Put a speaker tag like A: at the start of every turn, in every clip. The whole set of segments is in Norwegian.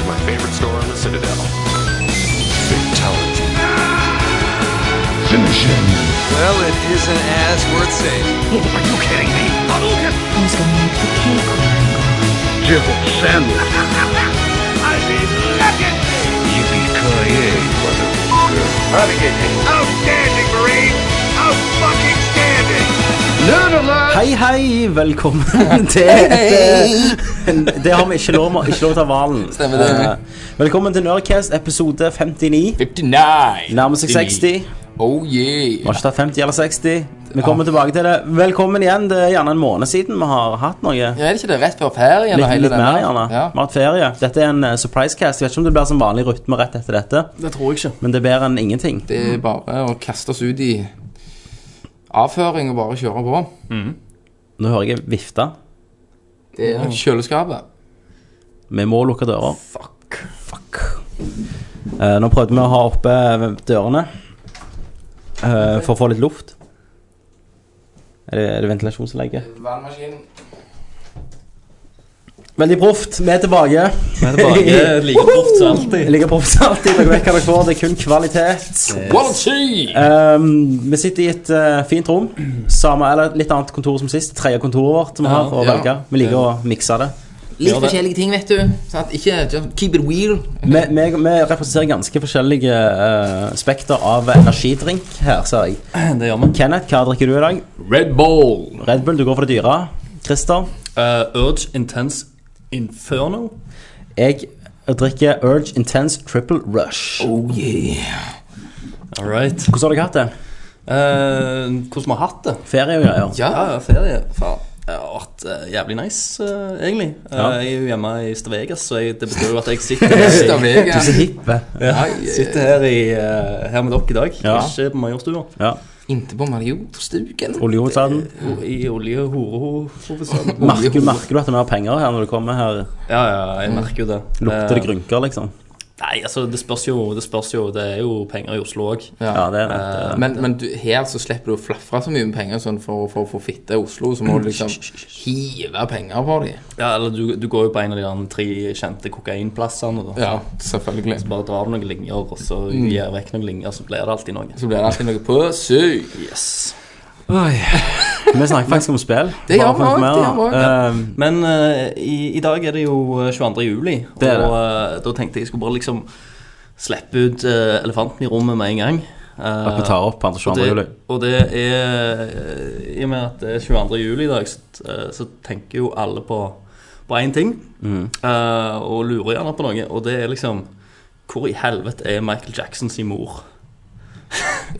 A: store on the Citadel. Fatality.
B: Finish him.
C: Well, it isn't as worth saying.
B: Are you kidding me?
D: Who's gonna make the cake
B: Jibble sandwich. Yippee-ki-yay, motherfucker.
E: Outstanding, Marine! Out fucking standing!
F: Hei, hei, velkommen til et, eh, Det har vi ikke lov, ikke lov til av hvalen.
C: Stemmer det.
F: Eh, Velkommen til Nerdcast episode 59.
C: 59!
F: Nærmer seg 60.
C: Oh yeah!
F: Var ikke det 50 eller 60? Vi kommer tilbake til det. Velkommen igjen. Det er gjerne en måned siden vi har hatt noe.
C: Ja, er det ikke det? Rett før ferien og
F: Litt,
C: hele
F: litt mer,
C: denne?
F: gjerne. Vi
C: Ja.
F: har hatt ferie. Dette er en eh, surprisecast. Jeg vet ikke om det blir som vanlig rytme rett etter dette,
G: Det tror jeg ikke.
F: men det er bedre enn ingenting.
C: Det er bare å kaste oss ut i avføring og bare kjøre på.
F: Nå hører jeg vifta.
C: Det er kjøleskapet.
F: Vi må lukke dører. Fuck. Eh, nå prøvde vi å ha oppe dørene eh, for å få litt luft. Er det, er det ventilasjonsanlegget?
C: Vannmaskinen.
F: Veldig proft. Vi er tilbake. Vi er
H: Tilbake like proft som alltid.
F: Like proft som alltid. Dere vet hva dere får. Det er kun kvalitet.
C: Quality!
F: Ehm, vi sitter i et eh, fint rom. Samme, eller litt annet kontor som sist. Tredje kontoret vårt som vi har å
C: Ja.
F: velge. Vi liker å mikse det.
C: Litt
H: gjør det.
C: forskjellige ting, vet du. Sant? Ikke just keep it real.
F: Vi, vi, vi representerer ganske forskjellige eh, spekter av energidrink her, ser jeg.
H: Det gjør vi.
F: Kenneth, hva drikker du i dag?
C: Red Bull.
F: Red Bull, du går for det dyre. Christer,
H: Eh, Urge Intense Inferno.
F: jeg drikker Urge Intense Triple Rush.
C: Oh yeah.
H: All right.
F: Hvordan har dere hatt det?
H: Eh, hvordan vi har hatt det?
F: Ferie og greier.
C: Ja.
H: Ja, ja, ferie. Faen. Det har vært eh, jævlig nice, eh, egentlig. Eh,
F: Ja.
H: Jeg er jo hjemme i Stavegas, så jeg, det betyr jo at jeg sitter
C: Best av
H: her i,
C: meg.
F: Du er så hipp.
H: ja, sitter her, i, eh, her med dere i dag.
F: Ja.
H: Ikke på Majorstua.
F: Ja.
C: Inntil på Mariostuken.
F: Oljehovedstaden.
H: O- I olje- og horehovedstaden.
F: Merker, merker du at det er mer penger her når du kommer her?
H: Ja, ja, jeg merker jo det.
F: Mm. Lukter det
H: Eh,
F: grynker, liksom?
H: Nei, altså, det spørs jo. Det spørs jo, det er jo penger i Oslo Uh, òg.
F: Ja, det er det.
C: eh,
F: det, er det.
C: Men, men du, her så slipper du å flafre så mye med penger sånn for, for å få fitte i Oslo, så
F: Mm.
C: må du liksom hive penger på dem.
H: Ja, eller du, du går jo på en av de der tre kjente kokainplassene. Da.
C: Ja, selvfølgelig.
H: Så bare drar du noen linjer, og så
F: Mm.
H: gir jeg vekk noen linjer, så blir det alltid noe.
C: Så blir det alltid noe på syk.
H: Yes.
F: Vi snakker faktisk om spill.
C: Det gjør
F: Bare for å
C: vi også,
F: informere.
C: det gjør vi
F: Ehm,
H: Men eh, i, i dag er det jo eh, 22. juli, og
F: Det er det.
H: eh, da tenkte jeg jeg skulle bare liksom slippe ut eh, elefanten i rommet med en gang. Eh,
F: At vi tar opp andre
H: og
F: 22. juli.
H: det, og det er eh, I og med at det er 22. juli i dag, så, eh, så tenker jo alle på På én ting. eh, og lurer gjerne på noe, og det er liksom Hvor i helvete er Michael Jacksons mor?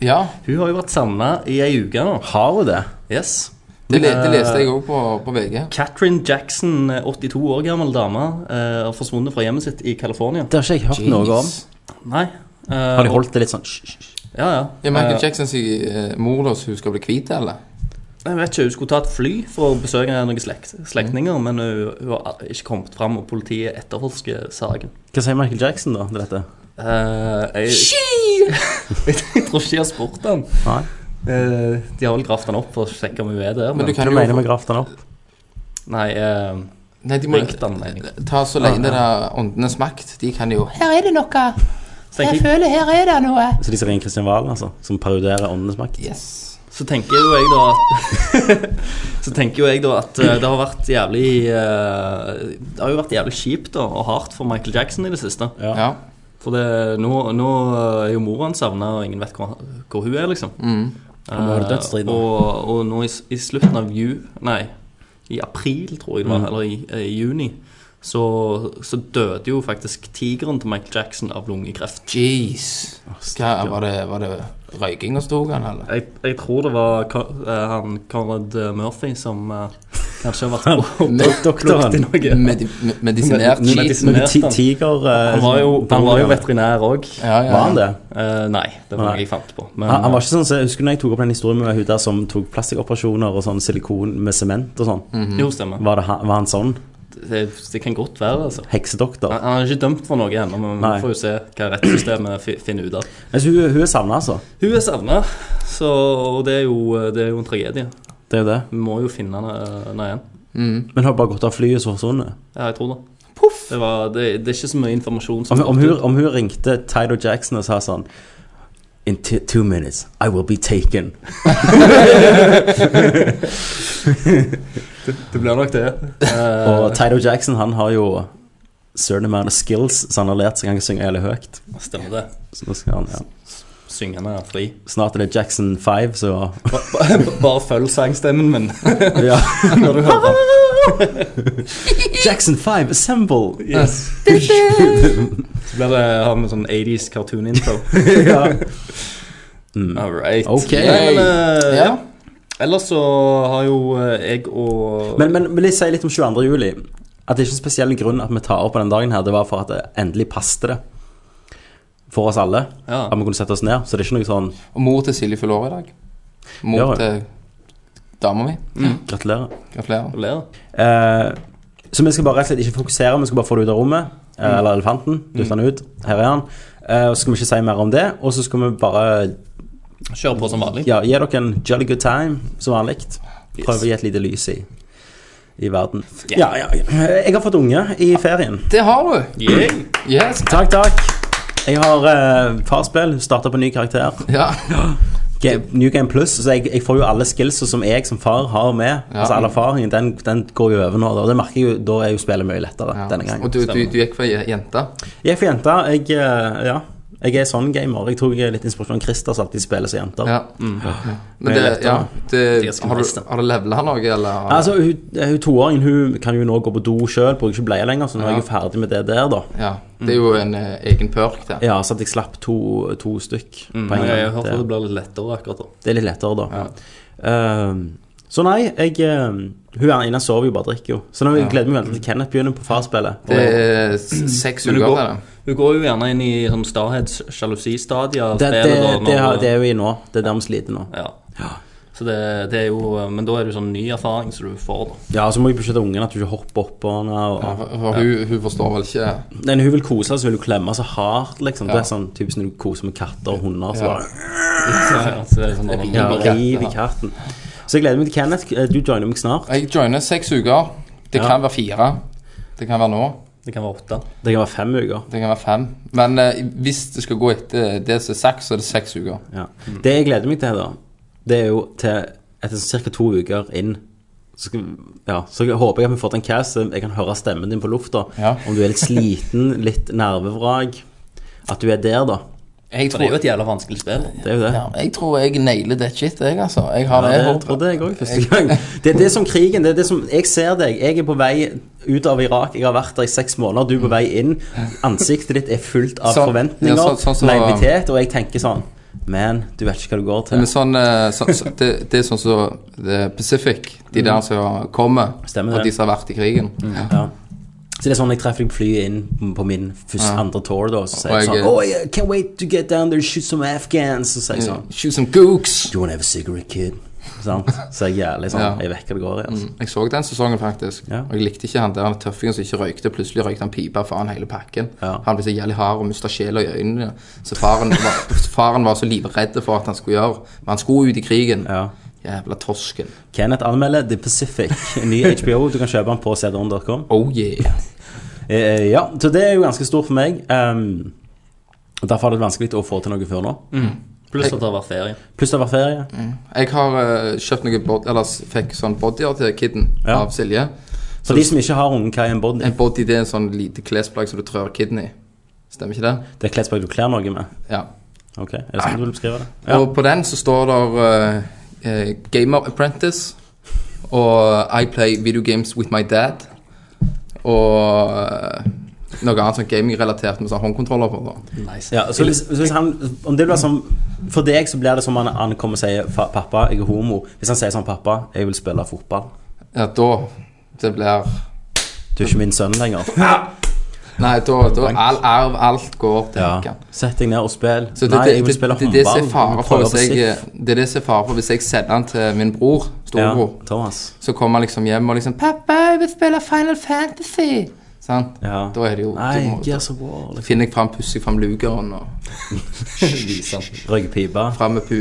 C: Ja,
H: Hun har jo vært savna i ei uke nå.
F: Har hun det?
H: Yes.
C: det, le,
H: Eh,
C: det leste jeg òg på, på VG.
H: Catherine Jackson, 82 år gammel dame, eh, har forsvunnet fra hjemmet sitt i California.
F: Det har ikke jeg hørt noe om.
H: Nei. eh,
F: Har de holdt det litt sånn hysj, hysj, hysj?
H: Ja, ja.
C: Ja, Michael
H: Eh,
C: Jacksons eh, mor da, så hun skal bli hvit, eller?
H: Jeg vet ikke, Hun skulle ta et fly for å besøke noen slekt, slektninger,
C: Mm.
H: men hun, hun har ikke kommet fram, og politiet etterforsker saken.
F: Hva sier Michael Jackson, da, til dette?
H: Eh, jeg, jeg tror ikke de har spurt han.
F: Nei.
H: Eh, de har vel gravd han opp for å sjekke om hun er der.
C: Men du
H: Men,
C: kan
F: Hva
C: jo
F: mener vi gravde han opp?
H: Nei, eh,
C: Nei, de må
H: Ringt han, mener jeg.
C: ta så lenge det der åndenes makt. De kan jo
I: Her er det noe.
H: så
I: Jeg
H: tenker jeg
I: føler her er det noe.
F: Så de som ringer Kristian Valen, altså? Som parodierer Åndenes makt?
C: Yes.
H: Så tenker jo jeg da at Så tenker jo jeg da at eh, det har vært jævlig eh, Det har jo vært jævlig kjipt da, og hardt for Michael Jackson i det siste.
C: Ja.
H: For det, nå, nå er jo moren savna, og ingen vet hvor, hvor hun er, liksom.
F: Og nå er det dødsstrid nå.
H: og, og nå i, s- i slutten av ju... Nei, i april, tror jeg det var, eller i, eh, i juni, så, så døde jo faktisk tigeren til Michael Jackson av lungekreft.
C: Jeez. Hva, var, det, var det røyking hos Togan, eller?
H: Jeg, jeg tror det var Ka- eh, han Conrad eh, Murphy som eh, kanskje har vært på
F: Doktoren.
H: i Norge.
C: Medi me- medisinert
H: Med-
C: skit.
H: medis-
F: Men ti-
H: han.
F: Tiger eh,
H: Han var jo, han var jo veterinær òg.
C: Ja, ja.
F: Var han det?
H: nei, det var
F: Nei.
H: noe jeg fant på. Men,
F: Han, han var ikke sånn, så jeg husker når jeg tok opp den historien med hun der som tok plastikkoperasjoner og sånn silikon med sement og sånn.
H: jo, stemmer.
F: Var, det han, var han sånn?
H: Det, det kan godt være, altså.
F: Heksedoktor?
H: Han han er ikke dømt for noe ennå, men
F: Nei.
H: vi får jo se hva rettssystemet fi- finner ut av.
F: Altså, hun, hun er savna, altså.
H: Hun er savna, og det er, jo, det er jo en tragedie.
F: Det er jo det.
H: Vi må jo finne henne eh, henne igjen.
C: Mm.
F: Men hun har bare gått av flyet og så forsvunnet.
H: Ja, jeg tror det.
C: Poff!
H: Det, var, det, det er ikke så mye informasjon som
F: Om, om, hun, om hun ringte Tyler Jackson og sa sånn In t two minutes, I will be taken.
H: Det blir nok det. Eh,
F: Og Tyler Jackson han har jo certain amount of skills som han har lært, så han kan synge jævlig høyt.
H: Eh, stemmer det.
F: Så nå skal han, ja.
H: Syngende er fri.
F: Snart er det Jackson 5, så
H: Ba- ba- Bare følg sangstemmen min
F: ja.
H: når du hører den.
F: Jackson 5, assemble!
H: Yes. Så blir det har vi sånn 80s cartoon-intro.
F: ja.
H: All right.
F: Ok.
H: Men, eh,
C: Ja.
H: ja. Ellers så har jo eh, jeg og
F: Men, men vil jeg si litt om 22. juli? At det er ikke en spesiell grunn at vi tar opp på den dagen her. Det var for at det endelig passet det for oss alle.
H: Ja.
F: At vi kunne sette oss ned. Så det er ikke noe sånn
C: Og mor til Silje fyller år i dag. Mor
F: Ja.
C: til dama mi.
F: gratulerer.
C: Gratulerer.
H: Gratulerer.
F: Eh, så vi skal bare rett og slett ikke fokusere, vi skal bare få det ut av rommet. eh,
H: Mm.
F: Eller elefanten. Dytte den ut. Her er han. Eh, og så skal vi ikke si mer om det. Og så skal vi bare
H: Kjør på som vanlig.
F: ja, gi dere en jolly good time, som vanlig. Prøve å gi et lite lys i, i verden. Ja, ja, ja. Jeg har fått unge i ferien.
C: Det har du!
H: Yeah.
C: Yes.
F: Takk, takk. Jeg har eh, farspill, starta på ny karakter.
C: Ja.
F: Ga- New Game Plus. Så jeg, jeg får jo alle skillsa som jeg som far har med. Altså All erfaringen. Den, den går jo over nå. Og det merker jeg jo, da er jo spillet mye lettere
C: Ja.
F: denne
C: Og
F: gangen.
C: du, du, du gikk for je- jente.
F: Jeg er for jenter. Jeg, eh, ja, jeg er sånn gamer. Jeg tror jeg er litt inspirasjon av Christer som alltid spiller som jenter.
C: Ja. Men
F: Mye
C: det,
F: lettere.
C: ja, det,
H: er så
C: har,
H: nice,
C: du,
H: da.
C: har du levela noe, eller?
F: Altså, hun, hun toåringen hun kan jo nå gå på do sjøl, bruker ikke bleie lenger, så nå er jeg jo
C: Ja.
F: ferdig med det der, da.
C: Ja. Det er jo en eh, egen perk, det.
F: Altså- Ja, så at jeg slapp to, to stykk
C: Mm.
F: på en
H: Jeg, jeg
F: gang.
H: hørte
F: eh, Det-
H: at det blir litt lettere akkurat da.
F: Det er litt lettere, da. Ehm, så nei, jeg ehm, Hun er inne og sover jo, bare drikker jo. Så nå gleder jeg meg veldig til Kenneth begynner på farspillet.
C: Det er s- seks
H: Men
C: uker
H: hun
C: til
H: går,
C: det.
H: hun går jo gjerne inn i sånn Starheads sjalusistadier.
F: Det, det, det,
H: spillet da, når-
F: har- det er vi i nå. Det er der vi sliter nå.
H: ja. Så det, det er jo Men da er det jo sånn ny erfaring som du får, da.
F: Ja, så må jeg beskytte ungen, at du ikke hopper oppå henne. Og,
C: Ja, for- for Hun, hun forstår vel ikke
F: Nei, Hun vil kose seg, så vil hun klemme så hardt, liksom. Det
C: Ja.
F: er sånn typisk når du koser med katter og hunder. Så
C: Ja.
F: bare
H: Så det er sånn, når-
F: ja,
C: River
F: riv i katten. Så jeg gleder meg til Kenneth. eh, Du joiner meg snart.
C: Jeg joiner seks uker. Det
F: Ja.
C: kan være fire. Det kan være nå.
H: Det kan være åtte.
F: Det kan være fem uker.
C: Det kan være fem. Men eh, hvis det skal gå etter det som er seks, så er det seks uker.
F: Ja.
C: Mm.
F: Det jeg gleder meg til, da, det er jo til etter ca. to uker inn så, skal, ja, så jeg håper jeg at vi får til en cast så jeg kan høre stemmen din på lufta.
C: Ja.
F: Om du er litt sliten, litt nervevrak. At du er der, da.
C: Jeg
H: For det er
C: tror,
H: jo et jævla vanskelig spill.
F: Det er jo det.
C: ja, jeg, tror jeg nailer det shit, jeg, altså. Jeg har
F: Ja,
C: det.
F: det trodde jeg òg første gang. Det er det som krigen. det er det som, Jeg ser deg. Jeg er på vei ut av Irak. Jeg har vært der i seks måneder. Du er på vei inn. Ansiktet ditt er fullt av
C: Sånn-
F: forventninger,
C: ja, sånn- sånn som-
F: naivitet, og jeg tenker sånn Man, du vet ikke hva du går til.
C: Men sånn, eh, så, så, det, det er sånn som The Pacific, de der som kommer,
F: Mm. Stemmer det. Mm.
C: og de som har vært i krigen.
F: Ja. Så det er sånn jeg treffer deg på flyet inn på min første, andre tour, da, så sier jeg
C: Og jeg-
F: sånn Oh, yeah, can't wait to get down there, shoot some Afghans. Så sier jeg sånn
C: Eh, Shoot some gooks!
F: Do you wanna have a cigarette, kid? Sant? Så jeg er jævlig sånn
C: Ja.
F: Jeg vet hva det går i, altså.
C: Mm. Jeg så den sesongen, faktisk.
F: Ja.
C: Og jeg likte ikke han der han tøffingen som ikke røykte. Plutselig røykte han pipa faen hele pakken.
F: Ja.
C: Han ble så jævlig hard og mista sjela i øynene. Så faren var, faren var så livredd for at han skulle gjøre Men han skulle ut i krigen.
F: Ja.
C: Jævla tosken.
F: Kenneth anmelder The Pacific, en ny HBO. Du kan kjøpe den på cdon.com.
C: Oh yeah.
F: Eh, ja, så det er jo ganske stort for meg. Um, og derfor er det vanskelig å få til noe før nå.
H: Pluss at det har vært ferie.
F: Pluss det har vært ferie.
C: Jeg har eh, kjøpt noe bod Eller s- fikk sånn bodyer til kiden
F: Ja.
C: av Silje.
F: Så de som ikke har ungen, hva er en body?
C: En body det er en sånn lite klesplagg som du trør kiden i. Stemmer ikke det?
F: Det er klesplagg du kler noe med.
C: Ja.
F: Ok, Er det sånn du vil beskrive det? Ja.
C: Og på den så står der eh, eh, Gamer Apprentice og I play video games with my dad. Og eh, noe annet sånn gaming-relatert med sånn håndkontroller på. da
F: Ja, så hvis, så hvis han, om det blir sånn For deg så blir det som om han, han kommer og sier "Fa- 'Pappa, jeg er homo'. Hvis han sier sånn 'Pappa, jeg vil spille fotball'.
C: Ja, da Det blir
F: Du er ikke min sønn lenger.
C: Nei, da, da all arv, alt går til
F: Ja.
C: hekken.
F: Sett deg ned og spill.
C: Så det,
F: Nei,
C: det,
F: jeg vil spille
C: det, det, det, som er
F: håndball.
C: fare for hvis jeg, det er det som er fare for hvis jeg sender den til min bror,
F: Ja,
C: storebror,
F: Thomas.
C: så kommer han liksom hjem og liksom 'Pappa, jeg vil spille Final Fantasy'. Så sant?
F: Ja.
C: Da er det jo du
F: Nei,
C: må-
F: Gears of War.
C: da
F: Liksom.
C: finner jeg fram pussig fram lugeren og
F: Røykpipe.
C: fram med pu...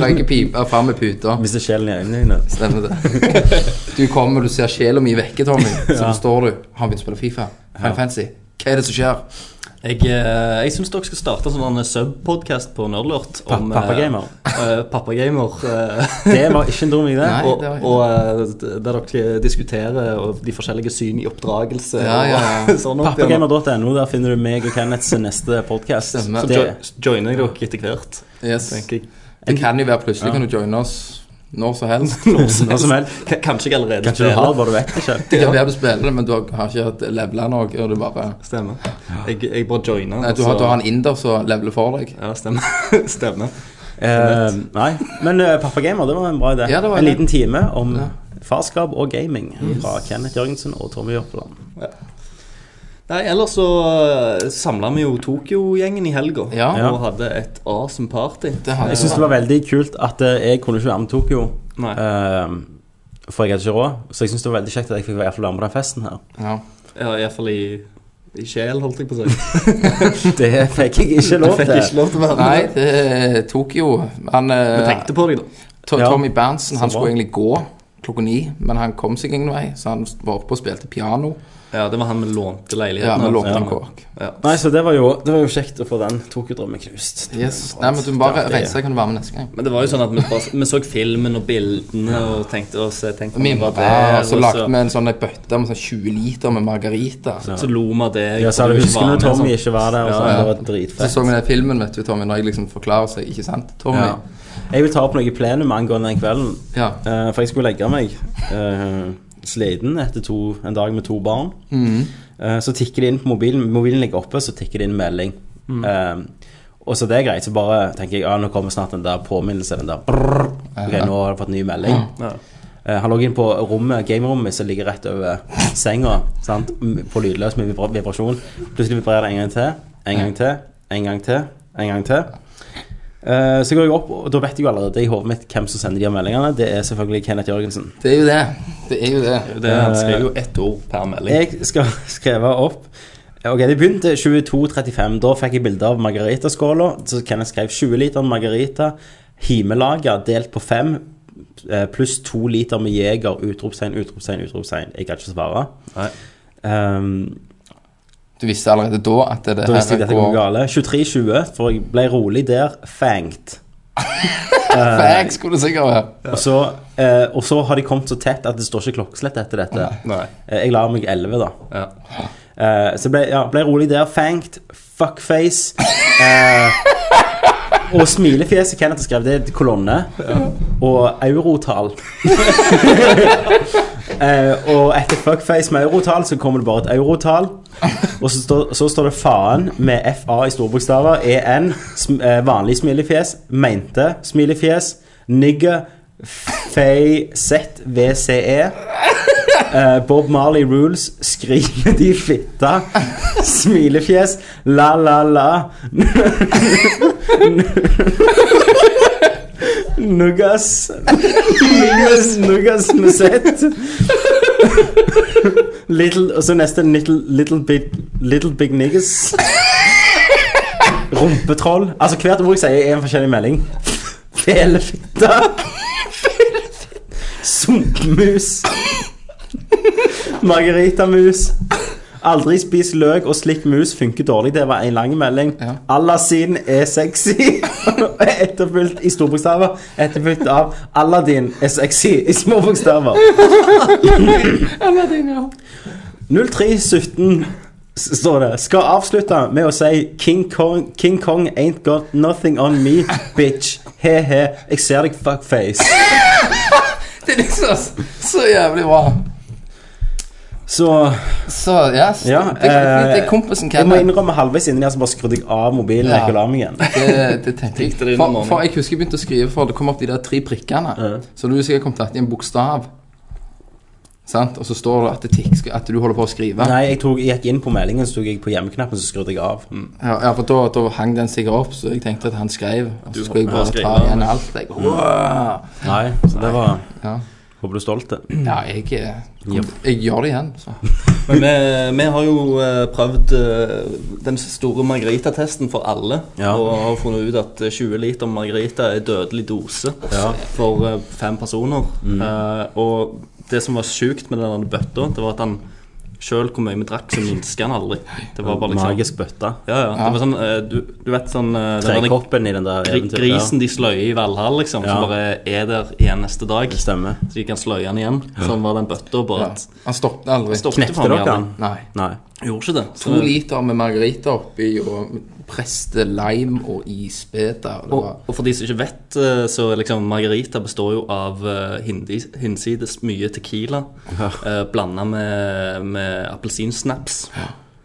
C: Røyke pipa, fram med puta.
F: Mister sjelen i øynene dine.
C: Stemmer det. Du kommer, du ser sjela mi vekke, Tommy. Så forstår du. Han begynner å spille Fifa. Final Fantasy. Hva er det som skjer?
H: Jeg, eh, jeg syns dere skal starte en sånn sub-podkast på Nerdlort
F: Pa-
H: om eh,
F: Pappagamer.
H: eh, Pappagamer. eh,
F: Det var ikke en dum idé.
C: Nei.
H: og,
C: det var ikke
H: og eh, der dere diskuterer og de forskjellige syn i oppdragelse.
C: Ja, ja,
H: og
C: ja.
H: sånn opp igjennom.
F: Pappagamer.no, der finner du meg og Kenneths neste podkast.
C: Stemmer.
H: Så
F: Det,
H: jo- joiner jeg dere etter hvert,
C: Yes.
H: tenker jeg.
C: Det kan jo være plutselig kan du joine oss når som helst.
F: Noe som helst.
H: K- Kanskje jeg allerede
F: kanskje du
H: spiller.
F: har, bare du vet det ikke.
C: Det kan være du spiller det, men du har har ikke hatt levela nok. Og du bare
H: Stemmer. Jeg, jeg bare joiner.
C: Nei, du, har, du har en inder som leveler for deg.
H: Ja, stemmer. stemmer.
F: Eh, nei, men uh, Pappagamer, det var en bra idé.
C: Ja, det var
F: en
C: det.
F: liten time om
C: Ja.
F: farskap og gaming fra Kenneth Jørgensen og Tommy Jørpeland.
H: Nei, ellers så samla vi jo Tokyo-gjengen i helga
C: Ja.
H: og hadde et awesome party.
C: Det har
F: Jeg syns det var veldig kult at eh, jeg kunne ikke være med Tokyo.
H: Nei.
F: eh, for jeg hadde ikke råd. Så jeg syns det var veldig kjekt at jeg fikk i hvert fall være med på den festen her.
C: ja.
H: Ja, Iallfall i, i sjel, holdt jeg på å si.
F: Det fikk jeg ikke lov
H: Fikk ikke
F: til.
H: lov til å være
C: Nei,
H: med.
C: det er Tokyo. Han,
H: Vi
C: eh,
H: tenkte på deg, da.
C: To-
F: Ja.
C: Tommy Berntsen han
F: Så bra.
C: skulle egentlig gå klokka ni, men han kom seg ingen vei, så han var oppe og spilte piano.
H: Ja, det var han vi lånte leiligheten
C: Ja, Vi
H: av.
C: lånte han
H: Ja.
C: kork.
H: Ja.
F: Nei, så det var, jo, det var jo kjekt å få den Tokyo-drømmen knust.
C: Yes. Nei, men du må bare reise, jeg kan være med neste gang.
H: Men det var jo sånn at vi, bare, vi så filmen og bildene og tenkte oss jeg tenkte
C: Min,
H: var
C: ja,
H: der,
C: så
H: og
C: lagde vi en sånn en bøtte med sånn 20 liter med margarita.
H: så lo vi av det.
F: Ja, så jeg
H: fordi vi
F: husker
H: var
F: når
H: med,
F: Tommy
H: sånn.
F: ikke var der. Og sånn,
C: Ja, ja.
F: Det var
C: Så
F: dritfett.
C: så vi den filmen, vet du, Tommy, når jeg liksom forklarer seg, ikke sant, Tommy?
F: Ja. Jeg vil ta opp noe i plenum angående den kvelden.
C: Ja.
F: Eh, for jeg skulle legge meg eh, sliten etter to, en dag med to barn.
C: Mm.
F: Eh, så tikker det inn på mobilen. Mobilen ligger oppe, så tikker det inn melding. Eh, og så det er greit, så bare tenker jeg ja, nå kommer snart den der påminnelsen. Den der brrr. Ok, nå har jeg fått ny melding.
H: Ja.
F: Eh, han lå inn på rommet, gamerommet mitt som ligger rett over senga. sant? M- På lydløs med vibra vibrasjon. Plutselig vibrerer det en gang til, en gang til, en gang til, en gang til. Eh, så går jeg opp, og da vet jeg jo allerede i hodet mitt hvem som sender de her meldingene. Det er selvfølgelig Kenneth Jørgensen.
C: Det er jo det. Det er jo det.
H: sånn- Det, han skrev jo ett ord per melding.
F: Jeg skal skrive opp Ok, Det begynte 22.35. Da fikk jeg bilde av margaritaskåla. Så Kenneth skrev 20 liter margarita, himelaga delt på fem, eh, pluss to liter med Jeger, utropstegn, utropstegn, utropstegn. Jeg kan ikke svare.
H: Nei.
F: Um,
C: Du visste allerede da at det
F: da visste jeg
C: her
F: dette kom
C: går
F: gale. 23.20, for jeg ble rolig der. Fangt.
C: Fag, skulle det sikkert være.
F: Og, så, eh, og så har de kommet så tett at det står ikke klokkeslett etter dette.
H: Nei.
F: Eh, Jeg lar meg 11, da.
H: Ja.
F: Eh, så ble, ja, ble rolig der. Fangt. Fuckface. Eh, og smilefjeset Kenneth skrev, det er et kolonne. Og eurotall. eh, og etter fuckface med eurotall, så kommer det bare et eurotall. Og så, står- så står det faen med FA i store bokstaver. EN, sm eh, vanlig smilefjes. Mente smilefjes. Nigger. Fei ZVCE. Eh, Bob Marley rules. Skriker de fitta? Smilefjes. La, la, la. Nuggas. Nuggas, nuggas med sett. Little, og så neste little, little, big, little big niggas. Rumpetroll. Altså Hvert ord jeg sier, er en forskjellig melding. Felefitte. Sumpmus. Margaritamus. Aldri spis løk og slikk mus funker dårlig. Det var en lang melding.
C: Ja.
F: Alasin er sexy. Etterfulgt i storbokstaver. Etterfulgt av Aladdin er sexy i små bokstaver. 0317 s- står det. Skal avslutte med å si King Kong, King Kong ain't got nothing on me, bitch. He-he. Jeg ser deg, fuckface.
C: Det er liksom så- så jævlig bra.
F: Så
C: Så yes.
F: Ja, eh,
C: det, det, det, det er kompisen
F: Jeg må
C: Kenneth.
F: innrømme halvveis inni der så bare skrudde jeg av mobilen
C: Ja.
F: og la meg igjen.
C: Det, det tenkte
H: Likte det
C: jeg.
H: under
C: For,
H: morgenen.
C: for jeg husker jeg begynte å skrive for det kom opp de der tre prikkene. Så du er sikkert kommet etter i en bokstav. Sant? Og så står det at, det tikk, at du holder på å skrive.
F: Nei, jeg, tok, jeg gikk inn på meldingen, så tok jeg på hjemmeknappen, så skrudde jeg av.
C: Ja, ja, for da, da hang den sikkert opp, så jeg tenkte at han skrev. Og så skulle jeg
H: holdt på
C: bare
H: å
C: ta
H: skrive,
C: igjen alt. Jeg. Wow.
F: Nei, så det var Mm.
C: Ja.
F: Håper du er stolt. det.
C: Ja, jeg, eh, jeg gjør det igjen. Så.
H: Men vi, vi har jo eh, prøvd eh, den store margaritatesten for alle.
F: Ja.
H: Og har funnet ut at eh, 20 liter margarita er dødelig dose
F: Ja. Mm.
H: for eh, fem personer. Eh, og det som var sjukt med den der bøtta, det var at han sjøl hvor mye vi drakk, så minska han aldri. Det var bare liksom
F: Magisk bøtte.
H: Ja, ja. Det var sånn, eh, du, du vet sånn eh, den der
F: Trekoppen i den der
H: gri-
F: eventyret, ja.
H: Grisen de sløyer i Valhall, liksom,
F: Ja.
H: som bare er der igjen neste dag.
F: Det stemmer.
H: Så de kan sløye han igjen. Sånn var den bøtta. Bare
C: Ja.
H: at
C: Han stoppet aldri.
H: stoppet
F: Knekte
H: faen meg
F: dere
H: aldri.
F: den?
C: Nei.
F: Nei.
H: Gjorde ikke det. Så-
C: To liter med margarita oppi og preste lime og isbiter. og det
H: Og,
C: var-
H: og for de som ikke vet, eh, så er liksom margarita består jo av eh, hindi, hinsides mye tequila ja. blanda med, med appelsinsnaps.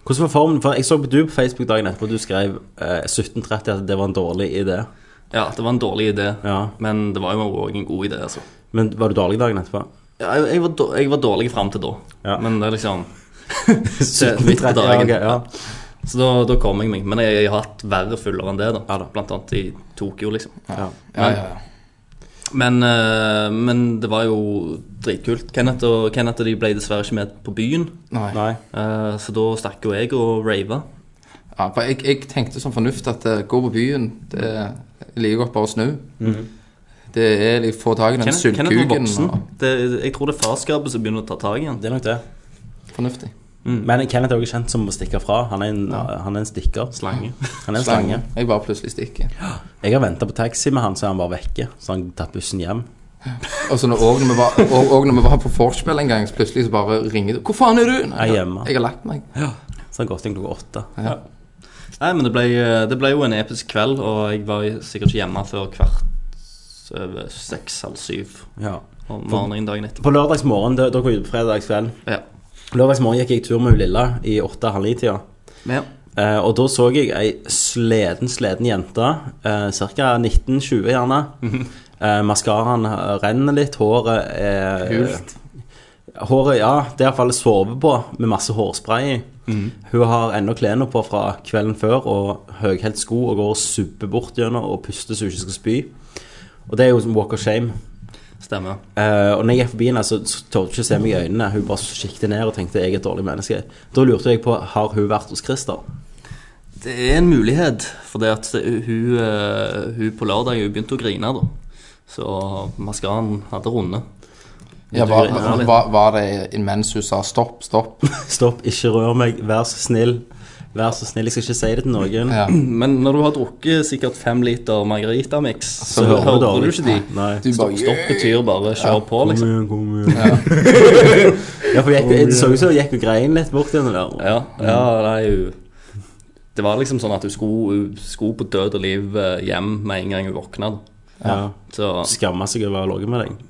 F: Hvordan var formen? For jeg så på du på Facebook dagen etterpå du skrev eh, 1730 at det var en dårlig idé.
H: Ja, det var en dårlig idé,
F: Ja.
H: men det var jo òg en god idé, altså.
F: Men var du dårlig dagen etterpå?
H: Ja, Jeg, jeg, var, då- jeg var dårlig fram til da,
F: Ja.
H: men det er liksom det, midt på
F: 1730, ja,
H: dagen.
F: ok, ja.
H: Så da, da kom jeg meg. Men jeg, jeg har hatt verre fuller enn det, da.
F: Ja da.
H: Blant annet i Tokyo, liksom.
F: Ja.
C: Ja, ja, ja.
H: Men, eh, men det var jo dritkult. Kenneth og, Kenneth og de ble dessverre ikke med på byen.
C: Nei.
F: Nei.
H: Eh, Så da stakk jo jeg og rava.
C: Ja, for jeg, jeg tenkte som fornuft at eh, gå på byen, det er like godt bare å snu.
F: Mhm.
C: Det er litt få tak i den
H: Kenneth Kenneth var
C: syltkuken.
H: voksen.
C: og-
H: Det, jeg tror det er farskapet som begynner å ta tak i han.
F: Det er nok det.
C: Fornuftig.
F: Men Kenneth er også kjent som å stikke fra. Han er en, han er en stikker.
H: Slange.
F: Han er en slange.
C: Jeg bare plutselig stikker.
F: Jeg har venta på taxi med han, så han var vekke. Så han tatt bussen hjem.
C: Og så når, og når, vi var, og, og når vi var på vorspiel en gang, så plutselig så bare ringer du 'Hvor faen er du?' Nei,
F: Jeg er hjemme.
C: Jeg har lagt meg.
F: Så han gått inn klokka åtte.
H: Nei, men det ble, eh, det ble jo en episk kveld, og jeg var sikkert ikke hjemme før kvart over seks, halv syv
F: Ja.
H: om morgenen dagen etter.
F: På lørdagsmorgen, da da kom vi ut på fredagskvelden
H: Ja.
F: Lørdagsmorgen gikk jeg tur med hun Lilla i åtte-halv ni-tida.
H: Men ja.
F: Eh, og da så jeg ei sleden, sleden jente, eh, ca. 19-20 gjerne. eh, Maskaraen eh, renner litt, håret er
C: Kult.
F: Håret, ja. Det er iallfall sove på med masse hårspray i. Hun har ennå klærne på fra kvelden før og høyhælt sko og går og subber bort gjennom og puster så hun ikke skal spy. Og det er jo som walk of shame.
H: Stemmer.
F: Eh, og når jeg gikk forbi henne, så så torde hun ikke se meg i øynene. Hun bare siktet ned og tenkte 'jeg er et dårlig menneske'. Da lurte jeg på har hun vært hos Christer.
H: Det er en mulighet, for det at hun, eh, hun på lørdag hun begynte å grine, da. Så maskaraen hadde runde.
C: Ja, var, altså,
H: griner litt.
C: var, var det mens hun sa 'stopp, stopp'?
F: Stopp, ikke rør meg, vær så snill. Vær så snill, jeg skal ikke si det til noen.
C: Ja.
H: Men når du har drukket sikkert fem liter margaritamix,
F: Så hører du
H: du
F: dårlig.
H: ikke de.
F: Nei.
C: Du bare
H: Stopp, stopp betyr bare kjør på, liksom.
F: Kom igjen, kom igjen. Ja, for jeg, jeg så jo så gikk og grein litt bort igjen der.
H: Ja, ja nei, hun Det var liksom sånn at hun skulle, hun skulle på død og liv eh, hjem med en gang hun våkna. da.
F: Ja.
H: Så
F: Skamma seg over å ha ligget med deg.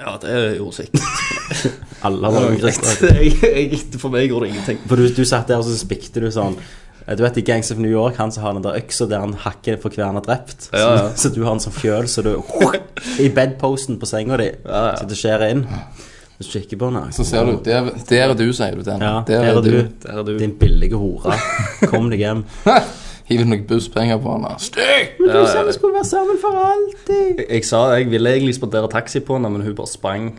H: ja, det gjorde sikkert.
F: Alle var jo greit.
H: Jeg- jeg- For meg gjorde det ingenting.
F: For du, du satt der og så spikte du sånn. eh, Du vet i Gangs of New York, han som har den der øksa der han hakker for hver han har drept. Så,
H: Ja, ja.
F: så du har den som fjøl, så du I bedposten på senga di.
H: Ja, ja.
F: Så det skjærer inn. Du kikker på henne.
C: Så ser du Der, der er du, sier du til henne.
F: Ja, der er du.
H: Der er du.
F: Din billige hore. Kom deg hjem.
C: Hiver noen busspenger på henne. Stikk!
F: Du sa vi skulle være sammen for alltid.
H: Jeg, jeg sa jeg ville egentlig spandere taxi på henne, men hun bare sprang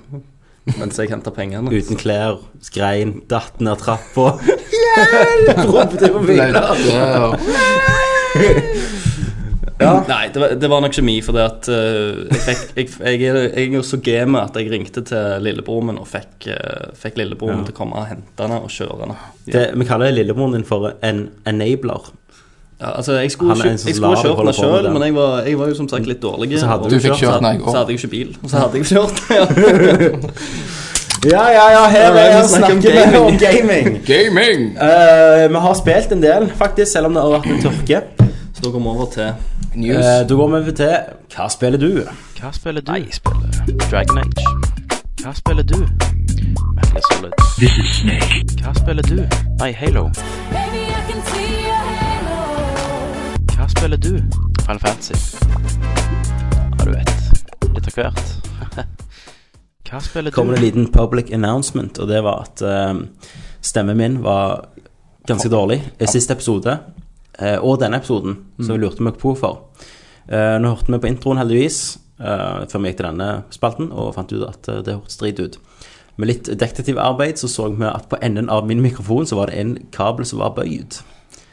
H: mens jeg henta pengene.
F: Uten klær, skrein, datt ned trappa. Hjelp! Ropte på biler.
H: Nei, det var, det var nok ikke mi, for det at eh, jeg, fikk, jeg, jeg, er, jeg er jo så gamet at jeg ringte til lillebroren min og fikk, eh, fikk lillebroren min til å komme og hente henne og kjøre henne.
F: Det, vi kaller lillebroren din for en enabler.
H: Ja, altså, jeg skulle,
F: Han er en
H: ikke,
F: som
H: jeg skulle
F: lar deg holde
H: kjørt
F: på
H: den
F: med
H: sjøl,
F: den.
H: men jeg var, jeg var jo som sagt litt dårlig.
F: Så hadde
H: og-
C: Du fikk kjørt den, jeg
H: Så
C: òg.
H: hadde jeg ikke bil, og så hadde jeg ikke kjørt. Ja.
F: Ja, ja, ja, her
H: er
F: er
H: vi snakker om
F: snakker vi om gaming.
C: Gaming!
F: Eh, vi har spilt en del, faktisk, selv om det har vært en tørke.
H: Så da går vi over til
C: News.
F: Eh, da går vi over til Hva spiller du?
A: Hva spiller du? jeg spiller Dragon Age. Hva spiller du? Metal Gear Solid. This is Snake. Hva spiller du? Nei, Halo.
G: Baby, I can see your halo.
A: Hva spiller du? Final Fantasy. Ja, du vet. Litt av hvert. Hva spiller
F: Kom det en
A: du?
F: liten public announcement, og det var at eh, stemmen min var ganske dårlig i siste episode. eh, og denne episoden, så vi lurte vi på hvorfor. Eh, nå hørte vi på introen, heldigvis. eh, før vi gikk til denne spalten, og fant ut at eh, det hørtes drit ut. Med litt detektivarbeid så så vi at på enden av min mikrofon så var det en kabel som var bøyd.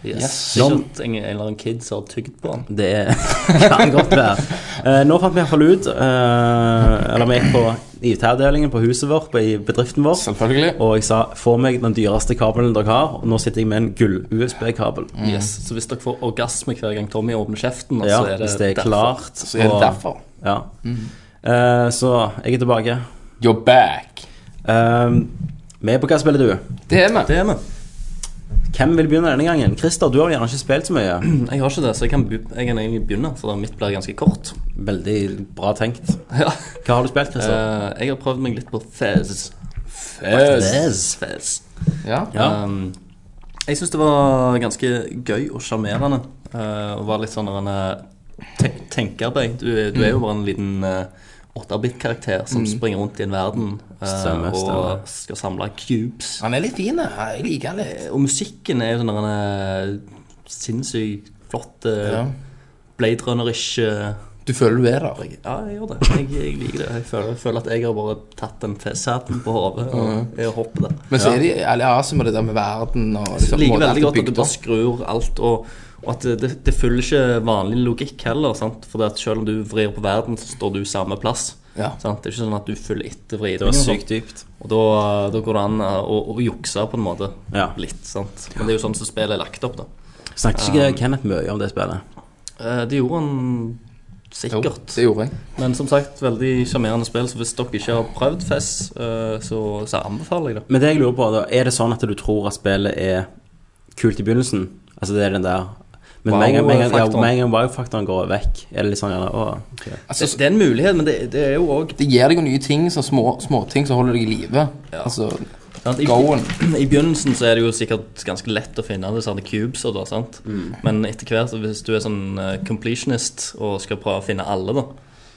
H: Yes.
F: Yes.
H: Sikkert en, en eller annen kid som har tygd på den.
F: Det kan godt være. Eh, nå fant vi iallfall ut eh, Eller vi gikk på IT-avdelingen på huset vårt, på, i bedriften vår.
C: Selvfølgelig.
F: Og jeg sa 'få meg den dyreste kabelen dere har', og nå sitter jeg med en gull-USB-kabel.
H: Mm. Yes. Så hvis dere får orgasme hver gang Tommy åpner kjeften,
F: Mm. Ja,
H: så er det,
F: hvis det er
H: derfor.
F: klart.
C: Så er det
F: og-
C: derfor.
F: Ja.
H: Mm.
F: Eh, så jeg er tilbake.
C: You're back.
F: Eh, Vi er på Hva spiller du?
C: Det er vi.
H: Det er vi.
F: Hvem vil begynne denne gangen? Christer, du har gjerne ikke spilt så mye.
H: Jeg har ikke det, så jeg kan, be- jeg kan egentlig begynne, for mitt blir ganske kort.
F: Veldig bra tenkt.
H: Ja.
F: Hva har du spilt, Christer?
H: Eh, jeg har prøvd meg litt på Fez.
F: Fez.
H: Fez.
C: Ja.
F: Ja.
H: Um, jeg syns det var ganske gøy og sjarmerende. eh, og var litt sånn en te tenkearbeid. Du, er- du
F: Mm.
H: er jo bare en liten eh, 8-bit-karakter som springer rundt i en verden eh,
F: Stemmer, stemmer.
H: og skal samle cubes.
C: Han er litt fin, jeg. jeg liker han litt.
H: Og musikken er jo sånn en eh, sinnssykt flott eh,
C: Ja.
H: Blade Runner-ish eh,
C: Du føler du er der.
H: Ja, jeg gjør det. Jeg, jeg liker det. Jeg føler, jeg føler at jeg har bare tatt den fesaten på hodet og jeg hopper der.
C: Men så er de aliaser med det der med verden og
H: Jeg
C: liksom,
H: liker
C: måten alt
H: veldig
C: er
H: godt at du
C: bygd
H: bare
C: opp.
H: skrur alt, og, og at det, det følger ikke vanlig logikk heller. Sant? For at selv om du vrir på verden, så står du samme plass.
C: Ja.
H: Sant? Det er ikke sånn at du følger
F: Det
H: etter
F: var
H: vridningen. og sånt.
F: sykt dypt.
H: Og da, da går det an eh, å, å jukse på en måte.
F: Ja.
H: Litt. Sant? Men det er jo sånn som spillet er lagt opp, da.
F: Snakket ikke
H: Um.
F: Kenneth mye om det spillet?
H: Eh, Det gjorde han
C: Jo,
H: sikkert.
C: det gjorde jeg.
H: Men som sagt, veldig sjarmerende spill, så hvis dere ikke har prøvd Fess, eh, så, så anbefaler jeg det.
F: Men det jeg lurer på, da, er det sånn at du tror at spillet er kult i begynnelsen? Altså det er den der Men med en gang- med en gang- ja,
H: Wow-faktoren.
F: med en gang wow-faktoren går vekk, er det litt sånn gjerne, å, ok.
C: Altså,
H: Det, det er en mulighet, men det, det er jo òg
C: det gir deg jo nye ting, sånn små småting som holder deg i live. Altså,
H: sant, i,
C: Goen.
H: I begynnelsen så er det jo sikkert ganske lett å finne disse her cubes og da, sant.
C: Mm.
H: Men etter hvert, hvis du er sånn eh, completionist og skal prøve å finne alle, da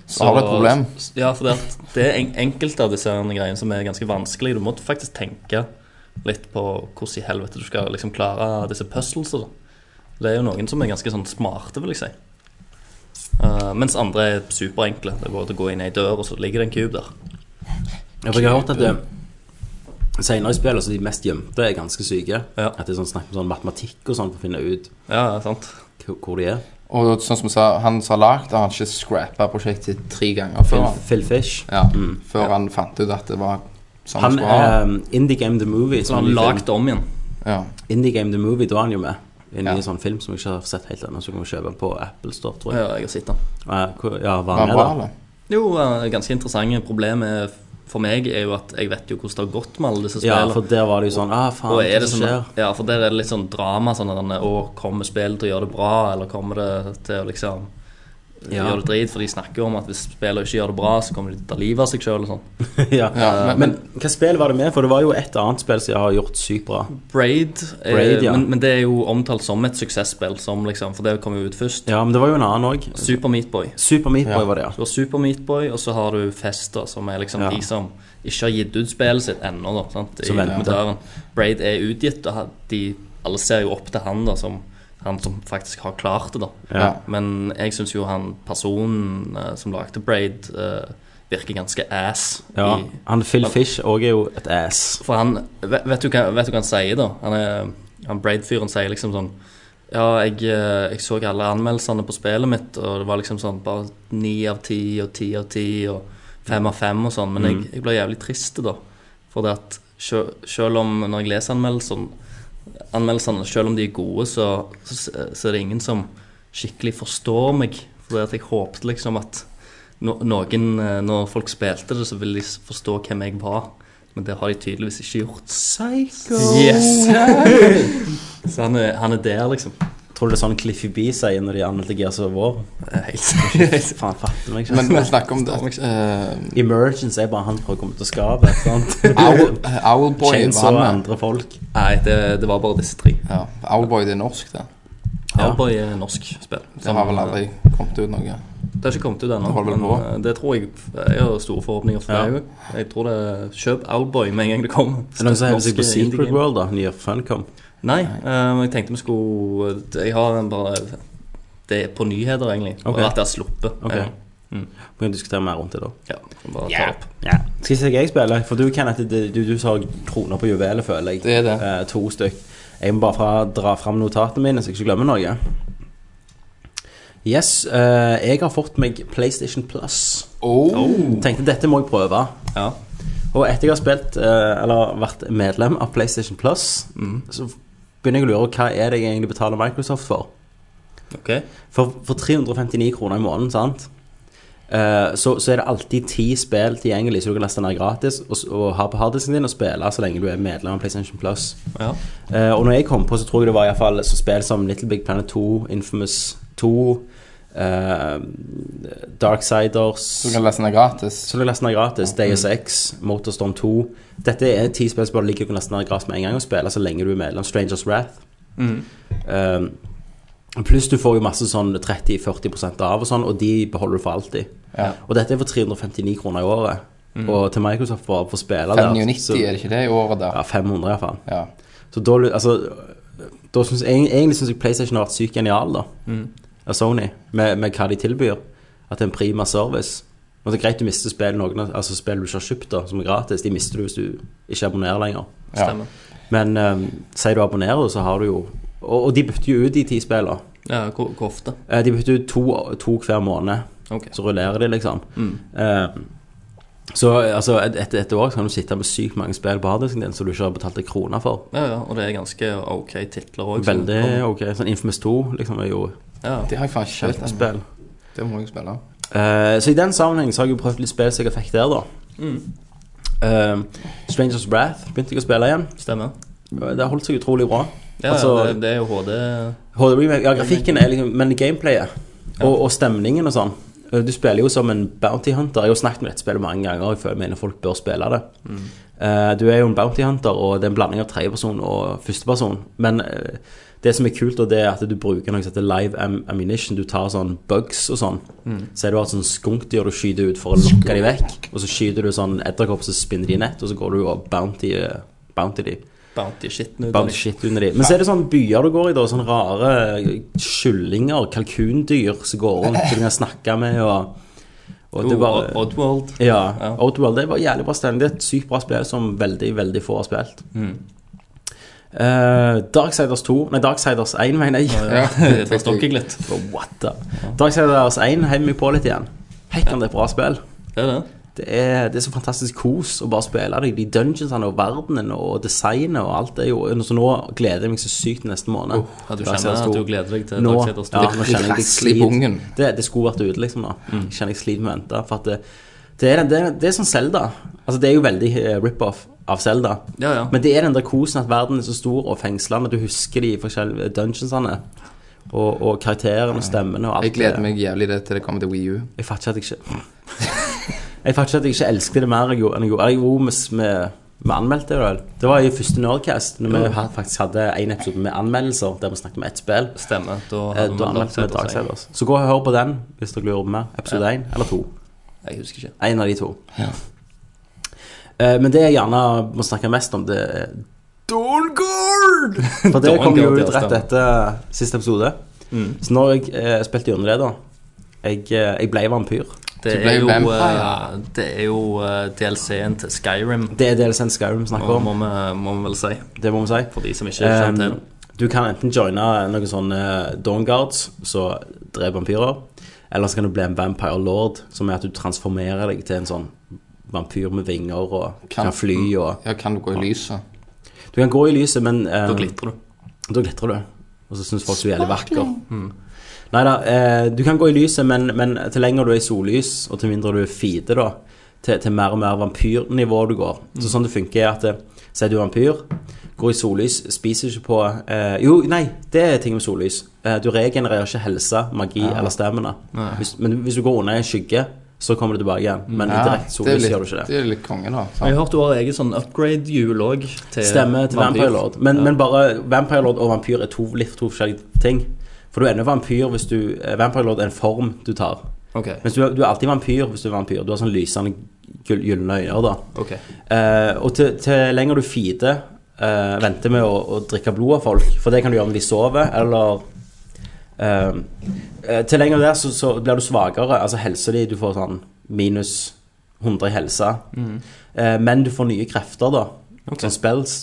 H: så
C: har du et problem.
H: Ja, for det, at det er en, enkelte av disse her greiene som er ganske vanskelig. Du må faktisk tenke litt på hvordan i helvete du skal liksom klare disse puzzlesene. da. Det er jo noen som er ganske sånn smarte, vil jeg si. Eh, mens andre er superenkle. Det er bare å gå inn ei dør, og så ligger det en kube der.
F: Ja, for jeg har hørt at det senere i spillet, altså de mest gjemte, er ganske syke.
H: Ja.
F: At det er sånn snakk om sånn matematikk og sånn for å finne ut
H: Ja, sant.
F: hvor- hvor de er.
C: Og sånn som sa, han sa lagt, har han ikke scrappa prosjektet tre ganger før han,
F: Phil Fish.
C: ja, før han fant ut at det var sånn
F: Han
C: det skulle være.
F: eh, Indie Game The Movie.
H: Så
F: Som
H: han
F: er
H: har
F: en film-
H: lagd om igjen.
C: Ja.
F: Indie Game The Movie, da er han jo med. Inni
C: Ja.
F: en sånn film som jeg ikke har sett helt ennå, som jeg må kjøpe på Apple Store, tror jeg.
H: Ja, jeg har sett den.
F: Eh, hvor- Ja, var
C: Var
F: han
C: han
F: med
C: bra,
F: da?
C: eller?
H: Jo, eh, ganske interessante problemet for meg er jo at jeg vet jo hvordan det har gått med alle disse
F: Ja,
H: spillene.
F: for der var det jo sånn ah, faen,
H: og er
F: hva
H: det
F: som
H: sånn,
F: skjer?
H: ja, for der er det litt sånn drama sånn at den er, Å, kommer spillet til å gjøre det bra, eller kommer det til å liksom
F: Ja.
H: gjøre det drit? For de snakker jo om at hvis spillet ikke gjør det bra, så kommer de til å ta livet av seg sjøl og sånn.
F: ja.
C: Ja,
F: men,
C: men-
F: hva spill var det med? For det var jo et annet spill som jeg har gjort sykt bra.
H: Braid, eh,
F: Braid, ja.
H: men, men det er jo omtalt som et suksessspill, som liksom, for det kom jo ut først.
F: Ja, men det var jo en annen òg.
H: Super Meat Boy.
F: Super Meat Boy var det,
H: Du
F: ja.
H: har Super Meatboy, og så har du Festa, som er liksom
F: Ja.
H: de som ikke har gitt ut spillet sitt ennå. da, sant, i
F: Som venter.
H: kommentaren. Braid er utgitt, og han- de, alle ser jo opp til han da, som han som faktisk har klart det. da.
F: Ja.
H: Men jeg syns jo han personen eh, som lagde Braid, eh, virker ganske ass.
F: ja.
H: i-
F: Han Phil Fish òg er jo et ass.
H: for han, vet, vet, du hva, vet du hva han sier da? Han, er- han Braid-fyren sier liksom sånn Ja, jeg, eh, jeg så alle anmeldelsene på spillet mitt, og det var liksom sånn bare ni av ti og ti av ti og fem av fem og sånn, men jeg, jeg ble jævlig trist da. For det at sjø- selv om når jeg leser anmeldelsene, anmeldelsene selv om de er gode, så, så, så er det ingen som skikkelig forstår meg. For det at jeg håpte liksom at no, noen, eh, når folk spilte det, så ville de s- forstå hvem jeg var. Men det har de tydeligvis ikke gjort. Psycho! Yes! så han er, han er der, liksom.
F: Tror du det er sånn Cliffy B sier når de anmeldte Gears of War?
H: Eh, Helt
F: Faen, fatter meg ikke.
C: Men når du snakker om det eh,
F: Emergence er bare han prøver å komme til skapet. sant?
C: Owl- eh, Owlboy
F: Chainsaw
C: var
F: og
C: han med.
F: andre folk.
H: Nei, det, det var bare disse tre.
C: Ja. Owlboy, det er norsk, det.
F: Ja.
H: Hellboy er norsk spill.
C: Det har vel aldri kommet ut noe.
H: Det har ikke kommet ut ennå.
C: Det holder vel
H: men,
C: på.
H: eh, Det tror jeg Jeg har store forhåpninger for
F: Ja.
H: det òg. Jeg tror det Kjøp Outboy med en gang det kommer.
F: Er det noen som hever seg på
H: Norske indie
F: Secret
H: game.
F: World, da? Nye Funcom?
H: Nei, eh, men jeg tenkte vi eh, skulle Jeg har en bare Det er på nyheter, egentlig.
F: Ok.
H: Bare at det er sluppet.
F: Ok.
H: Eh,
F: Vi kan diskutere mer rundt det da.
H: Ja, kan bare ta det opp.
F: Ja. Skal jeg si hva jeg spiller? For du kan at det- du, du som har kroner på juvelet, føler jeg.
C: Det er det.
F: Eh, to stykk. Jeg må bare fra, dra fram notatene mine, så jeg ikke glemmer noe. Yes, eh, jeg har fått meg PlayStation Plus. Tenkte dette må jeg prøve.
H: Ja.
F: Og etter jeg har spilt, eh, eller vært medlem av PlayStation Plus, så begynner jeg å lure hva er det jeg egentlig betaler Microsoft for.
H: Ok.
F: For, for 359 kroner i måneden, sant? Eh, så, så er det alltid ti spill tilgjengelig, så du kan laste ned gratis og, s- og ha på harddisken din og spille så lenge du er medlem av PlayStation Plus.
H: Ja.
F: Eh, og når jeg kom på, så tror jeg det var i hvert fall så spill som Little Big Planet 2, Infamous 2, eh, Darksiders
C: Så du kan lese den gratis.
F: så du laster ned gratis. Deus Ex, Motorstorm 2. Dette er ti spill som bare ligger og kan laste ned gratis med en gang og spille så lenge du er medlem. Strangers Wrath.
C: Mm.
F: Um, Pluss du får jo masse sånn 30-40 av og sånn, og de beholder du for alltid.
C: Ja. Mm.
F: Og dette er for 359 kroner i året. Og til Microsoft for, for spillere
C: 590, er det ikke det i året der?
F: altså. Ja, 500 i hvert fall.
C: Ja.
F: Så da lu- altså, da synes, jeg- Egentlig syns jeg PlayStation har vært sykt genial da
H: Mm.
F: av Sony, med, med hva de tilbyr. At det er en prima service. Og det er greit du mister spill noen, av- altså spill du ikke har kjøpt, da som er gratis. De mister du hvis du ikke abonnerer lenger.
C: Ja.
H: Stemmer.
F: Men um, sier du abonnerer, så har du jo Og, og de bytter jo ut de ti spillene.
H: Ja, hvor, hvor ofte?
F: Eh, De bytter ut to, to hver måned.
H: Ok.
F: Så rullerer de, liksom.
H: Mm.
F: Eh, så altså, et- etter et år kan du sitte med sykt mange spill på harddisken din som du ikke har betalt en krone for.
H: Ja, ja, og det er ganske ok titler òg.
F: Veldig ok. Sånn Infamous 2 liksom, er jo
H: Ja.
C: Det har jeg faen ikke spilt. ennå.
F: kjempespill.
C: Det må jeg spille.
F: Eh, så i den sammenheng så har jeg jo prøvd litt spill som jeg fikk der, da. Eh, Strangers Wrath begynte jeg å spille igjen.
H: Stemmer.
F: Det har holdt seg utrolig bra.
H: Ja,
F: Altså-
H: det, det er jo HD
F: HD remake, ja, grafikken er liksom Men gameplayet og, og stemningen og sånn Eh, Du spiller jo som en bounty hunter Jeg har jo snakket med dette spillet mange ganger og Jeg føler- mener folk bør spille det Eh, Du er jo en bounty hunter Og det er en blanding av tredjeperson og førsteperson Men eh, det som er kult da, Det er at du bruker noe som heter live am ammunition Du tar sånn bugs og sånn Så er du altså en skunkdyr du skyter ut For å lokke dem vekk Og så skyter du sånn etterkopp Så spinner de i nett Og så går du og bounty, eh, bounty dem
H: bounty shit nå.
F: Bounce shit under de. Men så er det sånne byer du går i, da. Sånne rare eh, kyllinger, kalkundyr som går rundt og du kan snakke med og, og det
H: Oh,
F: er bare,
H: Oddworld.
F: ja,
H: Ja.
F: Outworld det er bare jævlig bra stemning. Det er et sykt bra spill som veldig, veldig få har spilt. Eh, Darksiders 2 Nei, Darksiders 1, mener jeg.
H: Ja, det stokk jeg litt.
F: What the? Darksiders 1 heier meg på litt igjen. Hekken, det er et bra spill.
H: Det er det.
F: Det er, det er så fantastisk kos å bare spille det. De dungeonsene og verdenen og designet og alt det er jo Så nå gleder jeg meg så sykt neste måned.
H: Oh, Ja, du
F: Dark
H: kjenner
F: Siders
H: at
F: 2.
H: du gleder deg til
F: nå,
H: Darksiders 2.
F: Ja, nå kjenner jeg jeg
C: Rassel i
F: sliter.
C: bungen.
F: Det, det skulle vært ute, liksom. da
H: Mm.
F: Jeg kjenner jeg sliter med å vente. For at det, det, er, den- det, er, det er sånn Zelda. Altså, det er jo veldig eh, rip-off av Zelda.
H: Ja, ja.
F: Men det er den der kosen at verden er så stor og fengslende. Du husker de forskjellige dungeonsene. Og, og karakterene og stemmene og alt
C: Jeg gleder meg jævlig det til det kommer til Wii U.
F: jeg fatter ikke at jeg ikke Jeg fatter ikke at jeg ikke elsket det mer enn jeg gjorde- enn jeg gjorde. Jeg gjorde med, med, med anmeldte det vel. Det var i første Nerdcast, når vi ha- faktisk hadde en episode med anmeldelser der vi snakket om ett spill.
H: Stemmer. Da
F: Eh,
H: hadde
F: Da
H: vi
F: anmeldte vi
H: Darksiders
F: Darksiders. Så gå og hør på den hvis dere lurer på mer. Episode én eller to.
H: en. Jeg husker ikke.
F: En av de to. Eh, Men det jeg gjerne må snakke mest om, det er Dawnguard! For det kom jo
H: Dawnguard, ja,
F: ut rett
H: stemmer.
F: etter eh, siste episode. Så når jeg eh, spilte gjennom det, da jeg, eh, jeg ble vampyr.
H: Det
C: Du ble
H: er jo,
C: vampire.
H: eh, det er jo eh, DLC-en til Skyrim,
F: Det er DLC Skyrim vi snakker
H: må,
F: om.
H: må, vi, må vi vel si.
F: Det må vi si.
H: For de som ikke kjenner til
F: Um,
H: det.
F: du kan enten joine eh, noen sånne Dawn Guards, som dreper vampyrer, eller så kan du bli en Vampire Lord, som er at du transformerer deg til en sånn vampyr med vinger og
C: Kan-
F: kan, fly og
C: Ja, kan du gå i lyset?
F: Du kan gå i lyset, men eh,
H: Da glitrer du.
F: da glitrer du. Og så syns folk du er jævlig vakker. Mm. Nei da, eh, du kan gå i lyset, men, men til lenger du er i sollys, og til mindre du er fide, da, til, til mer og mer vampyrnivå du går. Så sånn det funker er at eh, Si du er vampyr, går i sollys, spiser ikke på eh, Jo, nei, det er ting med sollys. Eh, du regenererer ikke helse, magi eller stamina. Hvis, men hvis du går under en skygge, så kommer du tilbake igjen. Men i
C: Ja,
F: direkte
C: det, er
F: sollys gjør du
C: litt,
F: ikke det.
C: det er litt konge, da.
H: Jeg
C: Sant?
H: har hørt du har eget sånn upgrade-hjul òg.
F: Stemmer til Vampire Lord. Men, men bare Vampire Lord og vampyr er to litt to forskjellige ting. For du er ennå vampyr hvis du eh, Vampire Lord er en form du tar.
H: Ok,
F: Mens du, er- du er alltid vampyr hvis du er vampyr. Du har sånn lysende gyll- gylne øyne, da.
H: ok.
F: Eh, og til, til lenger du feeder, eh, venter med å, å drikke blod av folk, for det kan du gjøre når de sover, eller Ehm, eh, til lenger der så, så blir du svakere. Altså helsa di, du får sånn minus 100 i helse. Eh, men du får nye krefter, da. Sånn spells.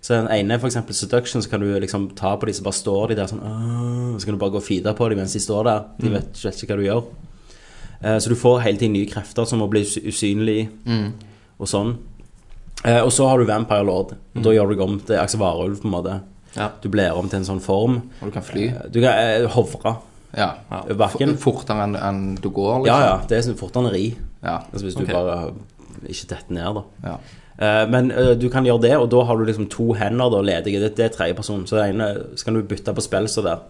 F: Så den ene er for eksempel seduction, så kan du liksom ta på de som bare står de der sånn «Åh», Så kan du bare gå og feede på de mens de står der. De vet slett ikke hva du gjør. Eh, så du får hele tiden nye krefter som å bli usy- usynlig og sånn. Eh, og så har du Vampire Lord. Og Da gjør du deg om til Aksel Varulv, på en måte.
H: Mm. Ja.
F: Du blir om til en sånn form.
C: Og du kan fly.
F: Du kan eh, hovre
C: Ja.
F: over bakken.
C: F- Fortere enn enn du går,
F: Ja,
C: liksom.
F: ja. Det er sånn fortere enn ri.
C: Ja.
F: Altså hvis du
H: Ok.
F: bare ikke detter ned, da.
C: ja.
F: Eh, men eh, du kan gjøre det, og da har du liksom to hender da, ledige. Det, det er tredje person. Så det ene så kan du bytte på spill. Så der.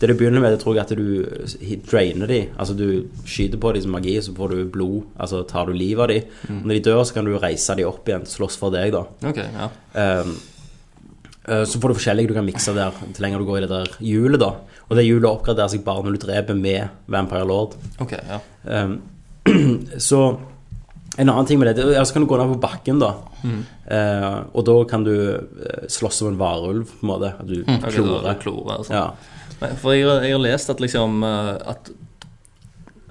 F: Det du begynner med, det tror jeg at du hit- drainer de. Altså du skyter på de som magi, så får du blod. Altså tar du livet av de.
H: Mm.
F: Og når de dør, så kan du reise de opp igjen. Slåss for deg, da.
H: Ok, ja.
F: Ehm, eh, så får du forskjellige du kan mikse der til lenger du går i det der hjulet, da. Og det hjulet oppgraderer seg bare når du dreper med Vampire Lord.
H: Ok, ja.
F: Ehm, så en annen ting med det, det er- så kan du gå ned på bakken, da.
H: Mm.
F: Eh, og da kan du eh, slåss som en varulv, på en måte. At du
H: Ok, da-
F: klorer.
H: Klore og sånn.
F: Ja.
H: Nei, For jeg, har- jeg har lest at liksom eh, at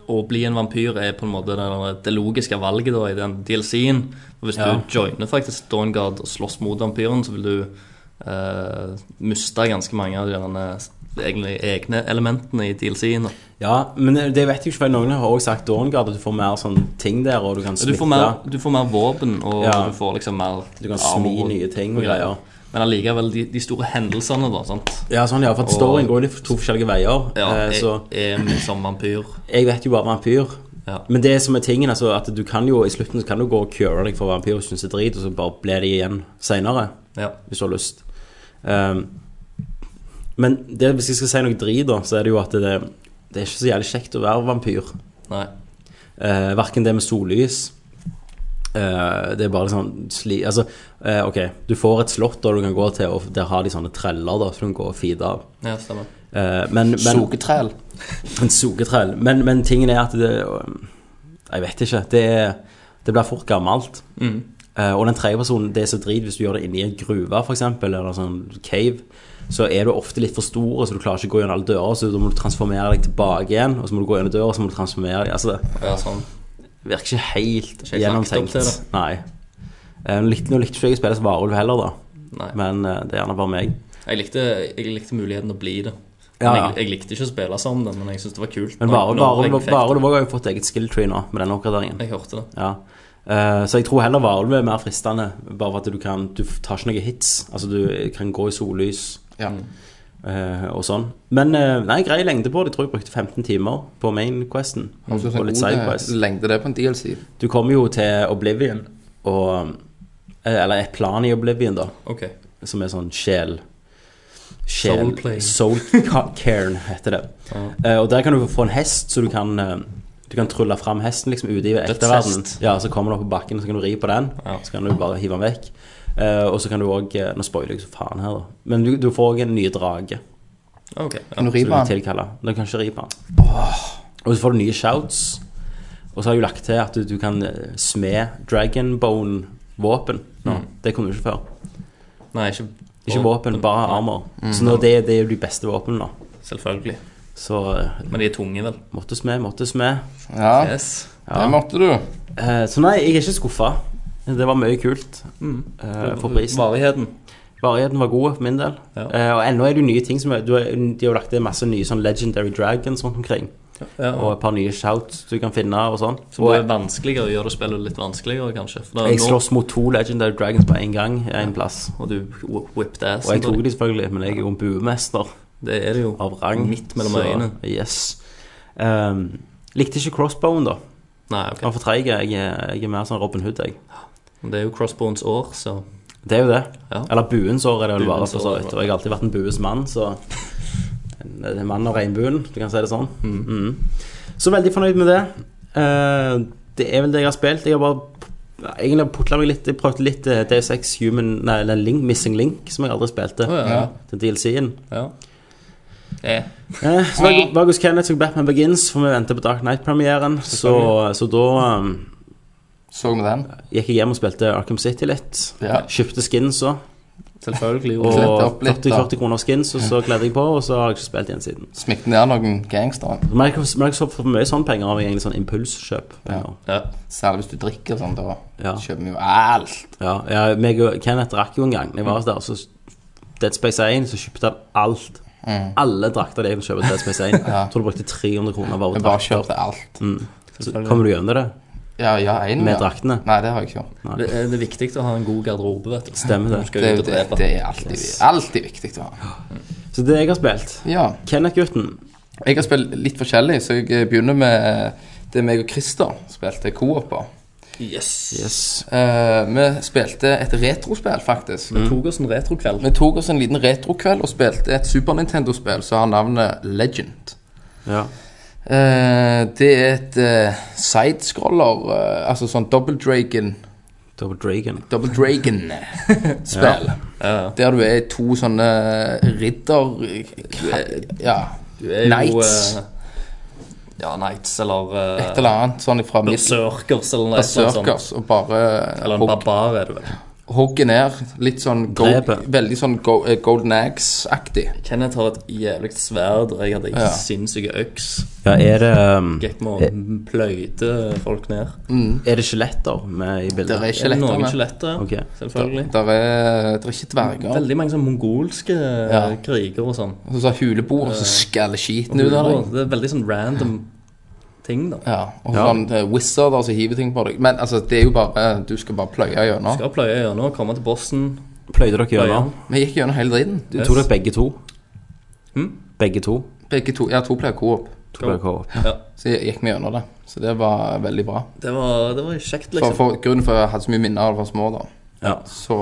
H: å bli en vampyr er på en måte det, der- det logiske valget da, i den DLC-en. For Hvis
F: Ja.
H: du joiner faktisk Dawn Guard og slåss mot vampyren, så vil du eh, miste ganske mange av de derne egentlig egne elementene i DLC-en. da.
F: ja, men eh, det vet jeg ikke, for noen har også sagt Dorngard at du får mer sånn ting der, og du kan
H: Du
F: smitte.
H: får mer, du får mer våpen, og
F: Ja.
H: du får liksom mer
F: Du kan smi nye ting og greier.
H: Men allikevel, de, de store hendelsene, da, sant?
F: Ja, sånn, ja, for at
H: Og-
F: storyen går jo de to forskjellige veier.
H: Ja,
F: eh,
H: jeg,
F: så
H: jeg er som vampyr.
F: Jeg vet jo bare vampyr.
H: Ja.
F: Men det som er tingen, altså at du kan jo i slutten så kan du gå og cure deg for vampyr hvis du syns det er drit, og så bare blir de igjen seinere,
H: Ja.
F: hvis du har lyst. Ehm, men det, hvis jeg skal si noe drit, da, så er det jo at det, det er ikke så jævlig kjekt å være vampyr.
H: Nei.
F: Uh, verken det med sollys eh, Det er bare sånn sli, Altså, eh, ok, du får et slott da du kan gå til, og der har de sånne treller da, som du kan gå og feede av.
H: Ja, stemmer.
F: Eh, men, men,
C: Sogetrell.
F: en sugetrell. Men, men tingen er at det øhm, Jeg vet ikke. Det, er- det blir fort gammelt.
H: Mm.
F: Eh, og den tredje personen, det er så drit hvis du gjør det inni en gruve, f.eks., eller en sånn cave. Så er du ofte litt for stor, så du klarer ikke å gå gjennom alle dører. Så da må du transformere deg tilbake igjen, og så må du gå gjennom dører, og så må du transformere deg. Altså, det
H: Ja, sånn.
F: virker ikke helt
H: Ikke helt lagt opp
F: gjennomtenkt.
H: til det.
F: Nei. Eh, Nå likte nå likte ikke jeg å spille som varulv heller, da.
H: Nei.
F: Men eh, det er gjerne bare meg.
H: Jeg likte, jeg likte muligheten å bli det.
F: Ja, ja.
H: Men jeg, jeg likte ikke å spille som det, men jeg syntes det var kult.
F: Men
H: når-
F: varulv
H: når
F: varulv-
H: jeg fikk det.
F: varulv har jo fått eget skill tree nå, med den oppgraderingen.
H: Jeg hørte det.
F: Ja. Eh, så jeg tror heller varulv er mer fristende, bare for at du kan Du tar ikke noen hits. Altså, du kan gå i sollys
C: Ja.
F: eh, og sånn. Men eh, nei, grei lengde på det. Jeg tror jeg brukte 15 timer på main questen.
C: Høres ut som
F: Og
C: en
F: litt
C: god
F: side
C: eh,
F: quest.
C: lengde det på en DLC.
F: Du kommer jo til Oblivion, og eh, Eller et plan i Oblivion, da,
H: Ok.
F: som er sånn sjel
H: Soul
F: Sjel
H: plane.
F: Soul ca- cairn heter det. Eh, og der kan du få en hest, så du kan eh, du kan trylle fram hesten liksom ute i ekte
H: Dødshest.
F: verden. Ja, Så kommer du opp på bakken, så kan du ri på den.
H: Ja.
F: Så kan du bare hive den vekk. Eh, og så kan du òg Nå spoiler jeg så faen her, da. Men du, du får òg en ny drage
H: Ok, ja.
C: Kan du
F: som
C: ri
F: du
C: på
F: kan
C: den?
F: tilkalle. Du kan ikke ri på den. Og så får du nye shouts. Og så har jeg jo lagt til at du, du kan eh, smed dragonbone-våpen. nå. Det kunne du ikke før.
H: Nei, ikke,
F: Ikke våpen, bare armer. Så nå, det, det er jo de beste våpnene, da.
H: Selvfølgelig.
F: Så eh,
H: Men de er tunge, vel.
F: måtte smed, måtte smed.
C: Ja,
H: Yes.
C: det måtte du.
F: Eh, så nei, jeg er ikke skuffa. Det var mye kult
H: Mm.
F: eh, for prisen.
H: Varigheten.
F: Varigheten var god for min del.
H: Ja.
F: Eh, og ennå er det jo nye ting som er, du har, De har jo lagt til masse nye sånn Legendary Dragons rundt omkring.
H: Ja,
F: Og et par nye shouts du kan finne og sånn.
H: Som
F: Og
H: er vanskeligere, gjør det spillet litt vanskeligere, kanskje. For da-
F: jeg
H: nå-
F: slåss mot to Legendary Dragons på én gang en plass.
H: Og du wh- whipped ass.
F: Og jeg tok de selvfølgelig, men jeg er jo en buemester
H: Det er det jo.
F: av rang.
H: Midt mellom
F: så-
H: øynene.
F: Yes. Um, likte ikke crossbone, da.
H: Nei,
F: Han
H: ok.
F: var for treig. Jeg, er- jeg er mer sånn Robin Hood, jeg.
H: Men Det er jo Crossbones år, så
F: Det er jo det.
H: Ja.
F: Eller buens år er det vel bare,
H: Buens
F: for
H: år
F: så
H: er det
F: vidt.
H: bare.
F: Og jeg har alltid vært en bues mann, så En en mann av regnbuen, du kan si det sånn. Mhm. Så veldig fornøyd med det. Eh, det er vel det jeg har spilt. Jeg har bare egentlig putla meg litt. Jeg prøvde litt eh, DSX Human Nei, eller Link, Missing Link, som jeg aldri spilte.
H: Å, ja.
F: Den DLC-en.
H: ja. Eh.
F: Eh, så var jeg- var jeg hos Kenneth og Batman Begins, for vi venter på Dark Night-premieren. Så, så da um,
C: Så vi den?
F: gikk jeg hjem og spilte Arkham City litt.
C: Ja.
F: Kjøpte skins òg.
H: Selvfølgelig.
F: Og
H: Og,
C: Kledd opp litt, da.
F: 40-40 kroner skins, og så kledde jeg på, og så har jeg ikke spilt igjen siden.
C: Smekte ned noen gangstere.
F: Microsoft Microsoft får for mye sånne penger av egentlig sånn impulskjøp-penger.
H: ja.
C: Særlig hvis du drikker sånn, da
F: Ja.
C: kjøper vi jo alt.
F: Ja, ja, meg og Kenneth rakk jo en gang. Jeg var der, så Dead Space 1, så kjøpte han alt.
C: Mm.
F: Alle drakter de kunne kjøpe til Dead Space 1.
C: Ja.
F: Jeg tror du brukte 300 kroner bare
C: Vi
F: på
C: bare
F: drakter.
C: kjøpte alt.
F: Så Kommer du gjennom det?
C: Ja, ja, en
F: Med
C: ja.
F: draktene?
C: Nei, det har jeg ikke gjort.
H: Det, er, det er viktig å ha en god garderobe, vet du.
F: Stemmer det.
H: Du skal
C: Det,
H: ut
C: er jo
H: og
C: det,
H: drepe.
C: det er alltid, alltid viktig å ha.
F: Så det jeg har spilt
C: Ja.
F: Kenneth-gutten.
C: Jeg har spilt litt forskjellig, så jeg eh, begynner med eh, det meg og Christer spilte co-oper.
H: Yes.
F: Yes.
C: Eh, vi spilte et retrospill, faktisk.
F: Mm.
H: Vi tok oss en retrokveld.
C: Vi tok oss en liten retrokveld og spilte et Super Nintendo-spill som har navnet Legend.
F: Ja.
C: Eh, det er et eh, sidescroller, eh, altså sånn double dragon
F: Double Dragon.
C: Double Dragon-spill. Der du er to sånne eh, ridder... eh, Ja,
H: Du er jo
C: Knights.
H: eh, ja, Knights eller eh,
C: et eller annet sånn fra midten.
H: Berserkers eller noe sånt.
C: Berserkers og bare
H: Eller en
C: hogg-
H: barbar, er det vel.
C: hogge ned. Litt sånn gold,
F: Drepe.
C: veldig sånn go, eh, Golden Axe-aktig.
H: Kenneth har et jævlig sverd, og jeg hadde
C: Ja. Eh.
H: ja. sinnssyke øks.
F: Ja, er det um,
H: Gikk med og pløyde folk ned.
C: Mm.
F: Er det skjeletter med i
C: Der
F: bildet?
C: er skjeletter
H: Noen
C: med.
H: skjeletter,
F: Ok.
H: selvfølgelig.
C: Der er, der er ikke dverger.
H: Veldig mange sånn mongolske
C: Ja.
H: kriger og sånn.
C: Og så huleboer som skaller skiten ut av deg.
H: Det er veldig sånn random ting, da.
C: Ja, og sånn eh, wizarder som hiver ting på deg. Men altså, det er jo bare eh, Du skal bare pløye gjennom.
H: Skal pløye gjennom, komme til bossen.
F: Pløyde dere gjennom?
C: Vi gikk gjennom hele dritten.
F: Du tok dere begge to? Begge to?
C: Begge to. Ja, to pleier co-op.
F: Tok dere opp?
H: Ja,
C: Så jeg gikk vi gjennom det. Så det var veldig bra.
H: det var, det var kjekt,
C: For,
H: liksom.
C: for Grunnen for at jeg hadde så mye minner da jeg var små, da.
F: Ja.
C: Så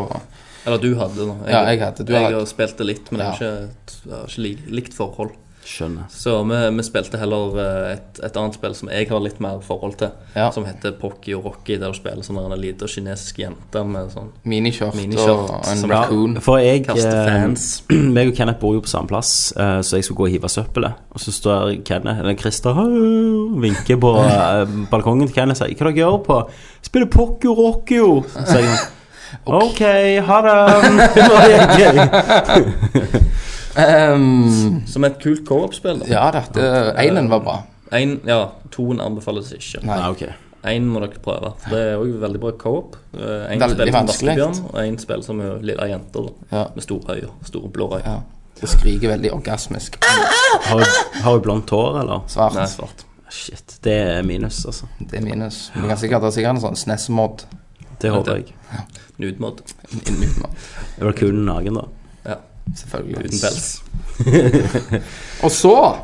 H: Eller du hadde, da.
C: Ja, jeg hadde, du
H: jeg
C: hadde.
H: har spilt det litt, men jeg har ikke, jeg har ikke li, likt forhold.
F: Skjønner.
H: Så vi, vi spilte heller eh, et, et annet spill som jeg har litt mer forhold til,
C: Ja.
H: som heter Pocky og Rocky, der du spiller sånn en liten kinesisk jente med sånn
C: miniskjørt og
H: Miniskjørt,
C: en
H: som-
C: raccoon.
F: For jeg
H: Kaste
F: eh,
H: fans.
F: meg og Kenneth bor jo på samme plass, eh, så jeg skulle gå og hive søppelet. Og så står Kenneth, eller Christer «Hallo», vinker på eh, balkongen til Kenneth og sier 'Hva dere gjør på?' 'Spiller Pokkyo Rokkyo'. Så sier jeg sånn OK, ha det.
C: Ehm,
H: Som et kult co-op-spill. da.
C: ja, dette Einen var bra.
H: En, ja, toen anbefales ikke.
C: Nei.
F: Nei, Ah, ok.
H: Én må dere prøve. for Det er òg veldig bra co-op. Én
C: Veldig
H: spiller som
C: vanskelig.
H: vaskebjørn, og én spiller som er lille jente da,
C: Ja.
H: med store øyne. Store blå øyne.
C: Ja. Det skriker veldig orgasmisk.
F: Har hun- har hun blondt hår, eller?
C: Svart.
H: Nei, svart.
F: Shit, det er minus, altså.
C: Det er minus. Men Det er sikkert, det er sikkert en sånn SNES-mod.
F: Det håper jeg.
H: Nudemod.
C: Inn- uten mod,
F: Jeg var kun naken, da.
H: Ja. Uten
C: Selvfølgelig.
H: pels.
C: Og så,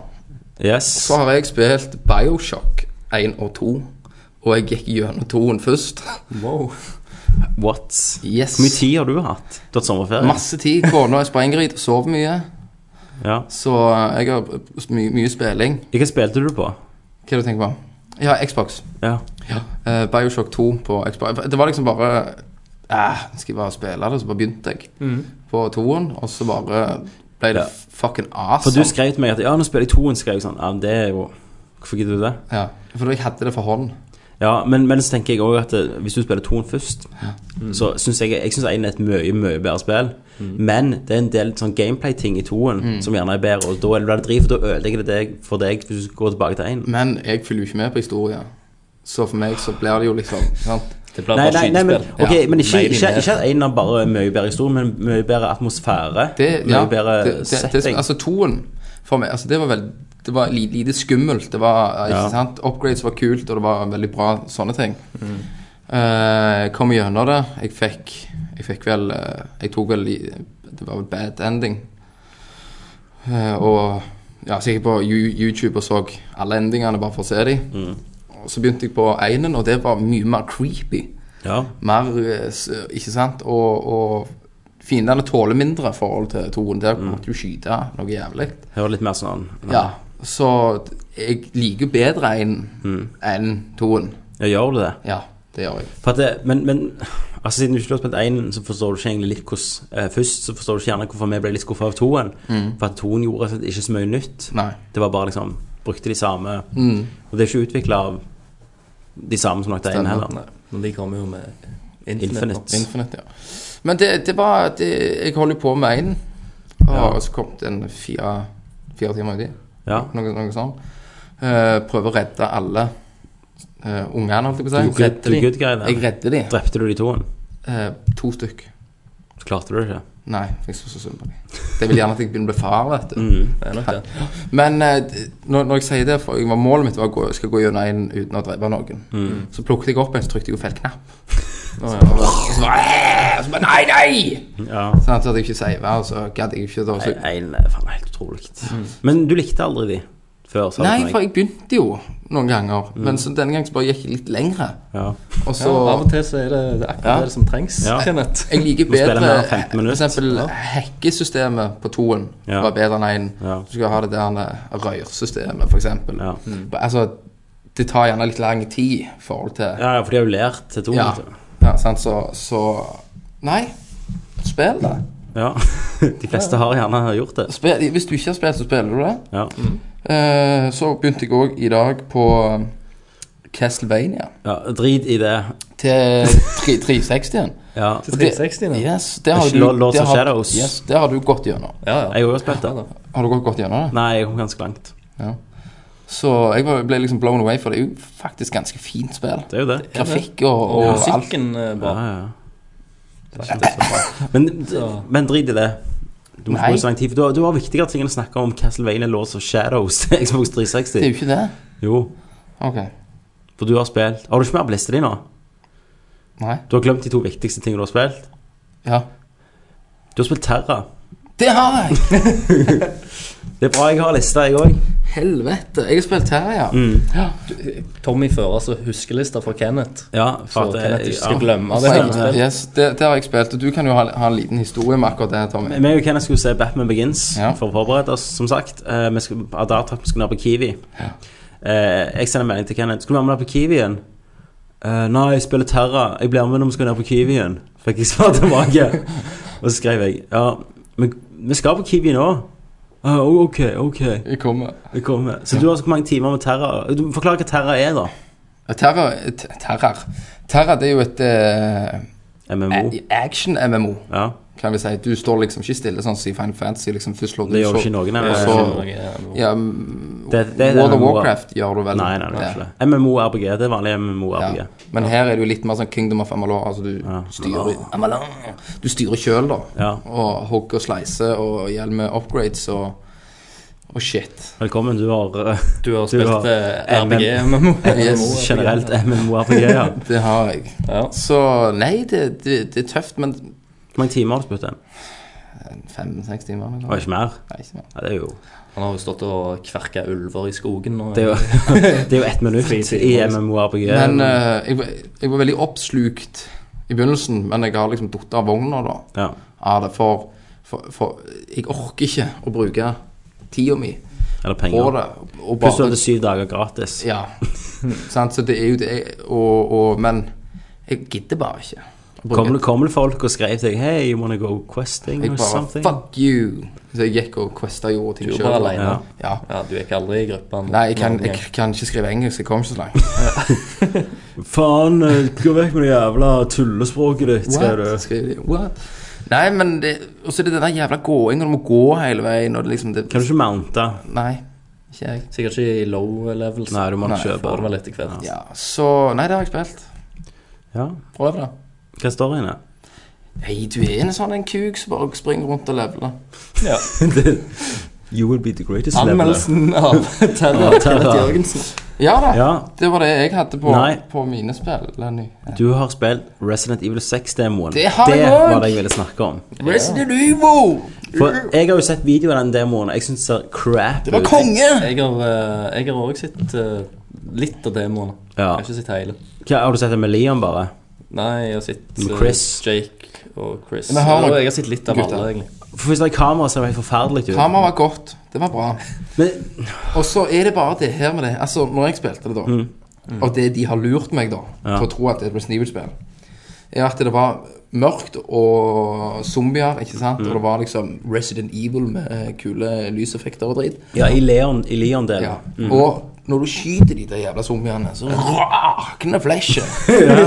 F: Yes.
C: så har jeg spilt Bioshock 1 og 2. Og jeg gikk gjennom toen først.
H: Wow.
F: What?
C: Yes.
F: Hvor mye tid har du hatt? Du har hatt sommerferie?
C: Masse tid. Kona er sprenggrid, sover mye.
F: Ja.
C: Så jeg har my mye spilling.
F: Hva spilte du på?
C: Hva er det du tenker på? Ja, Xbox.
F: Ja.
C: Eh, Bioshock 2 på Xbox. Det var liksom bare eh, Skal jeg bare spille det? Så bare begynte jeg på toen, og så bare ble
F: Mm.
C: det
F: Ja.
C: fucking
F: For
C: awesome.
F: du skrev til meg at ja, nå spiller jeg toen, skrev jeg sånn. Ja, men det er jo Hvorfor gidder du det?
C: ja, for jeg hadde det for hånd.
F: Ja, men, men så tenker jeg òg at eh, hvis du spiller toen først, Mm. så syns jeg Jeg synes én er et mye, mye bedre spill.
C: Mm.
F: Men det er en del sånn gameplay-ting i toen som gjerne er bedre, og da er det drit, for da ødelegger det deg for deg hvis du går tilbake til én.
C: Men jeg følger jo ikke med på historie. Så for meg så blir det jo liksom sant?
H: Det blir
F: Nei,
H: bare
F: nei, nei, men,
H: skytespill.
F: ok,
C: Ja.
F: men ikke,
H: Nei,
F: ikke,
H: nei.
F: ikke at en har bare mye bedre historie, men mye bedre atmosfære.
C: Det,
F: mye
C: ja,
F: bedre
C: det, det, det,
F: setting.
C: altså toen for meg altså Det var veldig det var li- lite skummelt. Det var, eh, ikke
F: Ja.
C: sant? Upgrades var kult, og det var veldig bra sånne ting.
F: Mm.
C: Eh, jeg kom gjennom det. Jeg fikk, jeg fikk vel eh, Jeg tok vel i- Det var vel bad ending. Eh, og ja, så gikk jeg på You- YouTube og så alle endingene bare for å se dem.
F: Mm.
C: Og så begynte jeg på einen, og det var mye mer creepy.
F: ja.
C: Mer, eh, s- ikke sant? Og, og fiendene tåler mindre i forhold til toen.
F: Mm.
C: Der måtte du skyte noe jævlig.
F: Hører litt mer sånn
C: Ja, så jeg liker bedre enn
F: Mm.
C: enn toen.
F: Ja, gjør du det?
C: Ja, det gjør jeg.
F: For at det, men, men altså, siden du ikke har spilt én, så forstår du ikke egentlig litt hvordan eh, Først så forstår du ikke gjerne hvorfor vi ble litt skuffa av toen.
C: Mm.
F: For at toen gjorde rett og slett ikke så mye nytt.
C: Nei. Mm,
F: Det var bare liksom Brukte de samme. Og det er ikke utvikla av de samme som lagde én
C: Stemmer.
F: heller.
H: Nei, men de kommer jo med
F: Infinite.
C: Infinite, ja. Men det, det var det, Jeg holder jo på med en Og så kom det en fire, fire timer uti.
F: Ja.
C: Noe, noe sånt. Eh, prøver å redde alle uh, ungene, holdt jeg på å si.
F: Du good, du good guy,
C: Jeg
F: der.
C: redder de.
F: Drepte du de toen?
C: Eh, to stykk.
F: Så klarte du det ikke.
C: Nei, jeg syns så synd på dem. De vil gjerne at jeg begynner å bli far, vet du.
F: Mm,
H: Mm, Det er nok det.
C: Men eh, d- når, når jeg sier det, for jeg var, målet mitt var å gå, skal gå gjennom en uten å drepe noen.
H: Mm.
C: Så plukket jeg opp en, så trykte jeg jo feil knapp. Og så bare, og så bare, «Æ!» og så bare Nei, nei!
F: Ja.
C: Sånn at jeg ikke savet, og så gadd jeg ikke. Da, så, Mm.
F: Nei, nei, faen, helt utrolig. Men du likte aldri de før? sa du
C: nei,
F: til meg.
C: for jeg begynte jo noen ganger, men så denne gangen så bare gikk jeg litt lengre.
F: ja.
C: Og
H: Mm. Ja,
C: så
H: av og til så er det, det, er akkurat
C: Ja.
H: det som trengs,
F: Ja.
H: Kenneth.
C: Jeg liker
F: Må spille
C: bedre
F: mer enn 15
C: For
F: minutter.
C: eksempel hekkesystemet på toen
F: Ja.
C: var bedre enn én.
F: Ja.
C: Du skal ha det der eh, røyrsystemet, for eksempel.
F: Ja.
C: Ba- Altså, det tar gjerne litt lang tid i forhold til
F: ja, for de har jo lært til toen.
C: Ja,
F: vet du.
C: ja sant, så, så Nei, spill det.
F: Ja. De fleste har gjerne gjort det.
C: Spill, hvis du ikke har spilt, så spiller du det.
F: Ja.
C: Eh, så begynte jeg òg i dag på um, Castlevania.
F: ja. Drit i det.
C: Til tre- 360-en.
F: Ja.
H: Til 360 ja.
C: Yes, det har
F: Ikke
C: du,
F: Lords
C: det
F: of
C: har-
F: Shadows.
C: Yes, det har du gått gjennom.
H: Ja, ja.
F: Jeg har jo spilt det.
C: Har du gått, gått gjennom det?
F: Nei, jeg kom ganske langt.
C: Så jeg var- ble liksom blown away, for det er jo faktisk ganske fint spill.
F: Det er jo det.
C: Grafikk og, og
H: Og
C: alt.
H: musikken eh,
F: Ja,
H: bare
F: ja. Men, men drit i det. Du må ikke
C: Nei.
F: bruke så lang tid. For du har, du har viktigere ting enn å snakke om Castlevania Laws of Shadows til Xbox
C: Det er
F: 360.
C: jo ikke det.
F: Jo,
C: Ok.
F: for du har spilt Har du ikke mer på lista di nå?
C: Nei.
F: Du har glemt de to viktigste tingene du har spilt.
C: Ja.
F: Du har spilt Terra.
C: Det har jeg!
F: Det er bra jeg har lista, jeg òg.
C: Helvete. Jeg har spilt Terria.
H: Mm.
C: Ja.
H: Tommy fører altså huskelista for Kenneth.
F: Ja,
H: Så
F: for at
H: Kenneth ikke skal
F: ja.
H: glemme
C: Så
H: det.
C: jeg- Yes, det, det har jeg spilt. Og du kan jo ha, ha en liten historie med akkurat det, Tommy.
F: Meg og Kenneth skulle se Batman Begins
C: Ja.
F: for å forberede oss, som sagt. Eh, vi skulle, av der takk, vi skulle ned på Kiwi. Eh, jeg sender en melding til Kenneth. Skulle du være med ned på Kiwi igjen? Eh, nei, jeg spiller Terra. Jeg blir med når vi skal ned på Kiwi igjen. Fikk jeg svar tilbake. og så skrev jeg ja, men vi skal på Kiwi nå. «Ah, oh, ok, ok.
C: Jeg kommer.
F: Jeg kommer. Så du har så mange timer med Terra. Du Forklar hva Terra er, da.
C: Ja, Terra t- Terrar. Terra det er jo et eh,
F: MMO.
C: a- action-MMO,
F: Ja.
C: kan vi si. Du står liksom ikke stille, sånn som i Final Fantasy. liksom Først slår du
F: Det gjør jo
C: så-
F: ikke noen
C: og
F: av
C: så,
F: oss.
C: ja,
F: Det, det er
C: World of
F: MMO.
C: Warcraft gjør du vel?
F: Nei, nei, det er ikke det. MMO-RPG. Det er vanlig MMO-RPG.
C: Ja. Men her er det jo litt mer sånn Kingdom of Amalur. Altså du styrer Amalur. Du styrer sjøl, da.
F: Ja.
C: Og hogger og slicer og hjelm med upgrades og, og shit.
F: Velkommen, du har eh,
H: Du har spilt
F: har-
H: eh, RPG.
C: Yes,
F: generelt MMO-RPG. Ja.
C: Det har jeg.
H: Ja.
C: Så nei, det, det, det er tøft, men
F: Hvor mange timer har du spilt den?
C: 5-6 timer? eller
F: Og
C: noe?
F: ikke mer?
C: Nei, ikke mer.
F: Ja, det er jo
H: Han har jo stått og kverka ulver i skogen. Og,
F: Det er jo, det er jo ett minutt i MMO-RPG.
C: Men eh, jeg, var- jeg var veldig oppslukt i begynnelsen, men jeg har liksom datt av vogna da.
F: ja.
C: Av det, for, for, for jeg orker ikke å bruke tida mi
F: Eller
C: på
F: penger.
C: det. Og
F: Pluss du
C: bare
F: hadde syv dager gratis.
C: Ja. sant? Så det er jo det jeg- og, og, Men jeg gidder bare ikke. å bruke-
F: Kom det, kom det folk og skrev til deg Hey, you wanna go questing
C: Jeg
F: or
C: bare
F: something?
C: Fuck you! Så jeg gikk og questa og gjorde ting
H: Du er
C: selv.
H: jo bare alene.
F: Ja.
C: Ja.
H: Ja, du er ikke aldri i gruppa.
C: Nei, jeg kan, jeg kan ikke skrive engelsk. Jeg kom ikke så langt.
F: Faen, eh, gå vekk med det jævla tullespråket ditt, skrev
C: What?
F: du.
C: Skrev de. What? Nei, men det, Og så er det den der jævla gåing, og du må gå hele veien, og det liksom det,
F: Kan du ikke mounte?
C: Nei. Ikke jeg.
H: Sikkert ikke i low levels.
F: Nei, du må
C: Nei,
F: ikke
H: Får det
F: kjøpe.
H: vel etter hvert.
C: Ja, så Nei, det har jeg spilt.
F: Ja.
C: Prøv det.
F: Hva står det inne?
C: Hei, du er en sånn en kuk som bare springer rundt og leveler.
F: You will be the greatest
H: Anmeldelsen av Terra
F: Av
H: av
F: Terra.
H: Kenneth Jørgensen.
C: Ja da.
F: Ja.
C: Det var det jeg hadde på,
F: Nei.
C: på mine spill. eller ny.
F: Du har spilt Resident Evil 6-demoen.
C: Det har jeg også.
F: var det jeg ville snakke om.
C: Resident Evil!
F: For jeg har jo sett video av den demoen, og jeg syns det ser crap
C: Det var konge!
H: Jeg har, eh, jeg har også sett eh, litt av demoene. Jeg
F: Ja.
H: har ikke sett hele.
F: Hva, har du sett det med Leon, bare?
H: Nei, jeg har sett
F: Med
H: eh,
F: Chris.
H: Jake og Chris.
C: Men jeg har
H: Ja,
C: nok-
H: jeg har sett litt av
C: gutter.
H: alle, egentlig.
F: For hvis det er kamera, så er det helt forferdelig ut.
C: Kameraet var godt. Det var bra.
F: Men,
C: Og så er det bare det her med det Altså, når jeg spilte det, da, Mm. og det de har lurt meg, da,
F: Ja.
C: for å tro at det er et Resident Evil-spill, er at det var mørkt og zombier, ikke sant? Og det var liksom Resident Evil med eh, kule lyseffekter og dritt.
F: ja, i Leon, i Leon
C: Ja.
F: delen
C: Og Når du skyter de der jævla zombiene, så rakner flesjet.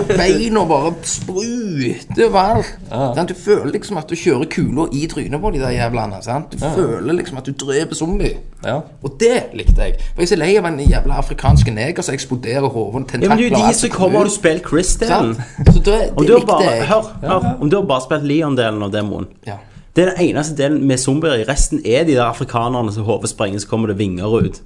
C: Beina bare spruter valg. Du føler liksom at du kjører kula i trynet på de der jævlene. Sant? Du føler liksom at du dreper zombie.
H: Ja.
C: Og det likte jeg. For jeg er så lei av en jævla afrikansk neger som eksploderer hodet.
F: Ja, men det er jo de som kommer og du spiller Chris-delen.
C: Så det,
F: Om
C: det
F: du har
C: likte
F: bare,
C: jeg.
F: hør, hør, om du har bare spilt Leon-delen av demoen
C: Ja.
F: Det er den eneste delen med zombier i. Resten er de der afrikanerne som hodet sprenger, så kommer det vinger ut.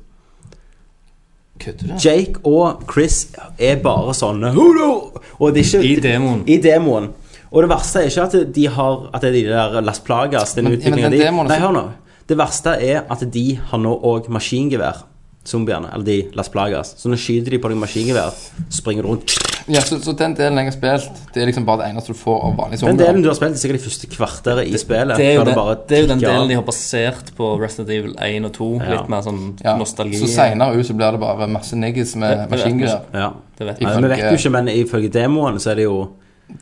C: Kødder du?
F: Jake og Chris er bare sånne «Hulu!» og det er ikke,
H: I demoen.
F: I demoen. Og det verste er ikke at de har At det er de der Las Plagas, den
C: Men- men
F: utviklingen
C: den
F: de
C: demoen er
F: Nei,
C: så-
F: hør nå. Det verste er at de har nå òg maskingevær. Zombiene. Eller de Las Plagas. Så nå skyter de på deg med maskingevær, så springer du rundt.
C: Ja, så, så den delen jeg har spilt, det er liksom bare det eneste du får av vanlige
F: Den
C: zombier.
F: delen du har spilt, er sikkert de første kvarteret i spillet.
H: Det er, jo
F: før
H: den,
F: bare
H: det er jo den
F: tikker av.
H: delen de har basert på Resident Evil 1 og 2.
F: Ja.
H: Litt mer sånn
C: Ja,
H: nostalgi.
C: Så seinere ut så blir det bare masse niggis med
H: det er
C: maskingevær.
F: Ja.
H: Det vet
F: Nei,
H: jeg.
F: Vi vet jo ikke, men ifølge demoen så er det jo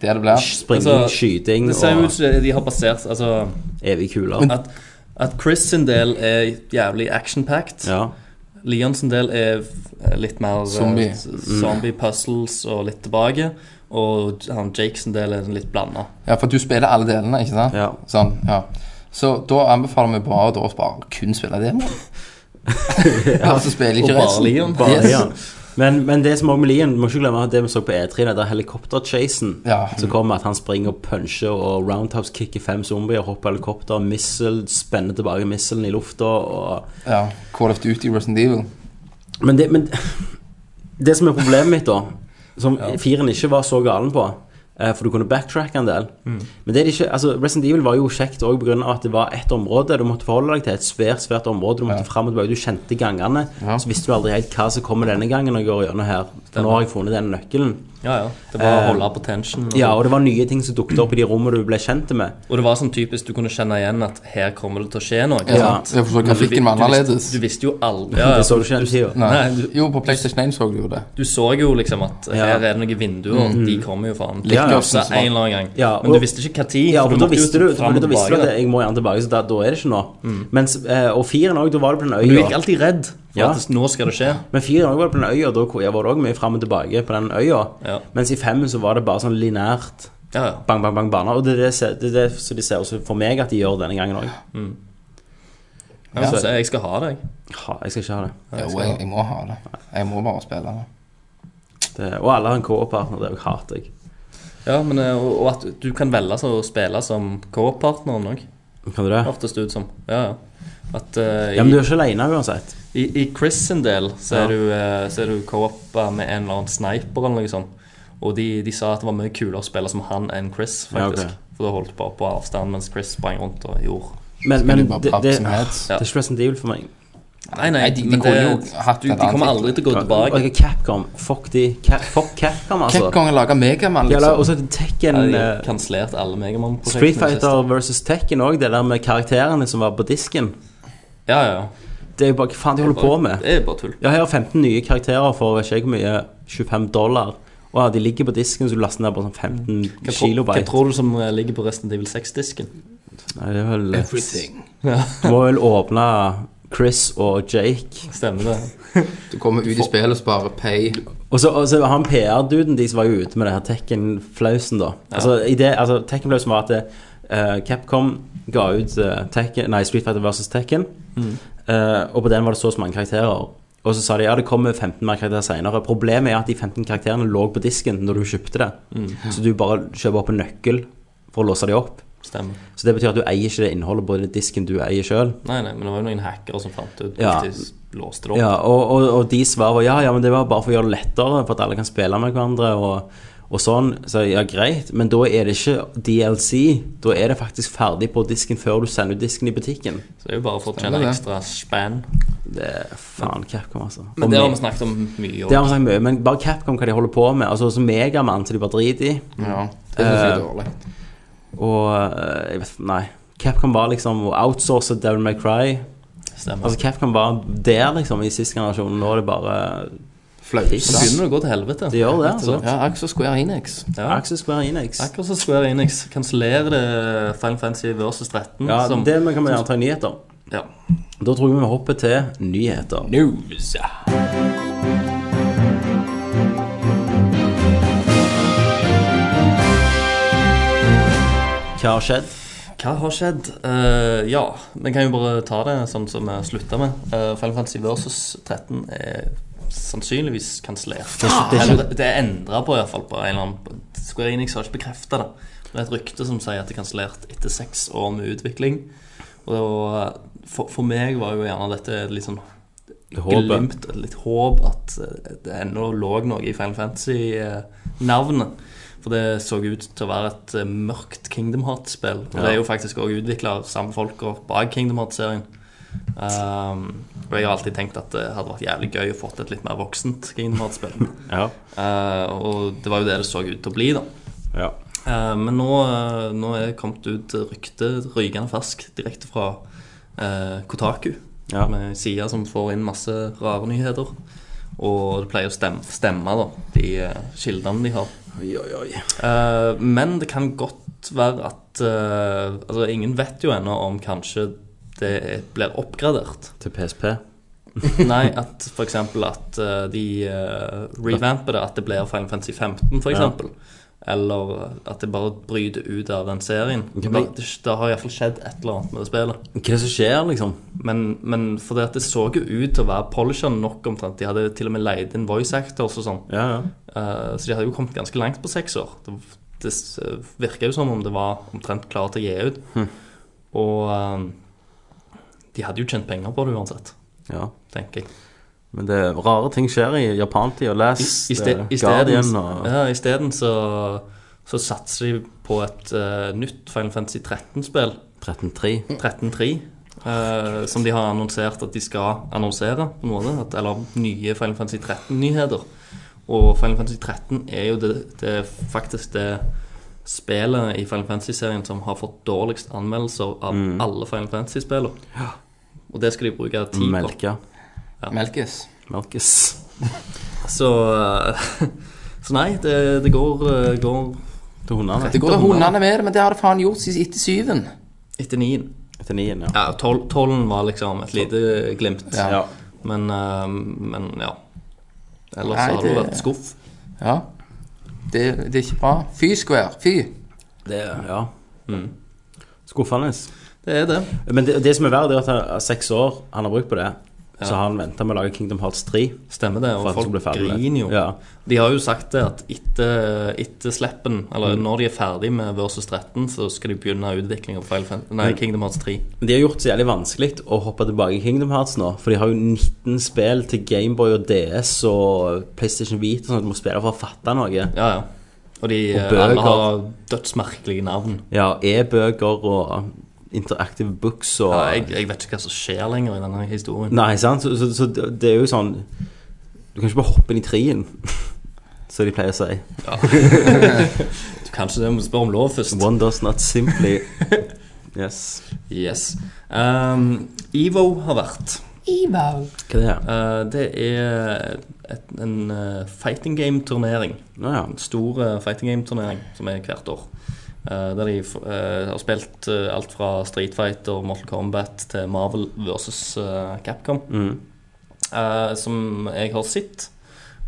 C: Det det blir.
F: springing,
H: Altså,
F: skyting
H: Det ser jo ut
F: og
H: som de har basert Altså
F: evig kuler.
H: at, at Chris sin del er jævlig action-packed.
F: Ja.
H: Leon sin del er eh, litt mer eh,
C: Zombie.
H: s-
F: Mm.
H: zombie puzzles og litt tilbake. Og han Jake sin del er litt blanda.
C: Ja, for du spiller alle delene, ikke sant?
F: Ja.
C: Sånn, ja. Så da anbefaler vi bare da å bare kun spille demoen. ja. Og så spiller
H: Og
C: ikke
H: bare
C: resten.
H: Leon.
F: Bare
C: Yes.
F: Leon. Men, men det som også med Leon, må ikke glemme at det vi så på E3, det er helikopterchasen
C: Ja.
F: som kommer, at han springer og puncher og roundhouse-kicker fem zombier, hopper helikopter, missile, spenner tilbake missilen i lufta og
C: Ja. Call of Duty, Resident Evil.
F: men det, men det som er problemet mitt, da, som firen ikke var så galen på eh, for du kunne backtracke en del. Men det er det ikke, altså Resident Evil var jo kjekt òg pga. at det var ett område du måtte forholde deg til. Et svært svært område. Du måtte frem og tilbake, du kjente gangene. Så visste du aldri helt hva som kommer denne gangen når jeg går gjennom her. For nå har jeg funnet den nøkkelen.
H: Ja, ja. Det var å holde på tension. Og,
F: Eh, Ja, Og det var nye ting som dukket opp i de rommene du ble kjent med.
H: og det var sånn typisk du kunne kjenne igjen at her kommer det til å skje noe. ikke
C: Ja.
H: sant?
C: Jeg forstår
H: Men du vi-
C: grafikken var
H: du visste-
C: annerledes.
H: Du visste jo aldri ja,
F: Det
H: ja.
F: så du ikke hele tiden.
C: Nei.
H: Nei, du-
C: Jo, på PlayStation 1 så du jo det.
H: Du så jo liksom at her er det noen vinduer,
F: Mm.
H: de kommer jo faen.
F: Ja, ja.
H: Så en eller annen gang.
F: sånn Ja, og-
H: Men du visste ikke når.
F: Ja, for da visste du, da visste du at jeg må gjerne tilbake, så da, da er det ikke nå. Mens, eh, og firen òg, da var det på den øya.
H: Du gikk alltid redd for
F: Ja.
H: at det- nå skal det skje.
F: Men fire dager var det på den øya, da hvor jeg var det også mye frem og tilbake på den øya.
H: Ja.
F: Mens i femmen så var det bare sånn linært.
H: Ja, ja.
F: Bang, bang, bang, baner. Og det er det, se- det, er det som de ser også for meg at de gjør denne gangen òg.
H: Ja, så jeg skal ha deg.
F: Jeg skal ikke ha det.
C: Jo, jeg, jeg må ha det. Jeg må bare spille det.
F: det eh, og alle har en K-partner, det er jo hater jeg.
H: Ja, men, eh, og, og at du kan velge så å spille som co-partneren òg,
F: Kan du det?
H: hørtes det ut som. Ja, ja. At eh,
F: Ja, men du er ikke alene uansett.
H: i, i, i Chris sin del så
F: Ja.
H: er du, eh, så er du co-opa med en eller annen sniper eller noe sånt. Og de, de sa at det var mye kulere å spille som han enn Chris,
F: Ja, ok.
H: faktisk. For da holdt du bare på avstand mens Chris sprang rundt og gjorde
F: Men, men
C: du
F: det,
C: bare
F: det,
C: prate
F: det,
C: som heads?
F: er ikke Resident Evil for meg.
H: Nei, nei,
C: Nei, de- de
H: men
C: kunne
H: det,
C: jo hatt
H: du,
C: et
H: de kommer
C: annet-
H: aldri til å gå
F: Og
H: tilbake.
F: jeg er Capcom. Fuck de. Cap, fuck Capcom, altså.
C: Capcom har laga Megaman,
F: Ja, la-
C: liksom.
F: og så Tekken
H: De
F: eh,
H: har kansellert alle Megaman-prosjektene.
F: Street Fighter versus Tekken òg, det der med karakterene som var på disken.
H: Ja, ja.
F: Det er jo bare Hva faen de holder på med?
H: Det er bare tull.
F: Ja, her er 15 nye karakterer for vet ikke hvor mye 25 dollar. Og ja, de ligger på disken, så du laster ned bare sånn 15
H: Hva, tro, hva
F: kilobyte.
H: tror du som eh, ligger på Resident Evil 6-disken?
F: Nei, det er vel
C: Everything.
F: Du må vel åpne Chris og Jake.
H: Stemmer det?
C: Du kommer ut i spillet og så bare pay.
F: Og så, og så han PR-duden de som var jo ute med det her Tekken-flausen, da. Altså, i det, altså Tekken-flausen var at det, eh, Capcom ga ut eh, Tekken, nei, Street Fighter versus Tekken. Eh, og på den var det så og så mange karakterer. Og så sa de ja, det kommer 15 mer karakterer senere. Problemet er at de 15 karakterene lå på disken når du kjøpte det. Så du bare kjøper opp en nøkkel for å låse de opp.
H: Stemmer.
F: Så det betyr at du eier ikke det innholdet på den disken du eier sjøl.
H: Nei, nei, men det var jo noen hackere som fant ut
F: Ja.
H: at de s- låste det opp.
F: Ja, og, og, og de svarer ja, ja, men det var bare for å gjøre det lettere, for at alle kan spille med hverandre og, og sånn. Så ja, greit, men da er det ikke DLC. Da er det faktisk ferdig på disken før du sender ut disken i butikken.
H: Så det er jo bare for å tjene
C: Stemmer det.
H: ekstra spenn.
F: Det er faen Capcom, altså. Og
H: Men det har
F: meg-
H: vi snakket om mye
F: det har
H: òg.
F: vi snakket mye, men bare Capcom, hva de holder på med. Altså som Megaman, som de bare driter i.
C: Ja. Det synes jeg er
F: Eh,
C: dårlig.
F: Og eh, jeg vet Nei. Capcom var liksom å outsource Devil May Cry.
H: Stemmer.
F: Altså Capcom var der, liksom, i siste generasjon. Nå er det bare
C: Flaut.
H: Så begynner det å gå til helvete.
F: Det gjør det, altså.
C: Ja, Axe og Square Enix.
H: Ja.
F: Axis Square Enix.
H: Akkurat som Square Enix kansellerer det Final Fantasy versus 13.
F: Ja,
H: Mm. som,
F: det vi kan vi gjerne ta nyheter om.
H: Ja.
F: Da tror jeg vi hopper til nyheter.
H: News.
F: Hva har skjedd?
H: Hva har skjedd? Eh, ja, vi kan jo bare ta det sånn som vi slutta med. Uh, Final Fantasy versus 13 er sannsynligvis kansellert.
F: ikke- det er ikke-
H: Eller det- Det er endra på, iallfall. På en eller annen Square Enix har ikke bekrefta det. Men Det er et rykte som sier at det er kansellert etter seks år med utvikling. Og eh, for, for meg var jo gjerne dette litt sånn
F: Håpet.
H: glimt, litt håp at eh, det ennå lå noe i Final Fantasy-navnet. For det så ut til å være et eh, mørkt Kingdom Hearts-spill. Og det er jo faktisk også utvikla av samme folka bak Kingdom Hearts-serien. Um, og jeg har alltid tenkt at det hadde vært jævlig gøy å fått et litt mer voksent Kingdom Hearts-spill.
F: Ja.
H: Eh, og det var jo det det så ut til å bli, da.
F: ja.
H: Eh, men nå, eh, nå er det kommet ut rykte rykende fersk direkte fra eh, Kotaku.
F: Ja.
H: Med en side som får inn masse rare nyheter. Og det pleier å stemme, stemme da, de eh, kildene de har.
F: Oi, oi, oi.
H: Eh, men det kan godt være at eh, Altså, ingen vet jo ennå om kanskje det er- blir oppgradert.
F: Til PSP.
H: Nei, at for eksempel at eh, de eh, revamper det, at det blir Final Fantasy 15 for
F: Ja.
H: eksempel. Eller at det bare bryter ut av den serien.
F: Ja,
H: Det,
F: men-
H: det har iallfall skjedd et eller annet med det spillet.
F: Hva er det som skjer, liksom?
H: Men, men for det at det så jo ut til å være polisher nok omtrent. De hadde til og med leid inn voice actors og sånn.
F: Ja, ja.
H: Eh, så de hadde jo kommet ganske langt på seks år. Det, det s- virka jo som om det var omtrent klart til å gi ut. Og eh, de hadde jo tjent penger på det uansett,
F: ja.
H: tenker jeg.
F: Men det er rare ting skjer i japantida. Les
H: I ste-
F: eh,
H: i
F: Guardian
H: stedet-
F: og
H: ja, i stedet så, så satser de på et eh, nytt Final Fantasy 13-spill,
F: 13.3.
H: 13.3, eh, som de har annonsert at de skal annonsere, på en måte, at, eller nye Final Fantasy 13-nyheter. Og Final Fantasy 13 er jo det, det er faktisk det spillet i Final Fantasy-serien som har fått dårligst anmeldelser av
F: Mm.
H: alle Final Fantasy-spillene. Og det skal de bruke tid på.
F: Melke.
C: Melkes.
F: Melkes.
H: Så, eh, så nei, det, det går, eh, går
F: Til hundene.
C: Det går til hundene med det, men det har det faen gjort siden etter syven.
H: Etter nien.
F: Til nien, ja.
H: Ja, tol- tollen var liksom et lite glimt.
C: Ja.
F: ja.
H: Men, eh, men ja. Ellers
C: Nei,
H: har det jo
C: det-
H: vært skuff.
C: Ja. Det, det er ikke bra. Fy, Square. Fy.
F: Det Ja.
H: Mm.
F: Skuffende.
H: Det er det.
F: Men det, det som er verre, det er at han, seks år han har brukt på det, så har han venta med å lage Kingdom Hearts 3.
H: Stemmer det.
F: For
H: Og
F: at det
H: folk
F: skulle bli ferdig.
H: griner jo.
F: Ja.
H: De har jo sagt det at etter, etter slippen, eller
F: Mm.
H: når de er ferdig med Versus 13, så skal de begynne utvikling av Final Fan-
F: Mm.
H: Nei, Kingdom Hearts 3.
F: Men de har gjort det så jævlig vanskelig å hoppe tilbake i Kingdom Hearts nå. For de har jo 19 spill til Gameboy og DS og PlayStation Vita og sånn at du må spille for å fatte noe.
H: Ja, ja. Og de
F: Og
H: eh,
F: bøker.
H: alle har dødsmerkelige navn.
F: Ja, e-bøker og interactive books og
H: Ja, jeg, jeg vet ikke hva som skjer lenger i denne historien.
F: Nei, sant? Så, så, så det er jo sånn Du kan ikke bare hoppe inn i trien, som de pleier å si.
H: Kanskje det må spørre om lov først.
F: One does not simply Yes.
H: Yes. Um, Evo har vært.
F: Hva er det her?
H: Eh, det er et, en eh, fighting game-turnering.
F: Nå ja.
H: En stor eh, fighting game-turnering som er hvert år. Eh, der de eh, har spilt eh, alt fra Street Fighter, Mortal Kombat til Marvel versus eh, Capcom.
C: Mm.
H: Eh, som jeg har sett.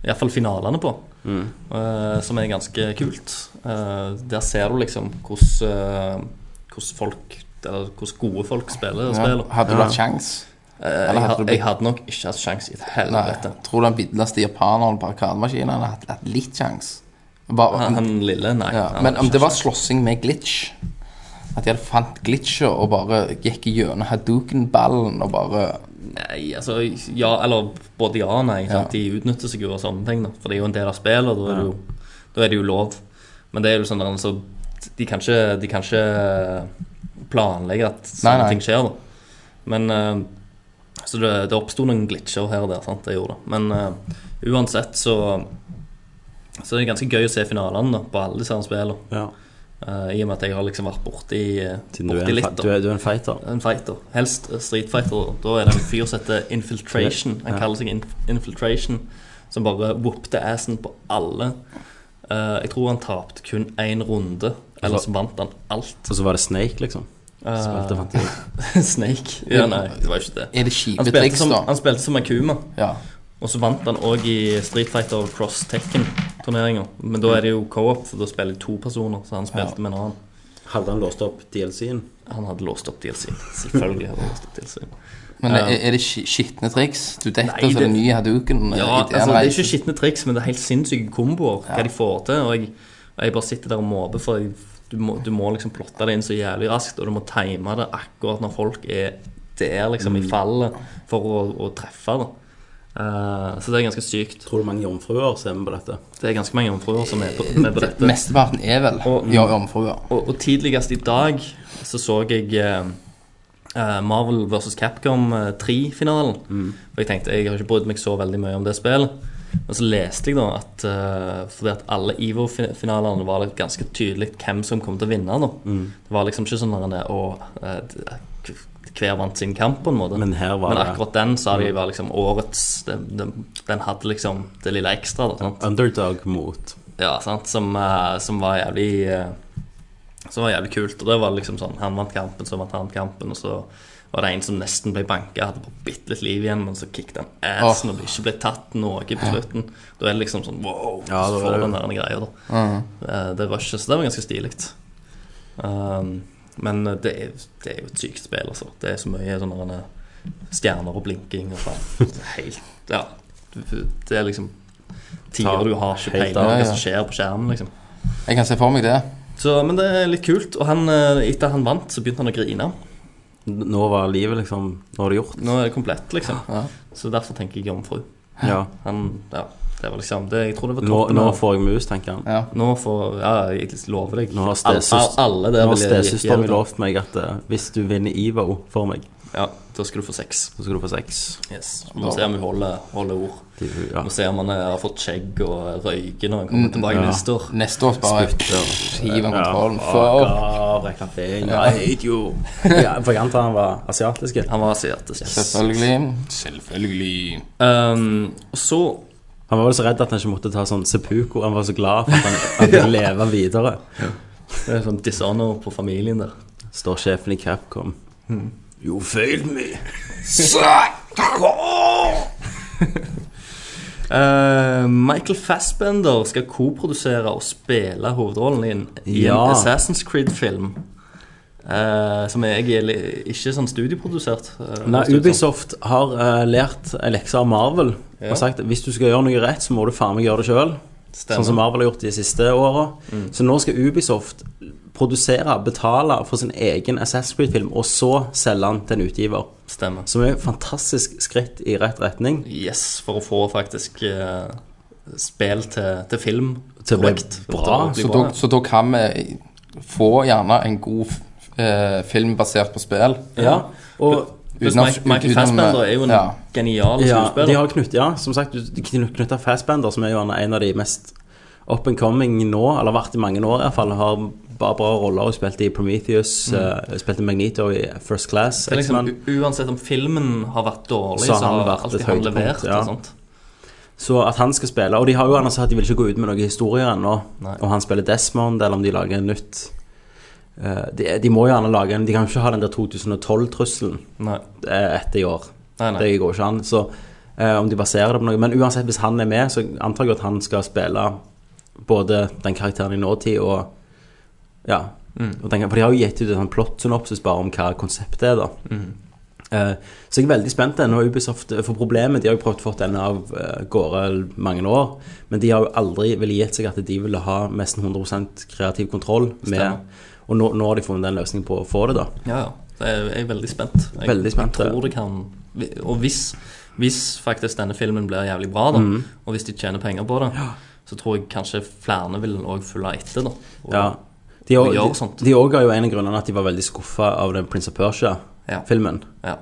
H: Iallfall finalene på.
C: Mm.
H: Eh, som er ganske kult. Eh, der ser du liksom hvordan eh, hvordan folk eller hvordan gode folk spiller og
C: Ja.
H: spiller.
C: Hadde du hatt sjans?
H: Eh,
C: Eller
H: jeg,
C: hadde
H: had,
C: du-
H: jeg hadde nok ikke hatt sjanse i et
C: Nei.
H: helvete.
C: Tror du den billigste japaneren på arkademaskinene hadde hatt- hatt litt sjans? Bare,
H: Han, han lille, nei.
C: Ja,
H: han
C: men om
H: hadde
C: det
H: ikke
C: var slåssing med glitch At de hadde fant glitcher og bare gikk gjennom Hadouken-ballen og bare
H: sjanse. Nei, altså, ja, eller både ja og nei. sant? De utnytter seg jo av sånne ting, da. For det er jo en del av spillet, og da er det jo, da er det jo lov. Men det er jo sånn der, altså, de, kan ikke, de kan ikke planlegge at sånne
C: Nei, nei.
H: ting skjer, da. Men eh, Så det, det oppsto noen glitcher her og der, sant. Det gjorde det. Men eh, uansett så Så er det ganske gøy å se finalene da, på alle disse her spillene.
F: ja.
H: Eh, I og med at jeg har liksom vært borti,
F: Siden du, er
H: borti
F: en,
H: litt.
F: fi-
H: da.
F: du, er, du er en fighter.
H: En fighter. Helst Street Fighter. Da er det en fyr som heter Infiltration. Han
F: Ja.
H: kaller seg Inf Infiltration. Som bare whoopte assen på alle. Eh, jeg tror han tapte kun én runde. Ellers vant han alt.
F: Og så var det Snake, liksom.
H: Eh,
F: Spilte Fantasy.
H: Snake. Ja, nei, det var ikke det.
C: Er det
H: Han
C: kjipe
H: spilte
C: triks,
H: som,
C: da?
H: han spilte som Akuma,
C: Ja.
H: og så vant han òg i Street Fighter Cross Tekken-turneringa. Men da er det jo co-op, for da spiller to personer, så han spilte med en annen.
F: Hadde han låst opp DLC-en?
H: Han hadde låst opp DLC-en. Selvfølgelig hadde han låst opp DLC-en.
C: Men eh, er, er det ski- skitne triks? Du detter,
H: Nei,
C: så er det
H: det-
C: ny eh, i haduken.
H: Ja, altså, det er ikke skitne triks, men det er helt sinnssyke komboer hva de får til. Og jeg, jeg bare sitter der og måper, for jeg, du, må, du må liksom plotte det inn så jævlig raskt, og du må time det akkurat når folk er der, liksom,
C: Mm.
H: i fallet, for å, å treffe, da. Eh, så det er ganske sykt.
F: Tror du mange jomfruer ser med på dette?
H: Det er ganske mange jomfruer som er på, med på dette.
C: Mesteparten er vel
H: Og-
C: ja, omfruer.
H: Og, og tidligst i dag så så jeg eh, eh, Marvel vs. Capcom eh, 3-finalen.
F: Mm.
H: For jeg tenkte jeg har ikke brydd meg så veldig mye om det spillet. Men så leste jeg da at eh, fordi at alle EVO-finalene var det ganske tydelig hvem som kom til å vinne. da
F: Mm.
H: Det var liksom ikke sånn at det, å, eh, d- hver vant sin kamp, på en måte.
F: Men her var
H: Men
F: det- Mm.
H: akkurat den sa de var liksom årets Den, den, den hadde liksom det lille ekstra. da sant?
F: Underdog mot
H: Ja, sant, som, eh, som var jævlig eh, Som var jævlig kult. Og det var liksom sånn Han vant kampen, så vant han kampen, og så var det en som nesten ble banka, hadde bare bitte litt liv igjen, men så kicket han assen og ikke ble tatt noe på slutten. Da er det liksom sånn wow,
F: Ja,
H: så
F: det var
H: får
F: det.
H: den der greia, da. Eh, Det var ikke Så det var ganske stilig. Um, men det er, det er jo et sykt spill, altså. Det er så mye eh, sånne derne stjerner og blinking og faen. Helt Ja. du- Det er liksom tider du har ikke peiling på
C: av,
H: hva
C: ja.
H: som skjer på skjermen, liksom.
C: Jeg kan se for meg det.
H: Så, men det er litt kult. Og han, eh, etter han vant, så begynte han å grine.
F: Nå var livet liksom Nå er det gjort.
H: Nå er det komplett, liksom. Så derfor tenker jeg jomfru.
F: Ja.
H: Han Ja, det var liksom det, Jeg tror det var
F: Nå,
H: toppen.
F: nå
H: av-
F: får jeg mus, tenker han.
C: Ja.
H: nå får Ja, jeg lover deg.
F: Nå har
H: Alle-
F: stesøster
H: alle der
F: Nå har
H: vil jeg-
F: stesøster
H: gjøre
F: mi
H: det.
F: lovt meg at eh, hvis du vinner Ivo for meg,
H: Ja, da skal du få sex.
F: så skal du få sex.
H: Yes. Vi må se om vi holder, holder ord.
F: De-
H: Vi
F: Ja. Mm.
H: må se om han eh, har fått skjegg og røyker når han kommer tilbake
F: ja.
H: neste år.
C: Neste år bare hiver han kontrollen. For
F: God reklamering. I hate you. Ja, for jeg antar han var asiatisk.
H: Han var asiatisk. Yes.
C: Selvfølgelig. Selvfølgelig.
H: Um, og så
F: Han var vel så redd at han ikke måtte ta sånn sepuko. Han var så glad for at han, han ville leve videre.
H: Det er sånn dishonor på familien der.
F: Står sjefen i Capcom.
H: Hmm.
F: You failed me.
H: Eh, Michael Fassbender skal koprodusere og spille hovedrollen i en, i en
F: Ja.
H: Assassin's Creed-film. eh, som jeg er li- ikke sånn studioprodusert. eh,
F: Nei,
H: høres det ut som.
F: Ubisoft har eh, lært en lekse av Marvel og sagt at hvis du skal gjøre noe rett, så må du faen meg gjøre det sjøl.
H: Stemmer. Mm.
F: Sånn som Marvel har gjort de siste åra. Så nå skal Ubisoft produsere, betale for sin egen Assassin's Creed-film, og så selge den til en utgiver.
H: Stemmer.
F: Som er et fantastisk skritt i rett retning.
H: Yes, for å få faktisk eh, spill til, til film.
F: Til å bli
H: korrekt.
F: bra,
H: Til å bli
C: Så da, så da kan vi få gjerne en god eh, film basert på spill.
F: Ja, og
H: Pluss
C: Uten at-
H: Mike- Michael
C: uten at-
H: Fassbender er jo en
C: ja.
H: genial
F: ja,
H: skuespiller.
F: de har knytt, ja, som sagt, knytta Fassbender, som er jo en av de mest up and coming nå, eller har vært i mange år i hvert fall, har bare bra roller og spilte i Prometheus, eh, spilte Magneto i First Class.
H: Mm. Det er liksom,
F: X-Men.
H: u- uansett om filmen har vært dårlig,
F: Så
H: så
F: har han
H: har
F: vært
H: alltid
F: et
H: han
F: høydepunkt,
H: levert.
F: ja.
H: og sånt.
F: Så at han skal spille Og de har jo annars sagt at de vil ikke gå ut med noen historier ennå.
H: Nei.
F: Om han spiller Desmond, eller om de lager en nytt Eh, de, de må gjerne lage en De kan jo ikke ha den der 2012-trusselen
H: Nei.
F: eh, etter i år.
H: Nei, nei.
F: Det går ikke an. Så eh, om de baserer det på noe Men uansett, hvis han er med, så antar jeg at han skal spille både den karakteren i nåtid og Ja.
H: Mm.
F: Og den, for de har jo gitt ut en sånn plottsynopsis bare om hva konseptet er, da.
H: Mm.
F: Eh, så jeg er veldig spent ennå. Ubisoft eh, for problemet De har jo prøvd å få denne av eh, gårde mange år, men de har jo aldri ville gitt seg at de ville ha nesten 100 kreativ kontroll. Med,
H: Stemmer.
F: og nå, nå har de funnet en løsning på å få det, da.
H: Ja, ja. Så Jeg jeg er veldig spent. Jeg,
F: Veldig spent,
H: jeg
F: ja.
H: tror det kan vi- Og hvis, hvis faktisk denne filmen blir jævlig bra, da,
F: Mm.
H: og hvis de tjener penger på det, så tror jeg kanskje flere vil òg følge etter, da. Og,
F: Ja. De
H: og gjør
F: òg
H: sånt.
F: de, de også er jo en av grunnene at de var veldig skuffa av den Prince of
H: Ja.
F: Persia-filmen.
H: ja.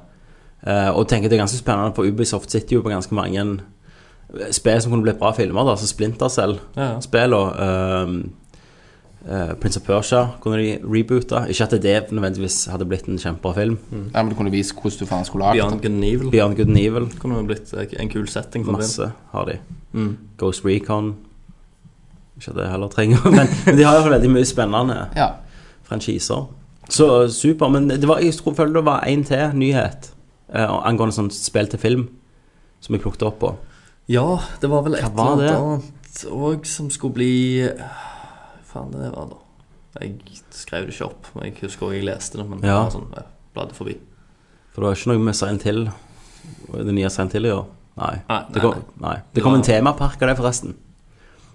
F: Eh, og tenker det er ganske spennende, for Ubisoft sitter jo på ganske mange eh, spill som kunne blitt bra filmer, da, altså Splinter
H: Ja, ja.
F: Cell-spill og ehm, eh, Prince of Persia kunne de reboote. Ikke at det nødvendigvis hadde blitt en kjempebra film.
H: Mm.
C: Ja, men du kunne vise hvordan du faen skulle lagd
H: Beyond
C: det.
H: Good and Evil
F: Beyond Good and Evil,
H: kunne jo blitt eh, en kul setting for Mm. det.
F: masse har de. Ghost Recon. Ikke at det heller trenger Men de har jo veldig mye spennende
C: Ja.
F: franchiser. Så eh, super. Men det var, jeg tror- føler det var én til nyhet eh, angående sånn spill til film som jeg plukket opp på.
H: Ja, det var vel et
F: var
H: eller annet òg som skulle bli Faen, det var da Jeg skrev det ikke opp, men jeg husker også jeg leste det. Men
F: Ja.
H: det var sånn, jeg bladde forbi.
F: For det var ikke noe med Silent Hill. Det nye Silent Hill i år. Nei.
H: Nei,
F: det
H: nei,
F: kom, nei. Det kom
H: Det var-
F: en temapark av det, forresten.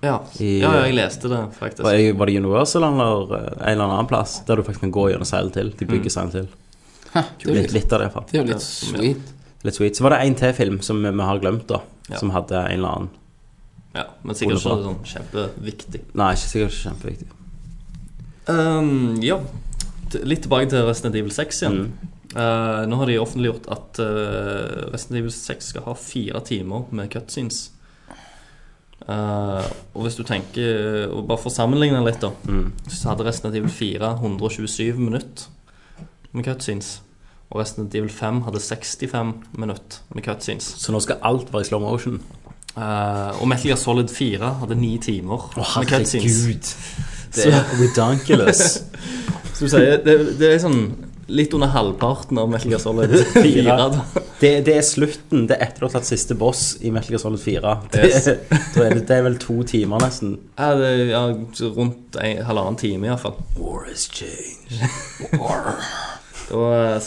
H: Ja.
F: I-
H: ja, ja, jeg leste det, faktisk.
F: Var det, var det Universal eller eh, en eller annen plass der du faktisk kan gå gjennom Silent Hill? De bygger Silent Hill.
C: Hæ, det er jo
F: Litt,
C: litt,
F: litt av Mm. det, i hvert fall.
C: det er jo litt sweet.
F: Litt sweet. Så var det en til film som vi har glemt, da.
H: Ja.
F: Som hadde en eller annen
H: Ja, men sikkert ikke
F: Wonderful.
H: sånn kjempeviktig.
F: Nei, ikke sikkert ikke kjempeviktig.
H: Ehm, ja, T- litt tilbake til Resident Evil 6 igjen.
F: Mm.
H: Eh, nå har de offentliggjort at eh, Resident Evil 6 skal ha fire timer med cutscenes. Eh, og hvis du tenker Og Bare for å sammenligne litt, da.
F: Mm.
H: Så hadde Resident Evil 4 127 minutter med cutscenes. Og Resident Evil 5 hadde 65 minutter med cutscenes.
F: Så nå skal alt være i slow motion.
H: Eh, og Metal Gear Solid 4 hadde ni timer med cutscenes.
F: Det er redonkulous.
H: Som du sier, det, det er sånn litt under halvparten av Metal Gear Solid 4.
F: Fire.
H: da.
F: Det, det er slutten. Det er etter du har tatt siste boss i Metal Gear Solid 4. Det,
H: Yes.
F: da er det, det er vel to timer, nesten.
H: Ja, det er ja, rundt en, halvannen time, iallfall.
F: War is change.
H: eh,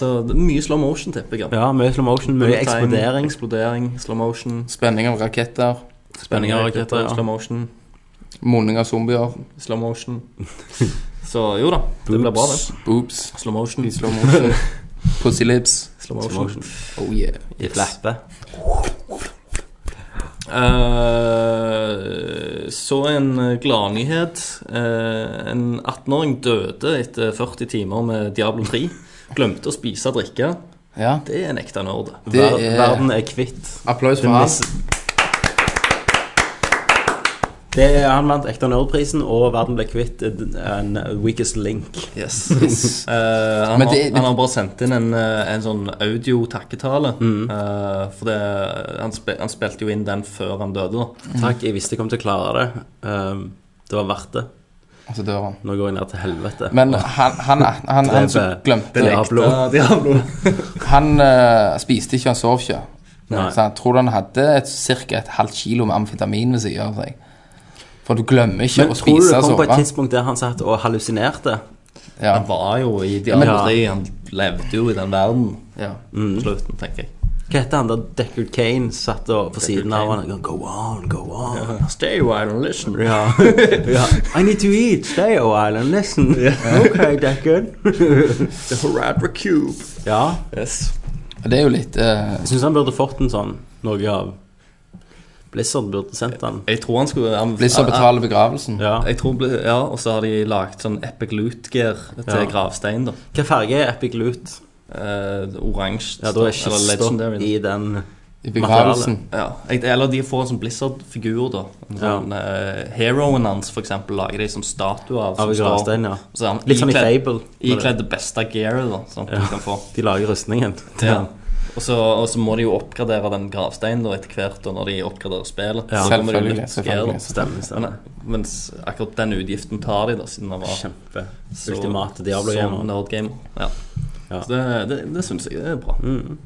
H: Så det er mye slow motion, tipper jeg.
F: Ja, mye slow motion, mye
H: Bullet time,
F: eksplodering.
H: Eksplodering, slow motion.
C: Spenning av raketter,
H: Spenning av
F: raketter, ja.
H: raketter, slow motion.
C: modning av zombier,
H: Slow motion. Så jo da, det blir bra, det.
C: boobs
H: Slow motion.
C: i slow motion, pussy lips.
H: Slow
F: Slow motion.
C: Oh yeah.
H: Yes.
F: Flappe.
H: Eh, så en eh, gladnyhet. Eh, en 18-åring døde etter 40 timer med Diablo 3. Glemte å spise og drikke.
C: Ja.
H: Det er en ekte nerd.
C: Det
F: Ver,
C: er-
F: Verden er kvitt. Det,
C: Applaus for han.
F: mis... det er, Han vant ekte nerdprisen, og verden ble kvitt en weakest link.
H: Yes. Eh, han,
C: Men
H: har,
C: det-
H: han har bare sendt inn en, eh, en sånn audio-takketale.
C: Mm.
H: eh, for det, han, spil, han spilte jo inn den før han døde, da.
F: Takk, jeg visste jeg kom til å klare det. Ehm, det var verdt det.
C: Altså døren.
F: Nå går jeg ned til helvete.
C: Men han, han, han,
F: Det er
C: han som
F: bare-
C: glemte
F: det er Diablo.
H: Eh, Diablo.
C: Han eh, spiste ikke, han sov ikke.
F: Nei.
C: Så han tror han hadde et, cirka et halvt kilo med amfetamin ved siden av seg. For du glemmer ikke
F: Men
C: å
F: tror du
C: spise
F: det
C: og
F: kom på et
C: sove.
F: tidspunkt der han satt og hallusinerte?
C: Ja.
H: Han var jo
F: Men-
H: i
F: Mm.
H: Diablo 3. Han levde jo i den verden.
C: Ja.
H: Slutten, tenker jeg.
F: Hva heter han der Deckard Kane satt og på siden av
H: Kane.
F: han og Go on, go on.
H: Stay while and listen.
F: Ja. ja. I need to eat. Stay a while and listen. Ok, Deckard.
H: The Heradra Cube.
F: ja.
H: Yes.
C: Og det er jo litt eh,
F: Jeg syns han burde fått en sånn noe av Blizzard burde sendt han.
H: Jeg tror han skulle han,
C: Blizzard betaler begravelsen.
F: Ja.
H: Jeg tror, bli- ja, Og så har de lagd sånn epic loot gear til
F: Ja.
H: gravstein. da
F: Hva farge er Epic Loot?
H: Eh, Oransje.
F: Ja, da er
H: eller
F: kista
H: legendary.
F: i den
C: I begravelsen.
H: Ja, jeg, Eller de får en sånn Blizzard-figur, da. En
F: Ja.
H: Sånn, eh, heroen hans, for eksempel, lager de som statue av.
F: av
H: som står-
F: gravstein, ja.
H: Så er han
F: Litt sånn i
H: ikledd-
F: Fable.
H: Ikledd det beste gearet da, som
F: Ja.
H: du kan få.
F: De lager rustningen. til
H: Ja.
F: han.
H: Og så, og så må de jo oppgradere den gravsteinen da, etter hvert, da, når de oppgraderer spillet.
F: Ja.
H: Så kommer det jo
C: Selvfølgelig,
H: nytt gear, da.
C: selvfølgelig.
F: Stemmer, stemmer.
H: Men- Sånn, Mens akkurat den utgiften tar de, da, siden han var
F: Kjempe.
H: så-
F: Ultimate
H: så
F: Diablo-gamer.
H: nerdgamer. Ja.
F: Ja.
H: Så det, det, det syns jeg er bra.
F: Mm.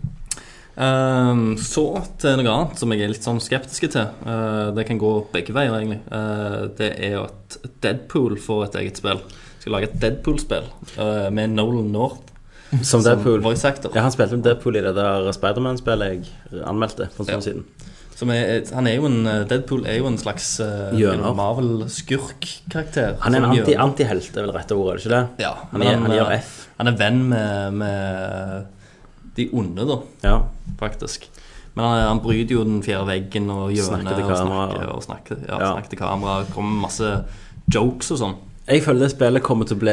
H: Ehm, så til noe annet som jeg er litt sånn skeptisk til. Eh, det kan gå begge veier, egentlig. Eh, det er jo at Deadpool får et eget spill. Skal lage et Deadpool-spill eh, med Nolan North
F: Som Deadpool.
H: som voice actor.
F: Ja, han spilte med Deadpool i det der Spiderman-spillet jeg anmeldte for en stund
H: Ja.
F: siden.
H: Som er, et- han er jo en, eh, Deadpool er jo en slags eh,
F: Gjøner.
H: Marvel-skurkkarakter.
F: Han er en
H: Sånn
F: anti-
H: gjøner.
F: antihelt, er vel rette ordet, er det ikke det?
H: Ja,
F: Han
H: men
F: gir- han gir
H: eh,
F: F.
H: Han er venn med, med eh, de onde, da,
F: Ja.
H: faktisk. Men han, han bryter jo den fjerde veggen og gjøner
F: Snakker til
H: og
F: kamera.
H: snakker, og snakker, ja,
F: Ja.
H: snakker til kamera. Det Kommer med masse jokes og sånn.
F: Jeg føler det spillet kommer til å bli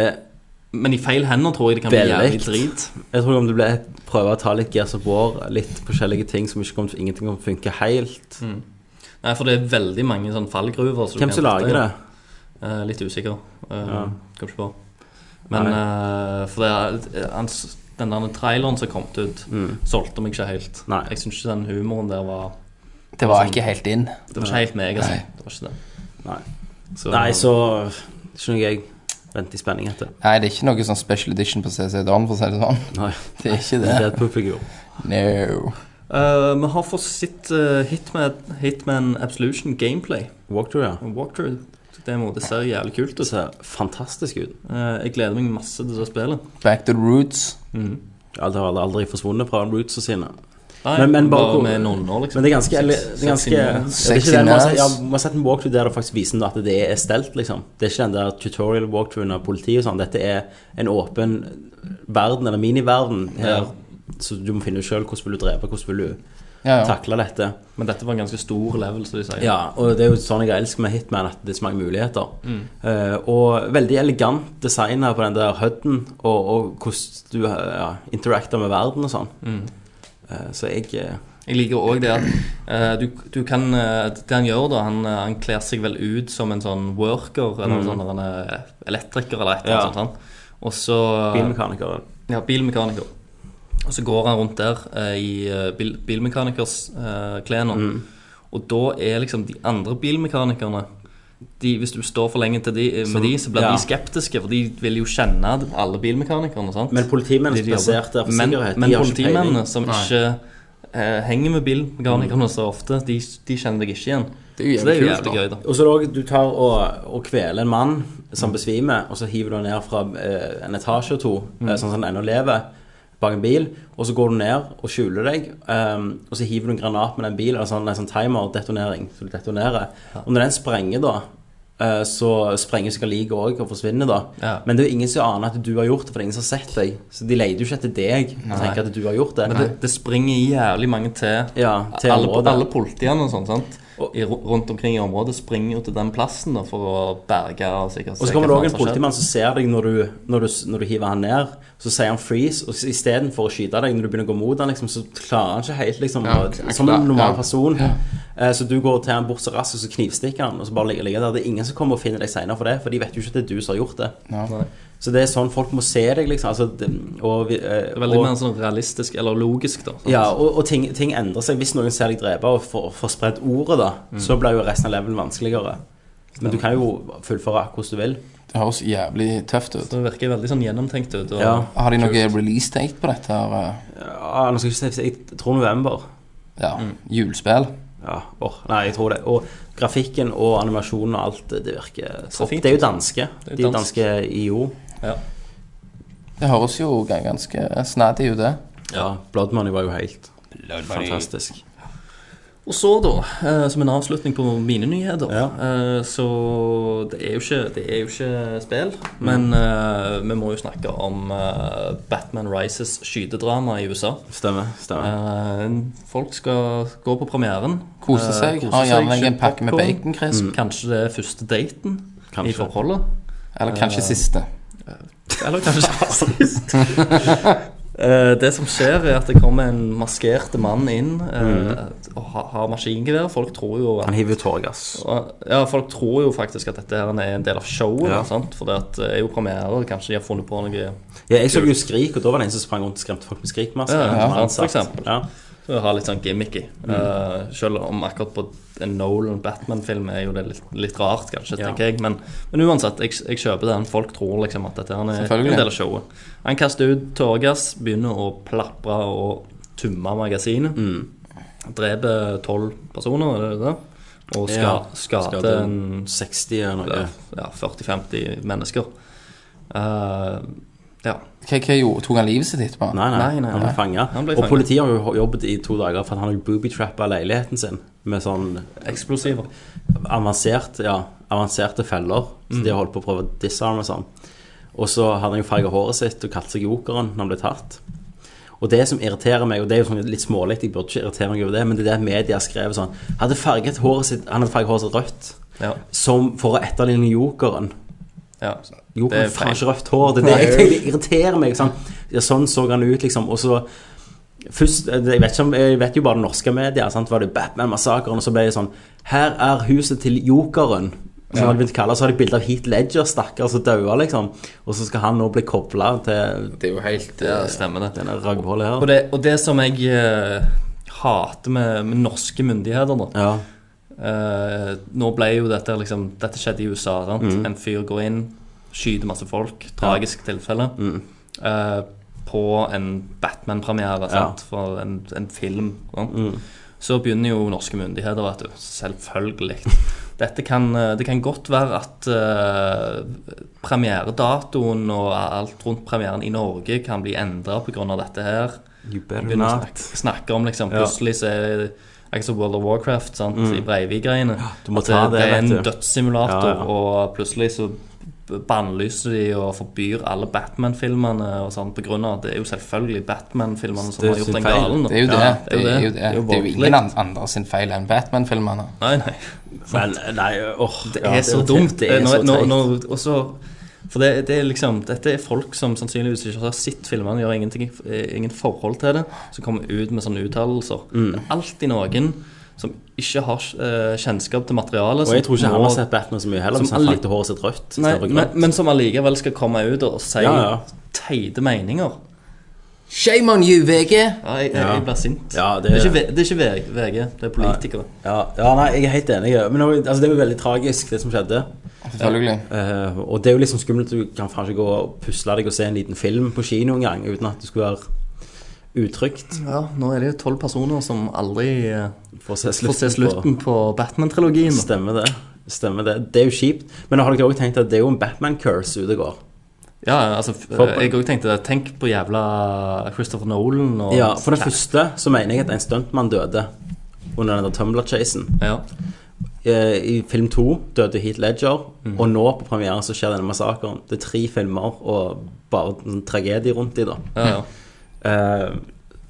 F: Jeg
H: Men i feil hender tror jeg det kan bli jævlig
F: Belekt.
H: drit.
F: tror det kommer til å bli prøve å ta litt Gears of War, litt forskjellige ting som ikke kommer til, ingenting kommer til å funke helt.
H: Nei, for det er veldig mange sånn fallgruver. så
F: Hvem
H: du kan
F: som lager
H: fatte.
F: det?
H: Eh, litt usikker. Eh,
F: Ja.
H: Kom ikke på. Men eh, for det er, han, s- den der traileren som kom ut,
F: Mm.
H: solgte meg ikke helt.
F: Nei.
H: Jeg syns ikke den humoren der var
C: Det var ikke helt inn.
H: Det var ikke helt meg, altså. Det var ikke det.
F: Nei.
H: Så,
F: Nei, så skjønner jeg.
H: Vent i spenning etter.
C: Nei, det er ikke noe sånn special edition på CC-DON, for å si det sånn.
H: Nei,
C: Det er ikke
H: det
C: det.
H: er et puffigur.
C: No.
H: Eh, vi har fått sitt eh, Hitman, Hitman Absolution gameplay.
F: Walkthrough, ja.
H: En Walkthrough. Demo. Det ser jævlig kult
F: Det
H: ut.
F: ser fantastisk ut.
H: Eh, jeg gleder meg masse til det spillet.
C: Back to the roots.
F: Mm. Ja, det har aldri forsvunnet fra rootsene sine.
H: Nei,
F: Men- men
H: bare,
F: bare-
H: med nonner, liksom.
F: Men det er ganske, eller, det er ganske
H: Sexy
F: ja,
H: nerd.
F: det er ikke den, man, har sett-
C: Sexy
F: ja,
C: nerd.
F: man har sett en walkthrough der det faktisk viser at det er stelt, liksom. Det er ikke den der tutorial walkthroughen av politiet og sånn. Dette er en åpen verden, eller miniverden, her. Så du må finne ut sjøl hvordan vil du drepe, hvordan vil du
C: Ja, ja.
F: takle dette.
H: Men dette var en ganske stor level, som de sier.
F: Ja, og det er jo sånn jeg elsker med Hitman, at det er så mange muligheter. Eh, og veldig elegant design her på den der HUD-en, og, og hvordan du eh, ja, interacter med verden og sånn. Eh, så jeg eh,
H: Jeg liker òg det at eh, du, du kan eh, Det han gjør, da Han, eh, han kler seg vel ut som en sånn worker eller en sånn en, eh, elektriker eller et
F: Mm.
H: eller
F: Ja.
H: annet sånt. han. Og så
F: Bilmekaniker.
H: Ja, bilmekaniker. Og så går han rundt der eh, i eh, bil, bilmekanikersklærne.
F: Mm.
H: og da er liksom de andre bilmekanikerne de, Hvis du står for lenge til de, med de, så blir
F: ja.
H: de skeptiske, for de vil jo kjenne alle bilmekanikerne. sant?
F: Men politimennene
H: De de jobber.
F: spesielt der for
H: men,
F: sikkerhet, de
H: Men
F: har ikke
H: politimennene
F: peiling.
H: som ikke eh, henger med bilmekanikerne så ofte, de, de kjenner deg ikke igjen.
C: Det er jo
H: så det er jo
C: jævlig kult,
H: jævlig gøy, da.
F: Og så er det også, du tar og, og kveler en mann
H: Mm.
F: som besvimer, og så hiver du han ned fra eh, en etasje og to,
H: Mm.
F: eh, sånn som han ennå lever, bak en bil. Og så går du ned og skjuler deg, ehm, og så hiver du en granat med den bilen, eller sånn, en sånn timer, detonering, så du detonerer. Og når den sprenger, da, eh, så sprenger sikkert liket òg og forsvinner, da.
H: Ja.
F: Men det er jo ingen som aner at du har gjort det, for det er ingen som har sett deg. Så de leter jo ikke etter deg og tenker at du har gjort det.
H: Men det, det springer jævlig mange til.
F: Ja, til
H: alle,
F: området.
H: alle politiene og sånn, sant.
F: Og-
H: I, ru- rundt omkring i området springer jo til den plassen da, for å berge og sikkert
F: Og så kommer det òg en politimann som ser deg når du, når, du, når du hiver han ned. Så sier han 'freeze', og istedenfor å skyte deg når du begynner å gå mot han, liksom, så klarer han ikke helt, liksom,
C: Ja,
F: og-
C: klar,
F: som en normal
C: ja.
F: person. Eh, Så du går til han bort så raskt, og så knivstikker han, og så bare ligger ligger der. Det er ingen som kommer og finner deg seinere for det, for de vet jo ikke at det er du som har gjort det.
C: Ja.
F: Så det er sånn folk må se deg, liksom. Altså, det- og, vi- eh,
H: Veldig
F: og-
H: mer sånn realistisk, eller logisk, da. sant?
F: ja, og, og ting, ting endrer seg. Hvis noen ser deg drepe og får, får spredd ordet, da, så blir jo resten av levelen vanskeligere. Men du kan jo fullføre akkurat hvordan du vil.
C: Det høres jævlig tøft ut.
H: Så det virker veldig sånn gjennomtenkt ut. Og,
F: Ja.
C: Har de noe release date på dette? her? eh?
F: Ja, nå skal jeg ikke si Jeg tror november.
C: Ja, julespill?
F: Ja, åh, Nei, jeg tror det. Og grafikken og animasjonen og alt, det virker topp.
H: fint.
F: Det er jo danske.
H: er
F: De er
H: dansk.
F: danske IO.
C: Det høres jo ga- ganske snaddy ut, det.
F: Ja, Blood Money var jo helt fantastisk.
H: Og så, da, eh, som en avslutning på mine nyheter eh, Så det er jo ikke, det er jo ikke spill, men eh, vi må jo snakke om eh, Batman Rises skytedrama i USA.
F: Stemmer. stemmer.
H: Eh, folk skal gå på premieren.
C: Kose
H: eh,
C: seg. Ah,
H: kose
C: Har gjerne
H: seg, Mm.
C: en
H: kjøpe
C: pakke med
H: popcorn.
C: baconcrisp.
H: Kanskje det er første daten i
F: Kanskje.
H: forholdet.
C: Eller kanskje
H: Eh.
C: siste.
H: Eller kanskje sist. Eh, det som skjer, er at det kommer en maskert mann inn eh, og ha- har maskingevær. Folk tror jo at
F: Han hiver jo tåregass.
H: og- Ja, folk tror jo faktisk at dette her er en del av showet.
F: Ja.
H: Sant? For det at eh, det er jo premiere, kanskje de har funnet på noe
F: Ja, jeg så jo Skrik, og da var det en som sprang rundt og skremte folk med skrikmaske.
H: Ja,
F: Han var
H: ja,
F: ansatt.
H: for eksempel.
F: Ja.
H: å ha litt sånn gimmicky.
F: Mm.
H: Eh, selv om akkurat på en Nolan Batman-film er jo det litt, litt rart, kanskje,
F: Ja.
H: tenker jeg. Men, men uansett, jeg, jeg kjøper den. Folk tror liksom at dette her er
C: Selvfølgelig.
H: en del av showet. Han kaster ut tåregass, begynner å plapre og tømme magasinet.
F: Mm.
H: Dreper tolv personer, er det det? Og ska,
F: Ja,
H: skader
F: skader
H: en
F: 60 eller noe.
H: ja, ja, 40-50 mennesker. Eh, ja.
C: Hva, hva gjorde? Tok han livet sitt etterpå?
F: Nei, nei,
H: Nei, nei,
F: han
H: nei.
F: ble fanga.
H: Han ble
F: Og
H: fanget.
F: politiet har jo jobbet i to dager for at han har booby-trappa leiligheten sin med sånn
H: Eksplosiver.
F: avansert, ja, avanserte feller. Så de har holdt på å prøve å disarme og sånn. Og så hadde han jo farga håret sitt og kalt seg Jokeren når han ble tatt. Og det som irriterer meg, og det er jo sånn litt smålig, jeg burde ikke irritere meg over det, men det er det media skrev sånn hadde farget håret sitt, Han hadde farget håret sitt rødt
H: Ja.
F: som for å etterligne Jokeren.
H: ja.
F: Jo,
H: Det er
F: men faen
H: feil.
F: ikke røft hår. Det, er det, jeg, tenker, det irriterer meg. Sånn, ja, sånn så han ut, liksom. Og så først, eh, jeg vet, ikke om, jeg vet jo bare det norske media. Sant? Var det Batman-massakren? Og så ble det sånn Her er huset til jokeren. Som hadde begynt å kalle, Så har de bilde av Heat Ledger, stakkar, som daua, liksom. Og så skal han nå bli kobla til
C: Det er jo helt
H: Ja, stemmer det.
F: denne raggholdet
H: Og
F: her.
H: det, og det som jeg eh, hater med, med norske myndigheter nå
F: Ja.
H: eh, Nå ble jo dette liksom Dette skjedde i USA. Sant? En fyr går inn, skyter masse folk. Tragisk tilfelle. Eh, på en Batman-premiere, sant, for en, en film. Sant? Så begynner jo norske myndigheter, vet du. Selvfølgelig. Dette kan, eh, det kan godt være at eh, premieredatoen og alt rundt premieren i Norge kan bli endra pga. dette her.
F: You better
H: Begynner å
F: not.
H: snakke, snakke om liksom
F: Ja. Mm.
H: Plutselig så er det akkurat som World of Warcraft sant, i Breivik-greiene.
F: du må
H: At
F: ta det,
H: det er en
F: vet du.
H: dødssimulator,
F: Ja, ja.
H: og plutselig så bannlyser de og forbyr alle Batman-filmene og sånn på grunn av at det er jo selvfølgelig Batman-filmene som
F: Det er
H: har gjort
F: sin
H: den
F: feil.
H: galen. da.
C: Det er jo det.
H: Ja,
C: Det er jo det.
H: Det er jo
C: Det er jo
H: voldelig.
C: ingen an- andre sin feil enn Batman-filmene.
H: Nei, nei.
F: Men
H: eh,
F: nei, åh.
H: Det
F: ja,
H: er så
F: jo
H: dumt. Eh,
F: teit. Det er
H: Nå-
F: så
H: nå-
F: teit.
H: nå- og så- For det, det er liksom Dette er folk som sannsynligvis ikke har sett filmene, gjør ingenting, eh, ingen forhold til det, som kommer ut med sånne uttalelser.
F: Mm.
H: Det er alltid noen som ikke har eh, kjennskap til materialet.
F: Og jeg tror ikke han har
H: må-
F: sett Batman så mye heller,
H: Som
F: hvis han
H: alle-
F: farget håret sitt rødt.
H: Nei,
F: istedenfor
H: men,
F: grønt.
H: men som allikevel skal komme ut og si
F: Ja, ja.
H: teite meninger.
C: Shame on you, VG!
H: Ja, jeg, jeg,
F: Ja.
H: jeg blir sint.
F: Ja, det-
H: det, er ikke, V- det er ikke V- VG, det er politikere.
F: Ja, ja, nei, jeg er helt enig. Men også- altså, det er jo veldig tragisk, det som skjedde.
C: Selvfølgelig.
F: Eh, og det er jo liksom skummelt. Du kan faen ikke gå og pusle deg og se en liten film på kino en gang uten at du skulle være utrygt
H: Ja, Nå er det jo tolv personer som aldri eh,
F: for å se slutten.
H: får se
F: på-
H: slutten på Batman-trilogien.
F: Stemmer det. Stemmer det. Det er jo kjipt. Men har dere også tenkt at det er jo en Batman-curse ute og går?
H: Ja, altså, f-
F: For-
H: jeg òg tenkte det. Tenk på jævla Christopher Nolan og
F: Ja, for det første så mener jeg at en stuntmann døde under den der Tumbler-chasen.
H: Ja.
F: Eh, I film to døde Heath Ledger, og nå på premieren så skjer denne massakren. Det er tre filmer og bare en tragedie rundt de da.
H: Ja, ja.
F: Eh,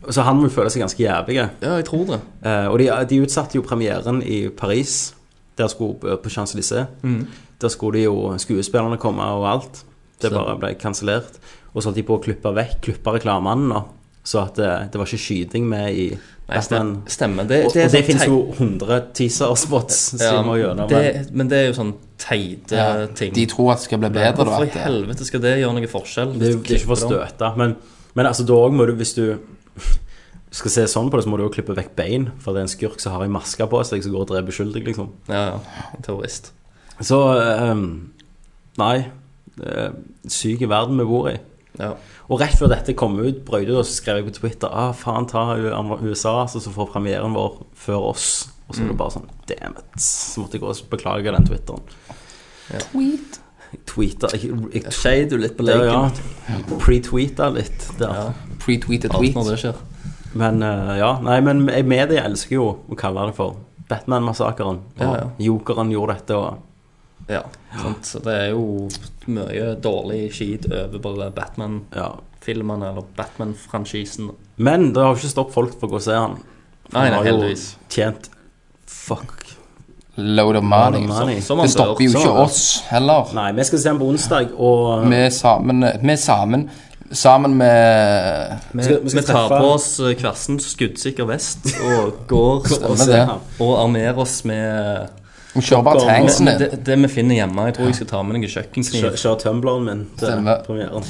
F: så han må jo føle seg ganske jævlig.
H: ja, jeg tror det.
F: Eh, og de, de utsatte jo premieren i Paris, der skulle, eh, på Champs-Élysées.
H: Mm.
F: Der skulle de jo skuespillerne komme og alt. Det
H: Stemmer.
F: bare ble kansellert. Og så holdt de på å klippe vekk klippe reklamene nå. Så at eh, det, det var ikke skyting med i
H: Nei, stem,
F: Batman.
H: stemmer. Det,
F: Og, og det
H: sånn
F: finnes
H: teit-
F: jo 100 teaser-spots
H: ja,
F: som vi må gjennom.
H: det,
F: men-
H: Men det er jo sånn teite
C: Ja,
H: ting.
C: de tror at det skal bli bedre, da.
H: Hvorfor
C: At
H: i
C: det,
H: helvete skal det gjøre noe forskjell?
F: Det er jo det er ikke for å støte, men, men altså, da òg må du, hvis du skal se sånn på det, så må du jo klippe vekk bein, for det er en skurk som har ei maske på seg som går og dreper skyldig, liksom.
H: Ja, ja. Terrorist.
F: Så ehm, Nei. eh, Syk verden vi bor i.
H: Ja.
F: Og rett før dette kom ut, brøt ut, og så skrev jeg på Twitter ah, faen ta U- Amer- USA, så, så får premieren vår før oss. Og så er det
H: Mm.
F: bare sånn damn it. Så måtte jeg gå og beklage den Twitteren. Tweet. Tweeta jeg, jeg,
H: Skei du litt på
F: ja,
H: leken.
F: ja. Pre-tweeta litt der.
H: Ja.
C: Pre-tweet a
H: Alt
C: tweet.
H: når det skjer.
F: Men eh, ja, nei, men jeg- media elsker jo å kalle det for Batman-massakren. Og
H: Ja, ja.
F: Jokeren gjorde dette, og
H: Ja, sant? Så det er jo mye dårlig skit over både Batman-filmene
F: ja.
H: eller Batman-franchisen.
F: Men det har jo ikke stoppet folk for å gå og se han.
H: Nei,
F: Han
H: nei,
F: har jo
H: heldigvis.
F: Tjent fuck
C: Load of money.
F: Load of money.
H: Som
C: Det
H: man bør.
C: stopper jo
H: som
C: ikke
H: man bør.
C: oss heller.
F: Nei, vi skal se han på onsdag, og
C: Vi er sammen Vi er sammen Sammen med
F: vi skal, vi
H: Vi
F: skal
H: tar
F: treffe
H: på oss eh, hver sin skuddsikker vest og går
F: og
C: Stemmer
F: se
C: det.
F: han.
H: og armerer oss med eh,
C: Vi kjører bare
F: Popcorn.
C: tanksen
H: med
C: din.
H: det, det vi finner hjemme. Jeg tror jeg skal ta med noen
F: Kjør,
H: kjøkkenkniv.
F: kjør tumbleren min til
C: Stemmer.
F: premieren.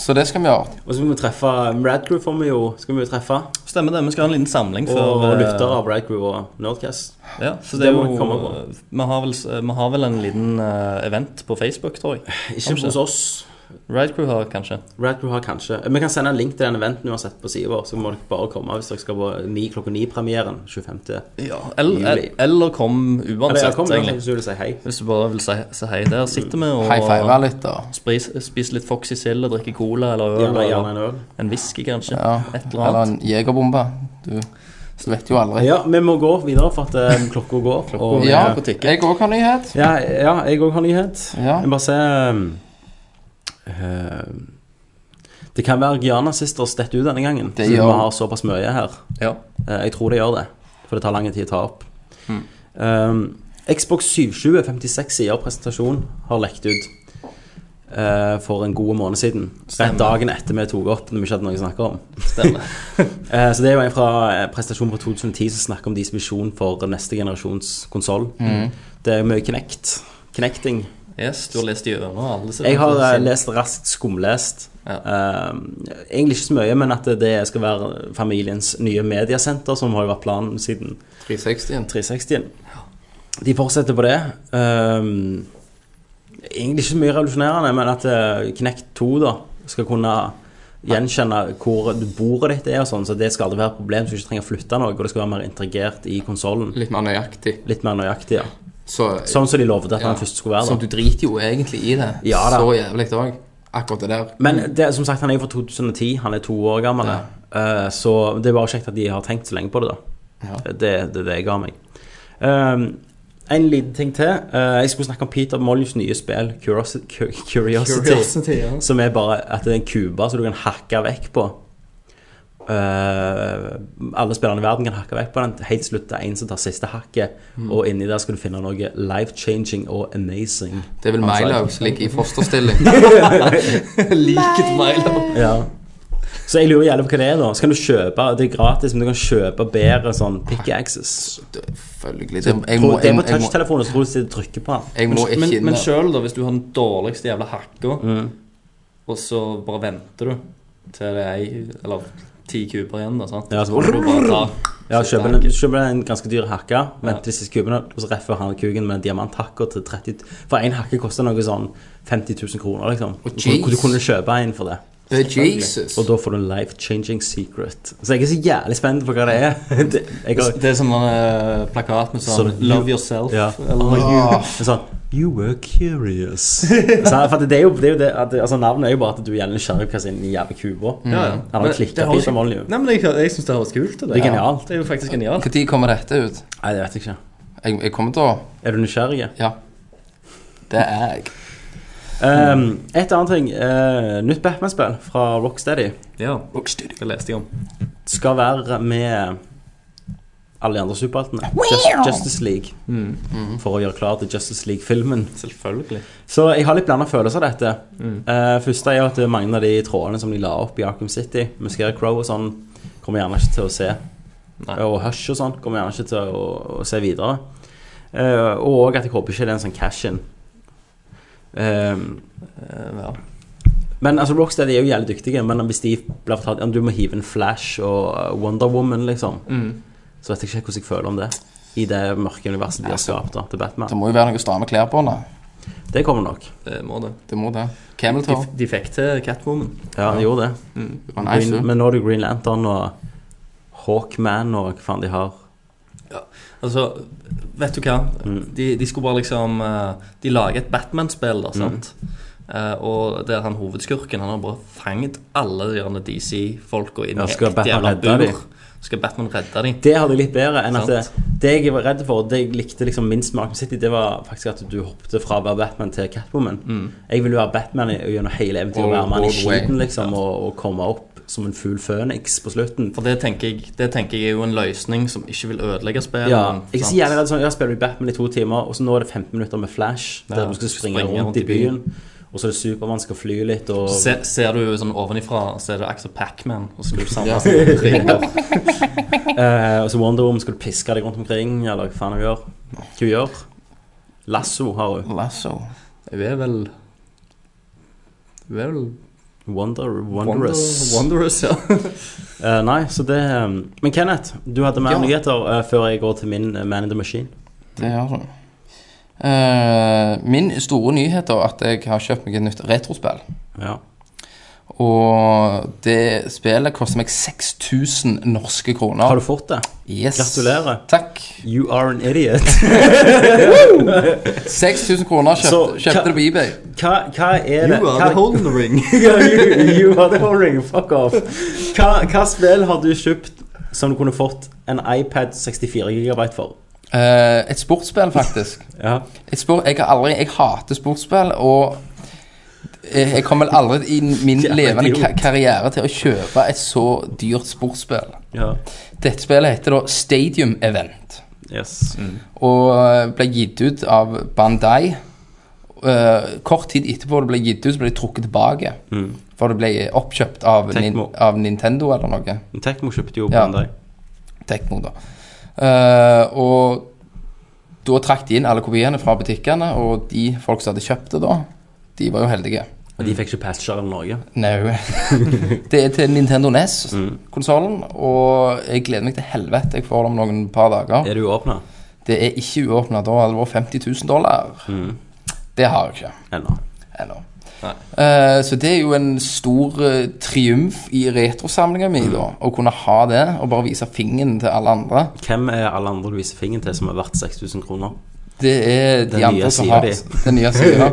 C: Så det skal vi gjøre.
F: Og så må vi treffe Radcrew, får vi jo skal vi jo treffe.
H: Stemmer det. Vi skal ha en liten samling
F: Og,
H: før eh,
F: lyttere av Radcrew og Nerdcast.
H: Ja, så
F: Det
H: det er
F: må vi komme
H: jo eh,
F: på.
H: Vi har vel, vi har vel en liten eh, event på Facebook, tror jeg.
F: Ikke
H: Kanskje.
F: hos oss.
H: Ride Crew har kanskje.
F: Radcrew har kanskje Eh, Vi kan sende en link til den eventen uansett på sida vår, så må dere bare komme hvis dere skal på 9 klokka 9-premieren 25.
H: eller, eh,
F: Juli.
H: eller kom
F: Eller jeg
H: uansett,
F: kommer uansett
H: egentlig.
F: hvis du vil si hei.
H: Hvis du bare vil si, si hei der. Sitter vi og
C: High five litt, da.
H: spis, spiser litt Foxy Sild og drikker cola eller øl.
F: Gjerne, gjerne
H: eller
F: en øl.
H: en whisky, kanskje.
C: Ja.
H: Et eller
C: Eller
H: annet.
C: en jegerbombe. Du, du vet jo aldri.
F: Ja, vi må gå videre for at eh, klokka går. og,
C: Ja,
F: eh,
C: jeg òg har nyhet.
F: Ja, ja jeg òg har nyhet.
C: Ja.
F: Jeg må bare se um, eh, Det kan være Giana Sisters detter ut denne gangen.
C: Det
F: siden
C: gjør-
F: vi har såpass mye her.
H: Ja.
F: Eh, jeg tror det gjør det, for det tar lang tid å ta opp. Eh, Xbox 720 56 sider presentasjon har lekt ut eh, for en god måned siden. Rett dagen etter vi tok opp, når vi ikke hadde noe å snakke om.
H: Stemmer.
F: Eh, så det er jo en fra eh, presentasjonen fra 2010 som snakker om deres visjon for neste generasjons konsoll. Det er mye Kinect. Kinecting.
H: Yes, du har lest gjennom alle disse
F: Jeg har eh, lest raskt skumlest.
H: Ja.
F: Eh, egentlig ikke så mye, men at det skal være familiens nye mediesenter, som har jo vært planen siden
C: 360.
F: 360-en. De fortsetter på det. Eh, Egentlig ikke så mye revolusjonerende, men at eh, Kinect 2 da skal kunne gjenkjenne hvor bordet ditt er og sånn, så det skal aldri være et problem. Du skal ikke trenge å flytte noe, og det skal være mer integrert i konsollen.
C: Litt mer nøyaktig.
F: Litt mer nøyaktig, ja.
C: Så,
F: Sånn som de lovde at
C: ja.
F: han først skulle være.
C: Så
F: da.
C: du driter jo egentlig i det.
F: Ja da.
C: Så jævlig òg. Akkurat det der.
F: Men det, er som sagt, han er jo fra 2010, han er to år gammel. Eh, så det er bare kjekt at de har tenkt så lenge på det, da.
C: Ja.
F: Det det er det, jeg ga meg. Eh, en liten ting til. Eh, jeg skulle snakke om Peter Mollius nye spill, Curiosi- Cu- Curiosity.
C: ja.
F: Som er bare at det er en kube som du kan hakke vekk på. Eh, alle spillerne i verden kan hakke vekk på den. Helt til slutt det er en som tar siste hakket, og inni der skal du finne noe life-changing og amazing.
C: Det er vel
F: Altså,
C: Milo som ligger i fosterstilling. Liket Milo.
F: Ja. Så jeg lurer jævlig på hva det er, da. Så kan du kjøpe, det er gratis, men du kan kjøpe bedre sånn pickaxes.
C: Selvfølgelig.
F: Det,
C: Det, jeg, må,
F: det
C: jeg,
F: er
C: må,
F: på
C: jeg, må,
F: touchtelefonen, så tror jeg du trykker på den.
C: jeg må ikke
H: Men,
C: inn
H: men
C: der.
H: sjøl, da, hvis du har den dårligste jævla hakka,
F: Mm.
H: og så bare venter du til det er ei eller ti kuber igjen, da, sant?
F: Ja, så-
H: Og du bare tar,
F: Ja, kjøper en, kjøper en ganske dyr hakke, venter
H: Ja.
F: de siste kubene, og så reffer han kuken med en diamanthakka til 30 For én hakke koster noe sånn 50 000 kroner, liksom.
C: Å,
F: Du, kunne-
C: jeez.
F: du kunne kjøpe en for det.
C: Det er Jesus.
F: Og da får du en life-changing secret. Så jeg er så jævlig spent på hva det er. Det, jeg har,
H: Det er som en eh, plakat med sånn
F: Sånn,
H: 'Love yourself'.
F: Ja.
H: Eller,
F: Men sånn You were curious. så, for det er jo det, er jo det at, altså, Navnet er jo bare at du er jævlig nysgjerrig på hva som er inni jævla kuba.
H: ja, ja.
F: Han
H: Men
F: Mm. har klikka
H: det høres-
F: Peter Molyneux.
H: Nei, men jeg, jeg syns det høres kult ut.
F: Det er genialt.
H: Det er jo faktisk genialt.
C: Når kommer dette ut?
F: Nei, det vet jeg ikke.
C: Jeg, jeg kommer til å
F: Er du nysgjerrig?
C: Ja. Det er jeg.
F: Um, et annet ting. eh, nytt Batman-spill fra Rocksteady
H: Ja, Det leste jeg om.
F: skal være med alle de andre superheltene. Just, Justice League. For å gjøre klar til Justice League-filmen.
H: Selvfølgelig.
F: Så jeg har litt blanda følelser av dette.
H: Mm.
F: Eh, første er jo at mange av de trådene som de la opp i Arkham City, med Scarecrow og sånn, kommer jeg gjerne ikke til å se.
H: Nei.
F: Og Hush og sånn kommer jeg gjerne ikke til å, å se videre. Eh, og at jeg håper ikke det er en sånn cash-in. Ehm,
H: Eh, ja.
F: men altså Rocksteady er jo jævlig dyktige, men hvis de blir fortalt at du må hive inn Flash og eh, Wonder Woman, liksom,
H: Mm.
F: så vet jeg ikke hvordan jeg føler om det. I det mørke universet de har
H: altså.
F: skapt da, til
C: Det
F: Batman.
C: må jo være noe stramme klær på henne.
F: Det kommer nok.
H: Det må det.
C: Det må det. Camel
H: De,
C: toe.
H: de fikk til Catwoman.
F: Ja, han gjorde det.
C: Og nice,
F: Green,
C: hun.
F: men nå er det Green Lantern og Hawkman og hva faen de har.
H: Altså, vet du hva?
F: Mm.
H: De, de skulle bare liksom eh, De lager et Batman-spill,
F: Mm.
H: da, sant? Eh, og der han hovedskurken Han har bare fanget alle de gjerne DC-folka inn
F: Ja,
H: i
F: skal
H: et
F: Batman
H: jævla
F: redde
H: bur.
F: de?
H: Skal Batman redde dem?
F: Det hadde jeg litt bedre enn at det,
H: Sant.
F: det jeg var redd for, og det jeg likte liksom minst med Arkham City, det var faktisk at du hoppet fra å være Batman til Catwoman.
H: Mm.
F: Jeg ville være Batman i- gjennom hele eventyret,
C: All-
F: være mann i
C: all the way.
F: skiten liksom, og, og komme opp som en fugl føniks på slutten.
H: For det tenker, jeg, det tenker jeg er jo en løsning som ikke vil ødelegge spillet.
F: Ja,
H: men,
F: jeg er så
H: sant?
F: jævlig redd sånn, jeg spiller du Batman i to timer, og så nå er det 15 minutter med Flash, der
H: Ja,
F: du skal springe,
H: springe
F: rundt i byen, og så er det Supermann skal fly litt, og...
H: Se, ser du sånn ovenifra, så er det Axel Pacman. Og så skal du samle sånne kriger.
F: Eh, og så Wonder Woman skal du piske deg rundt omkring, eller hva faen hun gjør. Hva hun gjør? Lasso har hun.
C: Lasso.
H: Hun er vel Hun er vel
F: Wonder,
H: Wonder-
F: wondrous.
H: Wondrous, ja.
F: Eh, nei, så det eh, Men Kenneth, du hadde mer
C: Ja.
F: nyheter eh, før jeg går til min eh, Man in the Machine.
C: Det gjør hun. Eh, min store nyhet er at jeg har kjøpt meg et nytt retrospill.
F: Ja.
C: Og det spillet koster meg 6000 norske kroner.
F: Har du fått det?
C: Yes.
F: Gratulerer.
C: Takk.
F: You are an idiot.
C: 6000 kroner kjøpte,
F: Så,
C: kjøpte
F: hva-
C: det på eBay.
F: Hva, hva er det?
H: You are
F: hva,
H: the hole in the ring.
F: you, you are the whole ring. Fuck off. Hva, hva spill har du kjøpt som du kunne fått en iPad 64 GB for?
C: Eh, et sportsspill, faktisk.
F: Ja.
C: Et spor, jeg har aldri Jeg hater sportsspill, og jeg jeg kommer vel aldri i min
F: Jævla
C: levende
F: idiot.
C: ka karriere til å kjøpe et så dyrt sportsspill.
F: ja.
C: Dette spillet heter da Stadium Event,
F: Yes.
C: og eh, ble gitt ut av Bandai. Eh, kort tid etterpå det ble gitt ut, så ble det trukket tilbake.
F: Mm.
C: For det ble oppkjøpt av, nin
F: Tecmo.
C: av Nintendo eller noe.
F: Tekmo kjøpte jo
C: Ja.
F: Bandai.
C: Tekmo, da. Eh, og da trakk de inn alle kopiene fra butikkene, og de folk som hadde kjøpt det da, de var jo heldige.
F: Og de fikk ikke patcher eller noe.
C: No. det er til Nintendo NES-konsollen, og jeg gleder meg til helvete jeg får det om noen par dager.
F: Er du åpna?
C: Det er ikke uåpna, da hadde det vært 50 000 dollar. Det har jeg ikke
F: Ennå.
C: ennå. Eh, så det er jo en stor eh, triumf i retrosamlinga mi, da. Å kunne ha det, og bare vise fingeren til alle andre.
F: Hvem er alle andre du viser fingeren til som er verdt 6000 kroner?
C: Det er de
F: Den nye
C: andre som
F: siden
C: har
F: de.
C: den nye sida.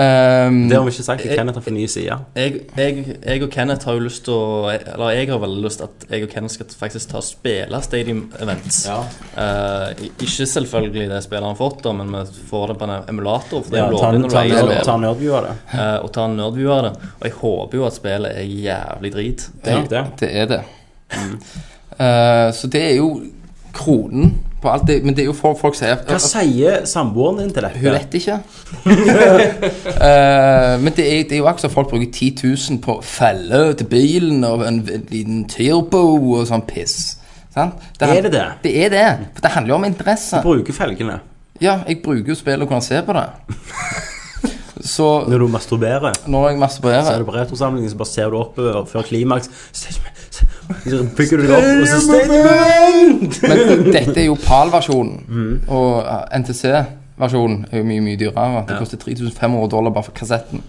C: Ehm,
F: Det har vi ikke sagt. Kenneth har fått ny side.
H: Jeg, jeg, jeg og Kenneth har jo lyst til å Eller jeg har veldig lyst til at jeg og Kenneth skal faktisk ta og spille Stadium Events. Eh, i- ikke selvfølgelig det spillet han har fått, da, men vi får det på en emulator. For det
J: Ja,
H: er
J: ta
H: lovlig
J: en-
H: når du
J: ta en
H: eier
J: nerd-
H: spillet.
J: ta en nerdview av det.
H: Eh, og ta en nerdview av det. Og jeg håper jo at spillet er jævlig drit.
F: Det er jo det.
C: Det er det.
F: Mm.
C: Eh, så det er jo kronen på alt det Men det er jo folk, folk sier
F: Hva sier samboeren din til dette?
C: Hun vet ikke. Eh, men det er, det er jo akkurat som folk bruker 10 000 på felle til bilen og en v- liten turbo og sånn piss. Sant? han-
F: Er det det?
C: Det er det. For det handler jo om interesse.
F: Bruker felgene
C: Ja, jeg bruker jo spill og kan se på det. Så
F: når du masturberer.
C: når
F: Så
C: jeg
F: er
C: masturberer
F: det på retrosamlingen, så bare ser du oppover før klimaks. Stadium Event, Så bygger du deg opp, og så Stadium Event!
C: Men dette er jo PAL-versjonen.
F: Mm.
C: Og eh, NTC-versjonen er jo mye mye dyrere. Det koster 3500 dollar bare for kassetten.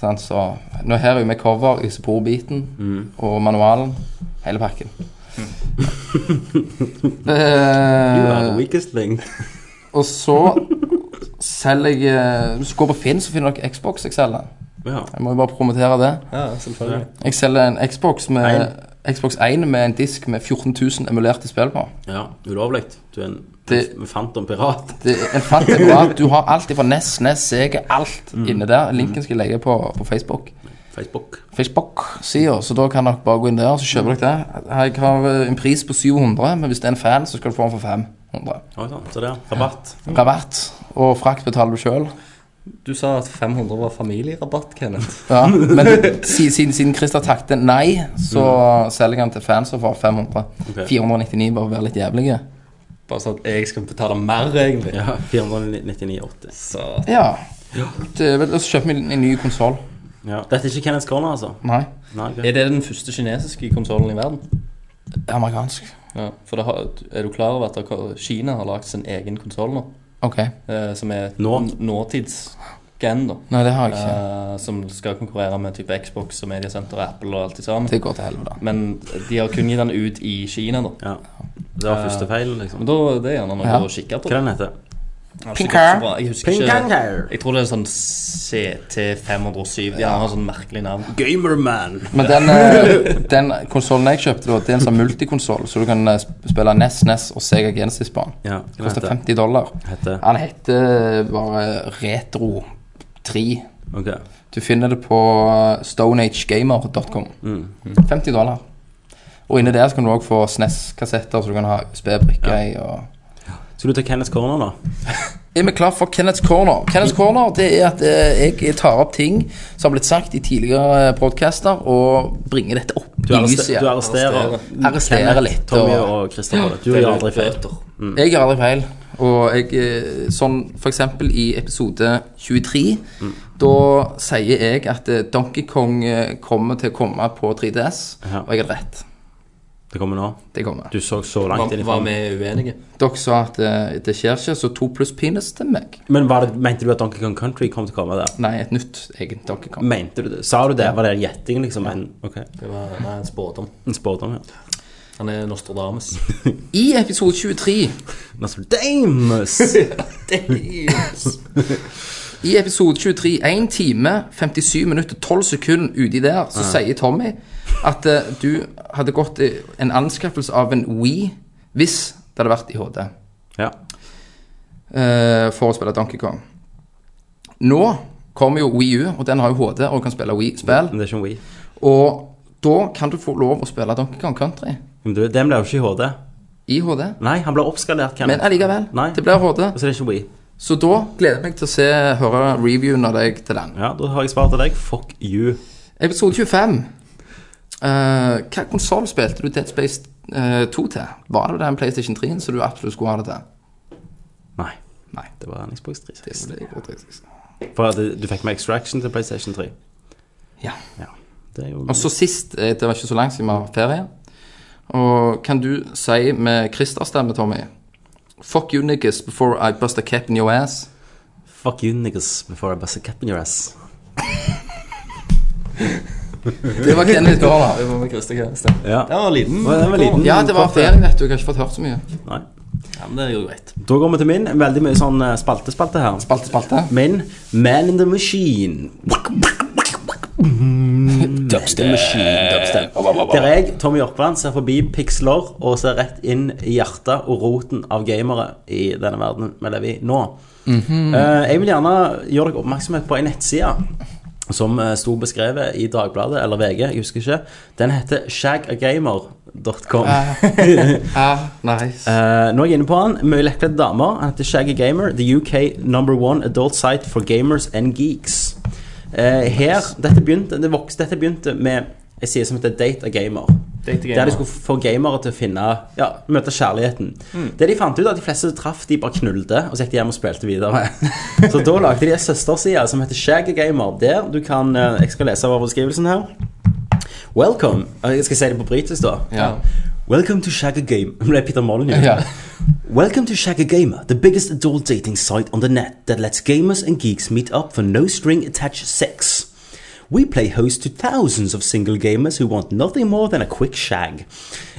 C: Sant, så nå her er jo med cover i sporbiten og manualen. Hele pakken.
F: You are the
C: Eh,
F: weakest link.
C: og så selger jeg eh, Hvis du går på Finn, så finner dere Xbox jeg selger.
F: Ja.
C: Jeg må jo bare promotere det.
H: Ja, selvfølgelig.
C: Jeg selger en Xbox med
F: Ein.
C: Xbox 1 med en disk med 14 000 emulerte spill på.
F: ja. Ulovlig. Du er en
C: Det-
F: vi fant om pirat.
C: Det er fant det bra. Du har alt E fra Ness, Ness, Sege, alt inne der. Linken skal jeg legge på, på Facebook.
F: Facebook.
C: Facebook-sida, så da kan dere bare gå inn der og så kjøper dere det. Jeg har eh, en pris på 700, men hvis det er en fan, så skal du få den for 500.
F: Oi sann. Se der. Rabatt.
C: Rabatt og frakt betaler du sjøl.
H: Du sa at 500 var familierabatt, Kenneth.
C: Ja, men si- siden, siden Christer takte nei, så selger jeg den til fans for 500.
F: Mm. Ok.
C: 499 bare for å være litt jævlige.
H: Bare sånn at jeg skal betale mer, egentlig.
F: Ja. 499,80.
H: Så
C: Ja. Det er vel, og så kjøper vi en ny konsoll.
F: Ja. Dette er ikke Kenneth Corner, altså?
C: Nei,
F: Nei,
H: er
F: okay.
H: det den første kinesiske konsollen i verden.
C: amerikansk.
H: Ja, for det har, er du klar over at det har- Kina har lagd sin egen konsoll nå?
C: OK.
H: Eh, som er
F: Nå?
H: n- nåtidsgen, da.
C: Nei, det har jeg ikke.
H: Eh, som skal konkurrere med type Xbox og Mediasenter og Apple og alt det sammen.
C: Det går til helvete.
H: Men de har kun gitt den ut i Kina, da.
F: ja. Det
C: Eh,
F: var første feilen, liksom.
H: Men da det er gjerne noe
C: Ja.
H: å kikke på.
F: Hva er den heter
H: Jeg har ikke
C: Pinker.
H: gått så bra. Jeg husker ikke Jeg tror det er sånn CT507. De har sånn merkelig navn.
F: Gamerman.
C: Men den, eh, den konsollen jeg kjøpte, da, det er en sånn multikonsoll, så du kan eh, sp- spille NES, NES og Sega Genesis på den.
F: Ja, hva
C: Koster
F: heter
C: 50 dollar.
F: Heter?
C: Han heter eh, bare Retro 3.
F: Ok.
C: Du finner det på stoneagegamer.com.
F: Mm.
C: 50 dollar. Og inni der så kan du òg få SNES-kassetter, så du kan ha USB-brikker i. og...
F: Skal du ta Kenneth Corner, da?
C: Er vi klar for Kenneths Corner? Kenneths Corner det er at eh, jeg tar opp ting som har blitt sagt i tidligere eh, podcaster, og bringer dette opp
F: Du,
C: i
F: arrester-
C: lyset. igjen.
F: du arresterer
C: Arresterer
F: Kenneth,
C: litt,
F: Tommy
C: og-
F: og Christer på det. Du gjør aldri feil. Mm.
C: Jeg gjør aldri feil. Og jeg, eh, sånn for eksempel i episode 23,
F: Mm.
C: da sier jeg at eh, Donkey Kong eh, kommer til å komme på 3DS,
F: Ja.
C: og jeg hadde rett.
F: Det kommer nå.
C: Det kommer.
F: Du så så langt inn i
H: Var
F: fram.
H: vi uenige?
C: Dere sa at eh, det skjer ikke, så to pluss penis til meg.
F: Men var det, mente du at Donkey Kong Country kom til å komme der?
C: Nei, et nytt eget Donkey Kong.
F: Mente du det? Sa du det? Var det en gjetting, liksom? En, ok.
H: Det var nei, en spådom.
F: en spådom, ja.
H: Han er Nostradamus.
C: I episode 23
F: Nostradamus!
C: I episode 23, 1 time, 57 minutter, 12 sekunder uti der, så sier Tommy at eh, du hadde gått eh, en anskaffelse av en Wii hvis det hadde vært i HD
F: ja.
C: eh, for å spille Donkey Kong. Nå kommer jo Wii U, og den har jo HD og kan spille Wii-spill.
F: Men det er ikke en Wii.
C: Og da kan du få lov å spille Donkey Kong Country
F: Men du, den ble jo ikke i HD.
C: i HD.
F: Nei, han ble oppskalert, Kenneth.
C: Men allikevel,
F: Nei.
C: det blir HD.
F: Så det er ikke en Wii.
C: Så da gleder jeg meg til å se, høre reviewen av deg til den.
F: Ja, da har jeg svart til deg. Fuck you.
C: Episode 25. Uh, hva konsoll spilte du Dead Space eh, 2 til? Var det den PlayStation 3-en som du absolutt skulle ha det til?
F: Nei.
C: Nei.
F: Det var en Xbox 360.
C: Det er jo trist.
F: For at du fikk med Extraction til PlayStation 3.
C: Ja.
F: Ja. Det er jo
C: Og så sist, eh, det var ikke så lenge siden vi har ferie, og kan du si med Christer-stemme, Tommy Fuck you niggas before I bust a cap in your ass.
F: Fuck you niggas before I bust a cap in your ass.
C: Det var Kenneth Gaarder.
H: Det var med Christer Kjærestad.
F: Ja.
H: Den var liten.
F: Å, den var liten.
C: Ja, det var
F: Kort, ja.
C: ferien, vet du. Jeg har ikke fått hørt så mye.
F: Nei.
H: Ja, men det er jo greit.
F: Da går vi til min. Veldig mye sånn eh, spalte-spalte her.
C: Spalte, spalte.
F: Min Man in the Machine. Dubstep. Dubstep. Der jeg, Tommy Jørpeland, ser forbi piksler og ser rett inn i hjertet og roten av gamere i denne verdenen vi lever i nå. Eh, jeg vil gjerne gjøre dere oppmerksomhet på en nettside som eh, sto beskrevet i Dagbladet eller VG, jeg husker ikke. Den heter shagagamer.com.
C: Ah, nice.
F: Eh, nå er jeg inne på han. Mye lekkere damer. Han heter Shaggy Gamer. The UK number one adult site for gamers and geeks. Eh, her, dette begynte, det vokste, dette begynte med en side som heter Date a Gamer.
H: Date a Gamer.
F: Der de skulle få gamere til å finne Ja, møte kjærligheten.
H: Mm.
F: Det de fant ut, at de fleste de traff, de bare knulte, og så gikk de hjem og spilte videre. så da lagde de en søsterside som heter Shaggy Gamer. Der du kan eh, Jeg skal lese over beskrivelsen her. Welcome Eh, Jeg skal si det på britisk, da.
C: Ja.
F: Welcome to Shaggy Game Det er Peter Molyneux.
C: Eh, Ja.
F: Welcome to Shaggy Gamer, the biggest adult dating site on the net that lets gamers and geeks meet up for no string attached sex. We play host to thousands of single gamers who want nothing more than a quick shag.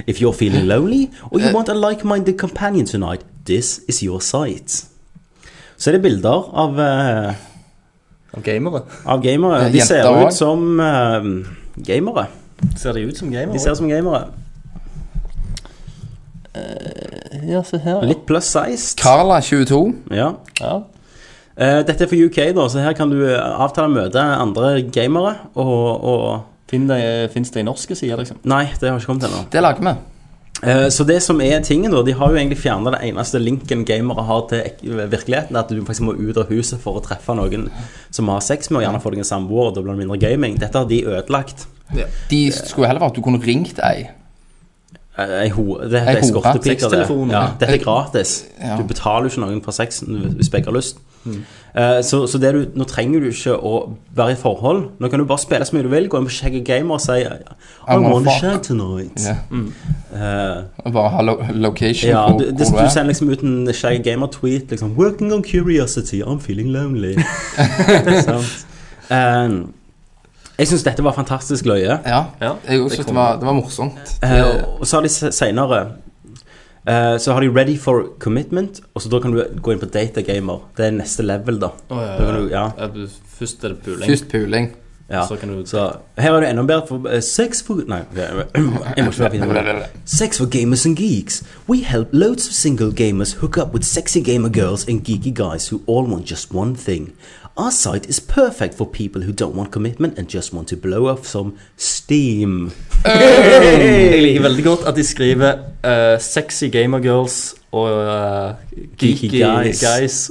F: If you're feeling lonely or
C: Uh,
F: you want a like minded companion tonight, this is your site. Så er det bilder av, eh,
H: Av gamere.
F: av gamere.
C: Ja,
F: De ser
C: jenter
F: ut
C: også.
F: som eh, gamere.
H: Ser de ut som gamere?
F: De ser ut som gamere.
H: Ja, se her. ja.
F: Litt pluss sized.
C: Carla, 22.
F: Ja.
H: Ja.
F: Eh, dette er for UK, da, så her kan du eh, avtale møte andre gamere og, og
H: Finn de- Finnes det i norske sider, liksom?
F: Nei, det har ikke kommet ennå.
C: Det lager vi.
F: Eh, så det som er tingen, da De har jo egentlig fjerna den eneste linken gamere har til ek- virkeligheten. At du faktisk må ut av huset for å treffe noen som har sex med, og gjerne få deg en samboer. Og da blir det mindre gaming. Dette har de ødelagt.
C: De skulle heller vært at du kunne ringt ei.
F: Eh, ei ho- det
C: Ei
F: heter
C: hore.
F: eskortepiker, det.
H: Sextelefon.
F: Ja, dette er gratis.
C: Ja.
F: Du betaler jo ikke noen for sexen hvis begge har lyst. Eh, så så det du, nå trenger du ikke å være i et forhold. Nå kan du bare spille så mye du vil, gå inn på Shaggy Gamer og si I,
C: wanna
F: want
C: fuck."
F: shag tonight.
C: Ja.
F: Eh,
C: Og Bare ha lo location
F: ja,
C: hvor,
F: du, det,
C: hvor
F: du
C: du er.
F: sender liksom ut en Shaggy Gamer-tweet liksom Working on curiosity, I'm feeling lonely. Sant? Eh, jeg syns dette var fantastisk løye.
C: Ja.
H: Ja,
C: Jeg også synes det, var, det var morsomt.
F: Eh, og så har de se- senere eh, Så har de Ready for Commitment, og så da kan du gå inn på Data Gamer. Det er neste level, da.
H: Å, ja,
F: Da kan du, ja,
H: Ja, du- Først er det puling.
C: Først Eh, puling.
F: ja.
H: Eh, Så kan du-
F: så her er det enda bedre for eh, Sex for Nei, jeg må ikke være pinlig. Sex for gamers and geeks. We help loads of single gamers hook up with sexy gamer girls and geeky guys who all want just one thing. Our site is perfect for people who don't want commitment and just want to blow up some steam.
H: Jeg liker veldig godt at de skriver eh, 'sexy gamer girls' og eh, 'geeky
F: Geeky guys.
H: guys'.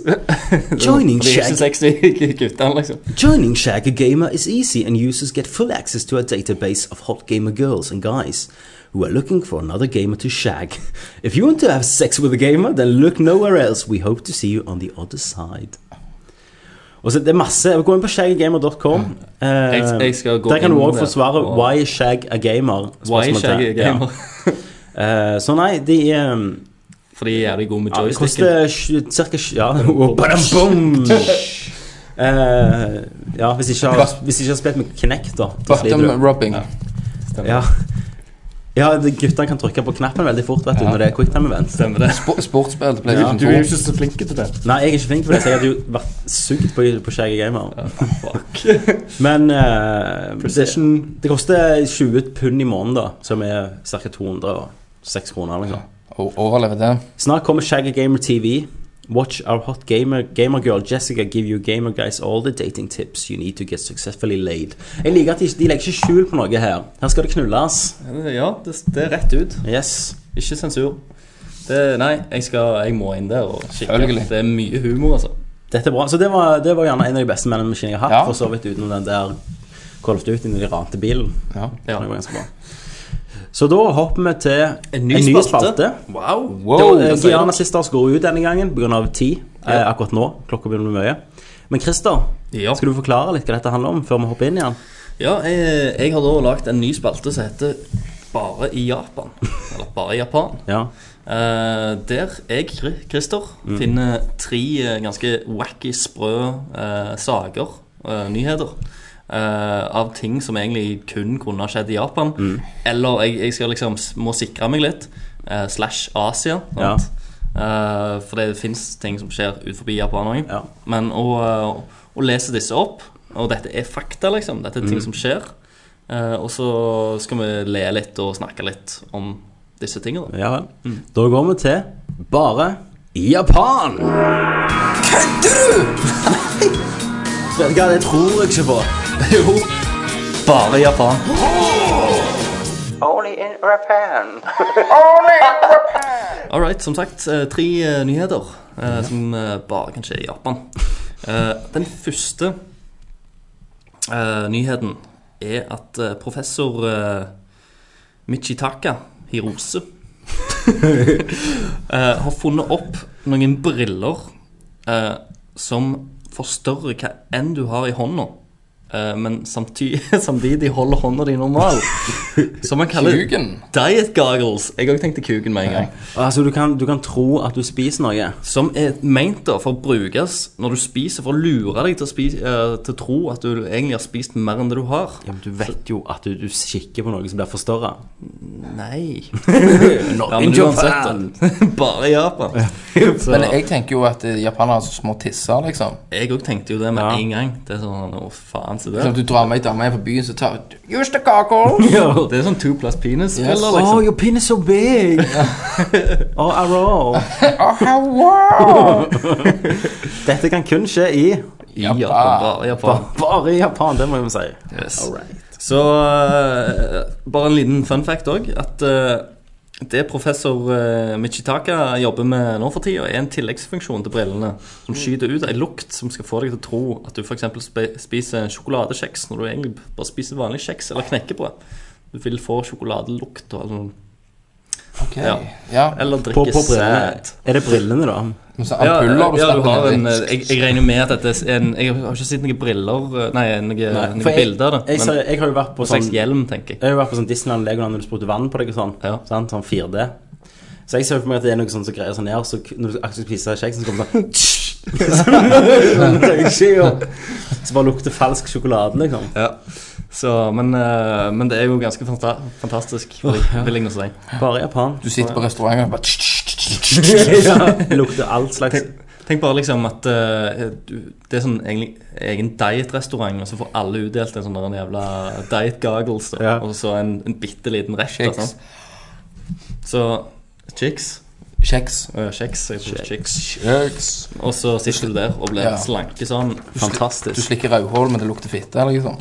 F: Joining
H: de er ikke
F: shag.
H: så sexy, guttene, liksom.
F: Joining Shag a Gamer is easy and users get full access to a database of hot gamer girls and guys who are looking for another gamer to shag. If you want to have sex with a gamer, then look nowhere else. We hope to see you on the other side. Og så det er masse, Gå inn på shagagamer.com. Eh,
H: Jeg- jeg skal gå
F: der kan du
H: inn
F: òg
H: der
F: få svaret
H: og-
F: 'Why is shag a gamer?'
H: Why
F: Spørsmål
H: shaggy
F: til.
H: gamer?
F: Ja. Eh, så nei, de um,
H: For de er jævlig gode med
F: ja, det
H: joysticken.
F: koster sj- cirka sj- Ja, og badam bom! Eh, ja, hvis ikke har, hvis ikke har spilt med Kinect, da. da sliter
C: Bottom
F: du.
C: rubbing.
F: Ja, ja det- guttene kan trykke på knappen veldig fort vet du,
C: Ja.
F: når det er quicktime event.
H: Stemmer det.
C: Sp sportsspill
F: Ja.
C: til PlayStation
F: Du
C: 2.
H: ikke så flink til det.
F: Nei, jeg er ikke flink på det, så jeg hadde jo vært sugd på, på Shaggy Gamer.
H: Fuck.
F: Men eh, det, det koster 20 pund i måneden, da, som er ca. 206 kroner. Liksom.
C: Å overleve det.
F: Snart kommer Shaggy Gamer TV. Watch our hot gamer, gamer girl Jessica give you gamer guys all the dating tips you need to get successfully laid. Jeg liker at de, de legger ikke skjul på noe her. Her skal det knulles.
H: Ja, det, det er rett ut.
F: Yes.
H: Ikke sensur. Det, nei, jeg, skal, jeg må inn der og kikke.
C: Selvfølgelig.
H: Det er mye humor, altså.
F: Dette er bra. Så det var, det var gjerne en av de beste mennene jeg har hatt,
C: Ja.
F: for så vidt utenom den der Call of Duty når de rante bilen.
C: Ja.
H: Ja.
F: Det var ganske bra. Så da hopper vi til
H: En ny spalte. Wow.
F: Wow,
H: Det var-
F: Giana eh, Sisters går ut denne gangen pga. tid. Eh, akkurat nå. Klokka begynner å bli mye. Men Christer,
H: Ja.
F: skal du forklare litt hva dette handler om, før vi hopper inn igjen?
H: Ja, jeg, jeg har da lagt en ny spalte som heter Bare i Japan. Eller Bare i Japan.
F: Ja.
H: Eh, der jeg, Kri- Christer,
I: Mm.
H: finner tre eh, ganske wacky, sprø eh, saker, eh, nyheter, eh, av ting som egentlig kun kunne ha skjedd i Japan.
I: Mm.
H: Eller jeg, jeg skal liksom s- må sikre meg litt. eh, slash Asia.
I: Ja.
H: Sant? Eh, for det fins ting som skjer ut forbi Japan òg.
I: Ja.
H: Men å, eh, å lese disse opp, og dette er fakta, liksom, dette
I: Mm.
H: er ting som skjer, eh, og så skal vi le litt og snakke litt om disse tingene.
I: Ja vel. Da går vi til bare Japan. Kødder du?! Vet du hva, det tror jeg ikke på. jo. Bare Japan.
H: All right, som sagt, eh, tre eh, nyheter eh, som eh, bare kan skje i Japan. Eh, Den første eh, nyheten er at eh, professor eh, Michitaka Hirose eh, har funnet opp noen briller eh, som forstørrer hva enn du har i hånda, eh, men samtidig, samtidig holder hånda di normal. Som han kaller
C: Kuken.
H: diet goggles. Jeg òg tenkte kuken med en gang.
I: Altså, du kan, du kan tro at du spiser noe.
H: Som er meint da for å brukes når du spiser, for å lure deg til å, spise, eh, til å tro at du egentlig har spist mer enn det du har.
I: Ja, men du vet jo at du, du kikker på noe som blir forstørra.
H: Nei.
I: Not
H: Ja, men uansett, da. Bare i Japan. Så,
C: Men jeg tenker jo at eh, japanere har så små tisser, liksom.
H: jeg òg tenkte jo det med
I: Ja.
H: en gang. Det er sånn Å, faen, se
C: Så
H: der.
C: du drar med ei dame hjem på byen, så tar du Use the cockles!
H: Det er sånn two plus penis-briller,
C: Yes.
I: Oh,
H: liksom.
I: your pin is so big! oh, arrow.
C: Oh, hello!
I: Dette kan kun skje i
H: I Japan, bare i Japan.
I: Bare i Japan, det må vi si.
H: Yes. Så eh, bare en liten fun fact òg. At eh, det professor eh, Michitaka jobber med nå for tida, er en tilleggsfunksjon til brillene.
I: Mm.
H: Som skyter ut ei lukt som skal få deg til å tro at du f.eks. Spe spiser sjokoladekjeks når du egentlig bare spiser vanlig kjeks eller knekkebrød. Du vil få sjokoladelukt og sånn.
C: Ok.
H: Ja.
C: Ja.
H: Eller
I: På,
H: drikke
I: på brillene.
H: sæd.
I: Er det brillene, da?
C: Men så
H: Ja,
C: ampuller du
H: ja, du har
C: stapper
H: en,
C: ned i.
H: eh, jeg, jeg regner med at dette er en Jeg har ikke sett noen briller eh, Nei, noen,
I: For
H: noen
I: jeg,
H: bilder av det.
I: jeg, ser-
H: Men
I: jeg har jo vært på
H: en slags
I: sånn
H: hjelm, tenker jeg.
I: Jeg har jo vært på sånn Disneyland Legoland når du spruter vann på deg og sånn.
H: Ja.
I: Sant? Sånn 4D. Så jeg ser for meg at det er noe sånt som greier seg ned, og så k- når du akkurat skal spise kjeks, så kommer det sånn Sånn, skje, og Så bare lukter falsk sjokolade, liksom.
H: Ja. Så, men, eh, men det er jo ganske fanta fantastisk, vil, vil jeg nå si.
I: Bare Japan.
C: Du sitter på restauranten og bare tsk, tsk, tsk, tsk, tsk.
I: ja, lukter all slags
H: Tenk bare liksom at eh, du- det er sånn egentlig egen diet-restaurant, og så får alle utdelt en sånn der en jævla diet goggles, da,
I: Ja.
H: og så en, en bitte liten rett. da,
C: Chicks.
H: sant? Så Chicks.
C: Kjeks.
H: Å ja, kjeks. Jeg tror chicks.
C: Kjeks.
H: Og så sitter du der og blir
C: Ja.
H: slanke sånn. sammen.
C: Du
I: fantastisk.
C: slikker rødhål, men det lukter fitte. eller Liksom.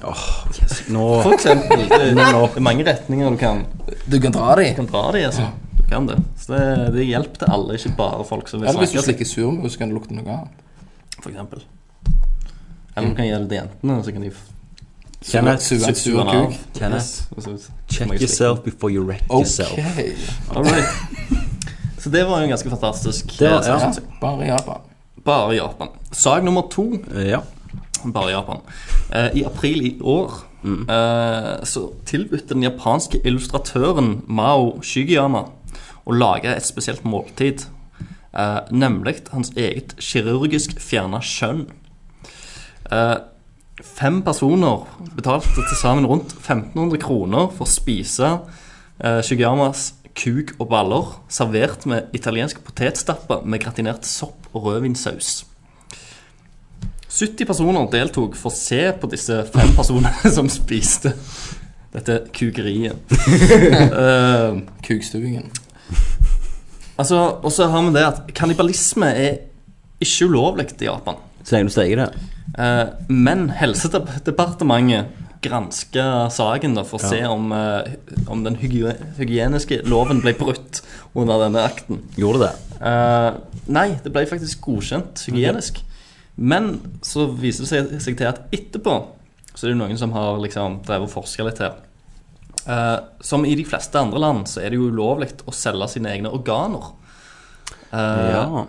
I: Nå
H: For eksempel. Det, det er mange retninger du kan,
C: Du kan dra de.
H: du kan dra det i. Altså. Du kan det. Så det, det hjelper til alle, ikke bare folk som vil
C: Eller hvis du
H: slanke seg.
C: slikker surmus, så kan det lukte noe annet.
H: for eksempel. Eller du kan gjøre det til jentene, så kan de
I: Kenneth,
C: Suge en sur kuk.
I: Kenneth,
H: Check
I: check yourself before you wreck yourself.
C: Ok.
H: All right. Så det var jo ganske fantastisk.
I: Det var-
H: eh, sak.
C: Ja, bare i Japan.
H: Bare Japan. Sak nummer to,
I: Ja.
H: bare Japan. Eh, I april i år eh, så tilbød den japanske illustratøren Mao Shigeyama å lage et spesielt måltid. Eh, nemlig hans eget kirurgisk fjerna kjønn. Eh, fem personer betalte til sammen rundt 1500 kroner for å spise eh, Shigeyamas kuk og baller, servert med italiensk potetstappe med gratinert sopp og rødvinsaus. 70 personer deltok for å se på disse fem personene som spiste dette kukeriet. Eh,
C: Kukstuingen.
H: altså, og så har vi det at kannibalisme er ikke ulovlig i Japan.
I: Så lenge du steker det.
H: Eh, Men Helsedepartementet gransker saken da, for å se om, eh, om den hygie- hygieniske loven ble brutt under denne akten.
I: Gjorde du det?
H: Eh, nei, det ble faktisk godkjent hygienisk. Men så viser det seg, seg til at etterpå så er det jo noen som har liksom drevet og forska litt her. Eh, som i de fleste andre land så er det jo ulovlig å selge sine egne organer. Eh,
I: Ja.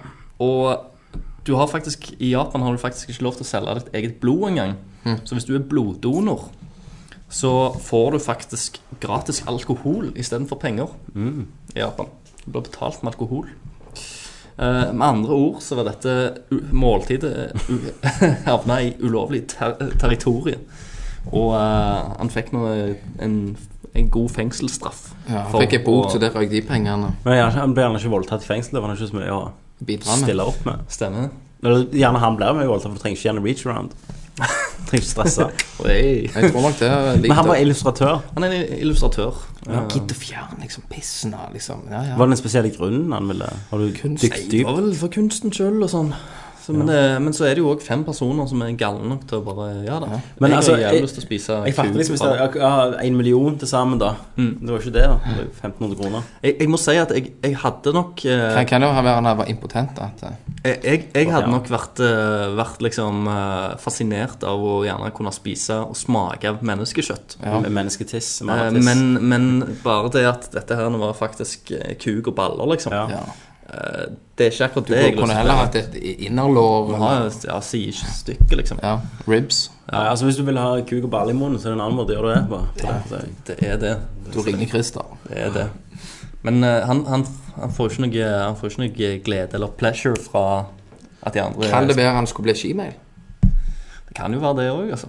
H: og du har faktisk, i Japan har du faktisk ikke lov til å selge ditt eget blod engang.
C: Hm.
H: Så hvis du er bloddonor,
C: Mm.
H: så får du faktisk gratis alkohol istedenfor penger i Japan. Du blir betalt med alkohol. Eh, med andre ord så var dette u måltidet eh, u- havna i ulovlig ter territorium. Og eh, han fikk nå en, en god fengselsstraff.
C: Ja, han
H: for
C: fikk en bot,
H: å-
C: så der røyk de pengene.
F: Men gjerne- han ble gjerne ikke voldtatt i fengsel. Det var han ikke så mye å
C: Bidra med.
F: stille opp med.
H: Stemmer.
F: Eller gjerne han blir mye voldtatt, for du trenger ikke gjerne reach around. trenger ikke stresse.
H: Oi.
C: Jeg tror nok det er likt.
F: Men han var illustratør.
H: Han er en illustratør.
C: Ja, Gidd å fjerne liksom pissen av, liksom. Ja, ja.
F: Var det den spesielle grunnen han ville Har du dykt
H: Det
F: dypt?
H: var vel for kunsten sjøl og sånn. Så, men, det, men så er det jo òg fem personer som er galne nok til å bare Ja da.
F: Men
H: jeg
F: altså,
H: har jævlig
F: jeg-
H: lyst til å spise
F: Jeg fatter
H: kuk
F: liksom hvis
H: fra-
F: det er ja, en million til sammen, da. Det var jo ikke det, da. Det var jo 1500 kroner.
H: jeg, jeg må si at jeg, jeg hadde nok eh,
C: Kan, kan det jo være han her var impotent? At, eh,
H: Jeg, jeg, jeg hadde
F: Ja.
H: nok vært, eh, vært liksom eh, fascinert av å gjerne kunne spise og smake av menneskekjøtt.
F: Med mennesketiss.
H: Eh,
F: mannetiss.
H: Men, men bare det at dette her nå var faktisk eh, kuk og baller, liksom.
F: Ja.
C: ja.
H: Eh, Det er ikke akkurat
C: Du
H: det jeg
C: kunne heller hatt et innerlår.
H: Ja,
C: eller-
H: ja, sier ikke stykket, liksom.
C: Ja, ribs.
F: ja, altså Hvis du vil ha kuk og balle i munnen, så er det en annen måte å gjøre det på. på det. Så,
H: Det er det.
C: Du ringer Christer.
H: Det er det. Men eh, han, han, han, får ikke noe, han får ikke noe glede eller pleasure fra at de andre
C: Kan det være han skulle bli skimail?
H: Det kan jo være det òg, altså.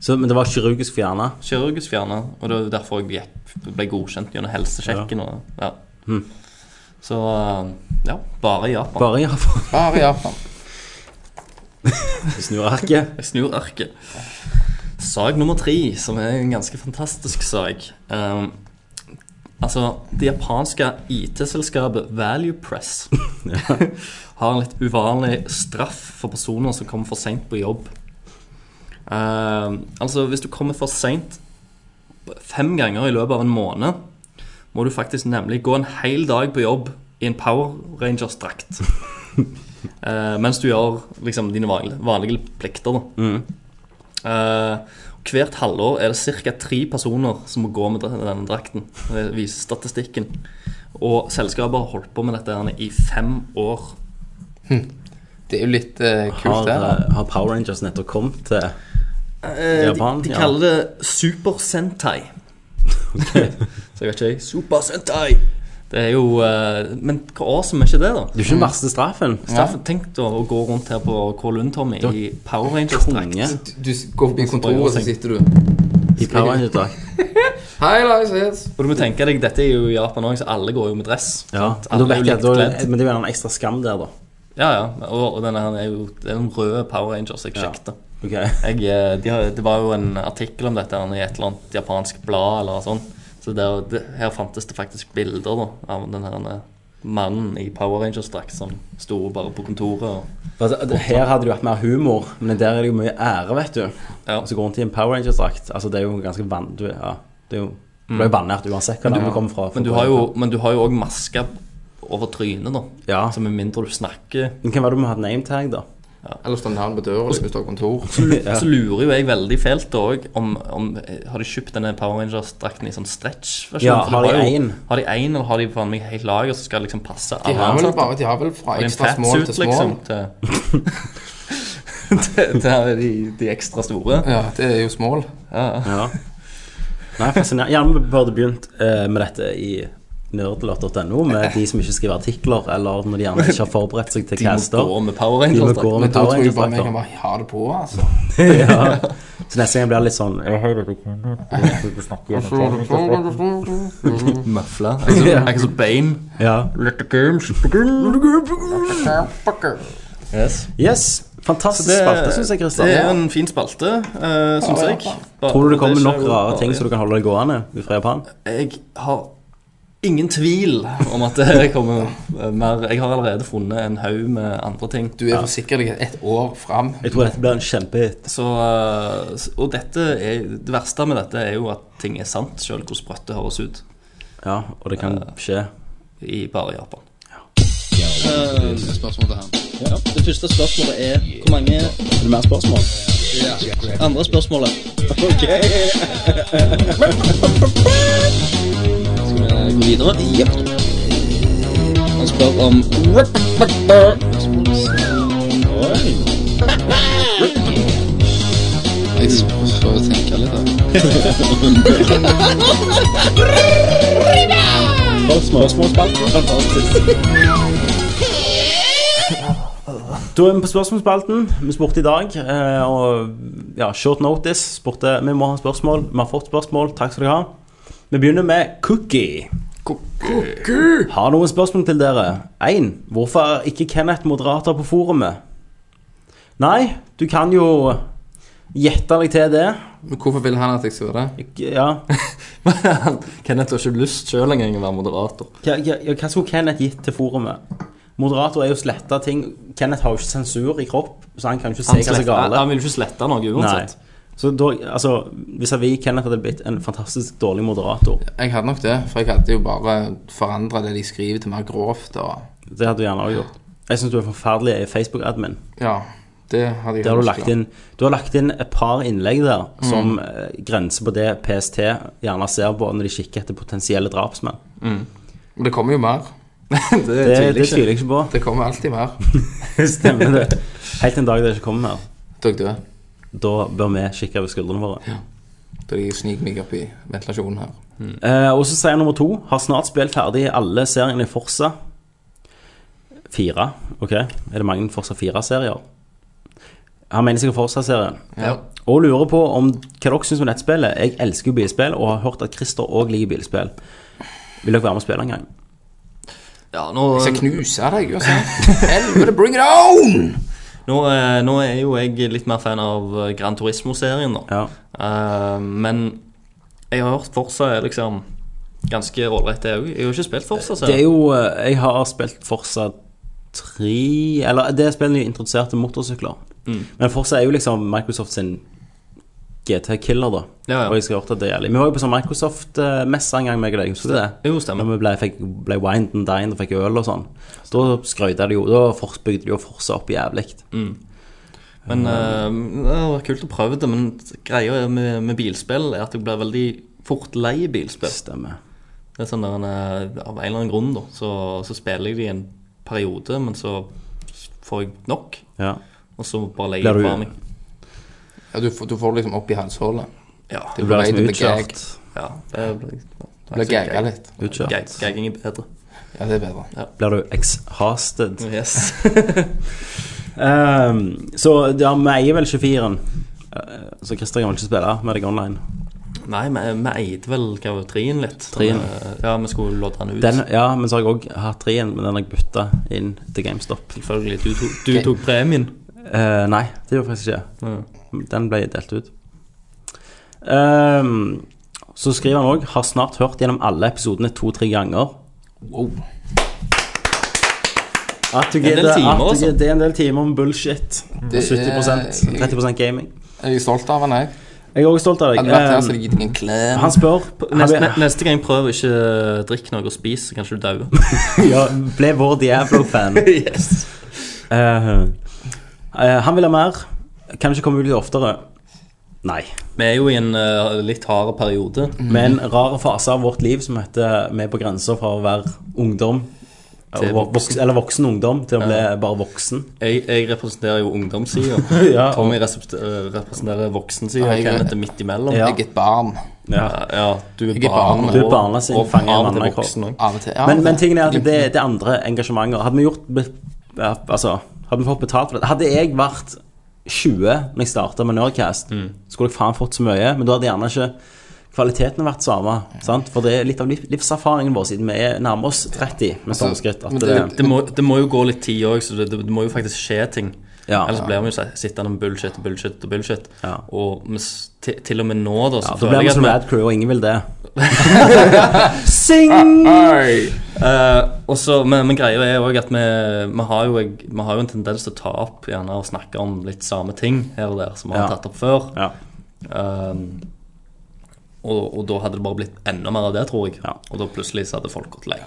F: så, men det var kirurgisk fjerna.
H: kirurgisk fjerna, og det var derfor jeg gikk, ble godkjent gjennom helsesjekken. Og, ja.
C: Hm.
H: Så eh, ja, bare i Japan.
F: Bare ja, for
C: Bare i Japan.
F: å snu arket.
H: Jeg snur arket. Sag nummer tre, som er en ganske fantastisk sag. Eh, altså, det japanske IT-selskapet Value Press har en litt uvanlig straff for personer som kommer for seint på jobb. Eh, altså, hvis du kommer for seint fem ganger i løpet av en måned, må du faktisk nemlig gå en hel dag på jobb i en Power Rangers-drakt. Eh, mens du gjør liksom dine vanlige, vanlige plikter, da. Eh, hvert halvår er det ca. tre personer som må gå med denne denne drakten. Det viser statistikken. Og selskapet har holdt på med dette her i fem år.
C: Det er jo litt eh, kult,
F: Har,
C: det. da.
F: eh, har Power Rangers nettopp kommet til
H: Eh,
F: Japan,
H: de de
F: ja.
H: kaller det Super Sentai. Så jeg vet ikke, jeg. Super Sentai! Det er jo eh, Men hva awesome er ikke det, da?
F: Det er jo ikke den verste straffen.
H: Derfor Tenk da å gå rundt her på Kål Lund-Tommy i Power Rangers-drakt.
F: Konge
C: Du, du går forbi kontoret, så sitter du
F: i Power Rangers-drakt.
C: Hei, Lysis!
H: Og du må tenke deg, dette er jo i Japan òg, så alle går jo med dress.
F: Ja,
H: sant?
F: men da
H: Alle
F: vet
H: er jo
F: jeg at da-
H: likt kledd.
F: men det er jo gjerne en ekstra skam der, da.
H: Ja, ja. Og, og denne her er jo det er den røde Power Rangers jeg
F: Ja.
H: sjekket.
F: Ok
H: Jeg, eh, de har, det var jo en artikkel om dette her i et eller annet japansk blad eller sånn. Så der, det, her fantes det faktisk bilder da, av den her eh, mannen i Power Rangers-drakt som sto bare på kontoret. Og,
F: For altså, det- Her hadde det vært mer humor, men der er det jo mye ære, vet du.
H: ja.
F: Og så går han til en Power Rangers-drakt. Altså, det er jo ganske vann... Du, ja, det er jo du blir jo vanært uansett hva land du kommer fra.
H: Mm. men, du har jo, men du har jo òg maske over trynet, da.
F: Ja.
H: Så med mindre du snakker
F: Men hvem var det du må ha et nametag, da?
C: Eller står navn på døra liksom, hvis du har kontor.
F: Ja.
H: Så lurer jo jeg veldig fælt da òg om, om eh, Har de kjøpt denne Power Rangers-drakten i sånn stretch-versjon?
F: Ja,
H: For
F: har
H: det
F: de
H: var jo-
F: en?
H: Har de én, eller har de faen meg helt lager som skal liksom passe
C: De
H: alle?
C: har vel
H: ansatte?
C: bare de har vel fra
H: Har de en
C: ekstra smål til
H: fatsuit,
C: smål.
H: liksom? Til, til, til de, de ekstra store?
C: Ja, det er jo smål.
F: Ja. Nei, fascinerende. Gjerne vi burde begynt eh, med dette i nerdelott.no, med de som ikke skriver artikler, eller når de gjerne ikke har forberedt seg til
H: De må
F: caster.
H: gå med Power
F: De må
H: Rangers.
F: gå
C: Men
F: med
C: da
F: Power
C: tror jeg bare vi kan
F: Rangers-drakter.
C: bare ha det på, altså.
F: ja. Så neste gang blir det litt sånn eh,
H: Møfla. Jeg er ikke så Bane.
F: Ja.
H: Let the games Yes.
F: Yes. Fantastisk spalte, syns jeg, Christian.
H: det er en fin spalte, uh, syns jeg. Bare-
F: Tror du det kommer
H: er
F: nok
H: ikke-
F: rare ting
H: bare-
F: så du kan holde deg gående ut fra Japan?
H: Jeg har ingen tvil om at det kommer eh, mer. Jeg har allerede funnet en haug med andre ting.
C: Du er for sikkert et år fram.
F: Jeg tror dette blir en kjempehit.
H: Så, eh, s- og dette er, det verste med dette er jo at ting er sant, sjøl hvor sprøtt det høres ut
F: Ja, og det kan skje.
H: i bare Japan.
F: Det første spørsmålet er hvor mange Er det mer spørsmål? Andre spørsmålet. Ok. Skal vi gå videre? Jepp. Han spør om
C: Jeg prøver å tenke litt.
K: Rebound!
F: Da er vi på spørsmålsspalten. Vi spurte i dag, eh, og ja, short notice spurte Vi må ha spørsmål. Vi har fått spørsmål. Takk skal dere ha. Vi begynner med Cookie. Har noen spørsmål til dere. 1. Hvorfor er ikke Kenneth moderator på forumet? Nei, du kan jo gjette deg til det.
C: Men hvorfor vil han at jeg skal være det?
F: Ikke- Ja,
H: Kenneth har ikke lyst selv engang å være moderator.
F: hva, hva, ja, hva skulle Kenneth gitt til forumet? Moderator er jo sletta ting. Kenneth har jo ikke sensur i kropp, så han kan jo ikke se
H: Han,
F: hva som er
H: sletter-
F: galt.
H: han vil jo ikke slette noe
F: Nei.
H: uansett.
F: Så da, altså, hvis vi Kenneth hadde blitt en fantastisk dårlig moderator
C: Jeg hadde nok det, for jeg hadde jo bare forandra det de skriver, til mer grovt og
F: Det hadde du gjerne også gjort. Jeg syns du er forferdelig Facebook-admin.
C: Ja, det hadde jeg
F: Der har du,
C: lyst
F: lagt
C: til.
F: inn, du har lagt inn et par innlegg der som eh, grenser på det PST gjerne ser på når de kikker etter potensielle drapsmenn.
C: Men det kommer jo mer.
F: Det, det, tviler jeg ikke på.
C: Det kommer alltid mer.
F: Stemmer det. Helt en dag det ikke kommer mer.
C: Dere døde.
F: Da bør vi kikke over skuldrene våre.
C: Da de sniker meg opp i ventilasjonen her.
F: Eh, og så sier nummer to Har snart spilt ferdig alle seriene i Forsa. Fire. Ok, er det mange Forsa 4-serier? Han mener sikkert Forsa-serien.
C: Ja.
F: Og lurer på om hva dere syns om nettspillet. Jeg elsker jo bilspill, og har hørt at Christer òg liker bilspill. Vil dere være med og spille en gang?
H: Ja, nå,
C: Jeg skal knuse deg, altså. Helvete, bring it on!
H: nå, eh, nå er jo jeg litt mer fan av eh, Gran Turismo-serien, da.
F: Ja.
H: Eh, men jeg har hørt Forsa er liksom ganske ålreit, det òg. Jeg har jo ikke spilt Forsa, så
F: Det er jo eh, Jeg har spilt Forsa 3 Eller det er spillene de introduserte motorsykler.
H: Mm.
F: Men Forsa er jo liksom Microsoft sin GT-killer, da.
H: Ja, ja.
F: Og jeg skal ha hørt at det er jævlig. Vi var jo på sånn Microsoft-messe en gang, meg og deg. Husker du det?
H: Jo, stemmer.
F: Når vi ble, fikk, ble wined and dined og fikk øl og sånn. Da skrøyta de jo. Da for- bygde de jo Forsa opp jævlig.
H: Men eh, det hadde vært kult å prøve det, men greia er med, med bilspill er at jeg blir veldig fort lei i bilspill.
F: Stemmer.
H: Det er sånn der, en, eh, Av en eller annen grunn, da, så, så spiller jeg det i en periode, men så får jeg nok,
F: Ja.
H: og så bare
F: Blir
H: legger
F: du-
H: jeg fra meg.
C: Ja, du, får- du får det liksom opp i halshålet.
H: Ja,
C: Det
F: Du ble
C: blir
F: liksom
C: utkjørt.
F: utkjørt.
H: ja, det blir
C: Du blir gagga litt.
F: utkjørt.
H: Gagging er bedre.
C: Ja, det er bedre.
F: Blir du exhausted?
H: Yes.
F: Ehm, så ja, vi eier vel 24-en. Eh, Så Christer kan vel ikke spille med deg online.
H: Nei, vi vi eide vel hva var det, trien litt.
F: Trien.
H: Eh, Ja, vi skulle lodde den ut.
F: Den, ja, men så har jeg òg hatt 3-en, men den har jeg bytta inn til GameStop.
H: Selvfølgelig. Du tok, du tok premien.
F: Eh, nei, det gjorde jeg faktisk ikke. Den ble delt ut. Ehm, så skriver han òg 'Har snart hørt gjennom alle episodene to-tre ganger'.
C: Wow.
F: At du
H: en del
F: gidder, at
H: timer,
F: du
H: altså.
F: gidder, det er en del timer om bullshit. Og
C: Det
F: 70
C: er-
F: 30 gaming.
C: Jeg er stolt av han, jeg.
F: Jeg er òg stolt av deg.
C: Hadde vært her, så
F: Ehm,
C: hadde jeg gitt deg en klem.
F: han spør
H: Neste, ne- neste gang prøv å ikke eh, drikke noe og spise, så kanskje du dauer.
F: ja, Ble vår Diablo-fan.
H: yes.
F: Eh, eh, han vil ha mer. Kan ikke komme ut litt oftere. Nei.
H: Vi er jo i en eh, litt hard periode.
F: Med en rar fase av vårt liv som heter vi er på grensa fra å være ungdom
H: Til
F: og voksen, Eller voksen ungdom til å bli bare voksen.
H: Jeg, jeg representerer jo ungdomssida.
F: Ja. Ah,
H: Tommy resep- eh, representerer voksensida.
C: Ja, jeg-
H: Kenneth er midt imellom.
F: Ja.
C: Jeg er et barn.
F: Ja.
H: ja, du er
C: Jeg er
H: barn.
C: barn.
F: Du er barnet sin
H: og
F: fanget i en
H: av og til
F: annen kropp.
H: voksen også.
C: Av og til. Ah, Ja,
F: Men,
C: av og
F: men
C: til.
F: tingen er at det, det er andre engasjementer. Hadde vi gjort be- ja, Altså, hadde vi fått betalt for det Hadde jeg vært 20 når jeg starta med Nerdcast, skulle jeg faen fått så mye, men da hadde gjerne ikke kvaliteten vært samme. Sant? For det er litt av liv, livserfaringen vår, siden vi er nærmer oss 30 med sånne skritt. At eh,
C: men
F: det,
C: det-
H: Det må, det må jo gå litt tid òg, så det, det, det må jo faktisk skje ting.
F: Ja.
H: Ellers blir vi jo se- sittende med bullshit og bullshit og bullshit.
F: Ja.
H: Og vi s- til, til og med nå, da, så
F: ja, for det
H: føler
F: blir
H: jeg
F: vi som
H: at vi
F: Rad Crew, og ingen vil det. Sing!
C: Oi!
H: Eh, og så, men, men greia er òg at vi, vi, har jo, vi har jo en tendens til å ta opp gjerne og snakke om litt samme ting her og der som vi har
F: Ja.
H: tatt opp før.
F: Ja.
H: Ehm, og, og da hadde det bare blitt enda mer av det, tror jeg.
F: Ja.
H: Og da plutselig så hadde folk gått lei.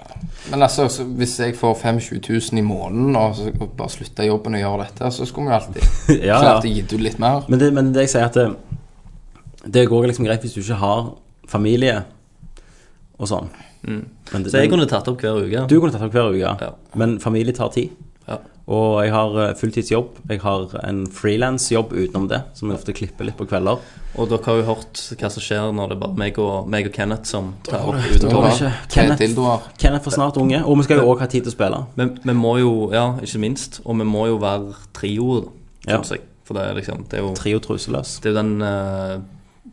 C: Men altså, så hvis jeg får 25 000 i måneden og så bare slutter jobben og gjør dette, så skulle vi alltid
F: Ja,
C: klart
F: ja.
C: å gi ut litt mer.
F: Men det, men det jeg sier at det, det går liksom greit hvis du ikke har familie og sånn. Men det-
H: Så jeg
F: men-
H: Mm. kunne tatt opp hver uke.
F: Du kunne tatt opp hver uke,
H: Ja.
F: men familie tar tid. Og jeg har eh, fulltidsjobb. Jeg har en frilansjobb utenom det, som jeg ofte klipper litt på kvelder.
H: Og dere har jo hørt hva som skjer når det er bare meg og, meg og Kenneth som tar opp
C: Da
H: utenfor.
C: har
F: ikke.
C: tre
F: Kenneth.
C: dildoer.
F: Kenneth var snart unge, og vi skal jo òg ha tid til å spille.
H: Men vi må jo, ja, ikke minst, og vi må jo være trio, da,
F: Ja.
H: synes jeg. For det er liksom, det er jo,
F: Trio truseløs.
H: det er jo den eh,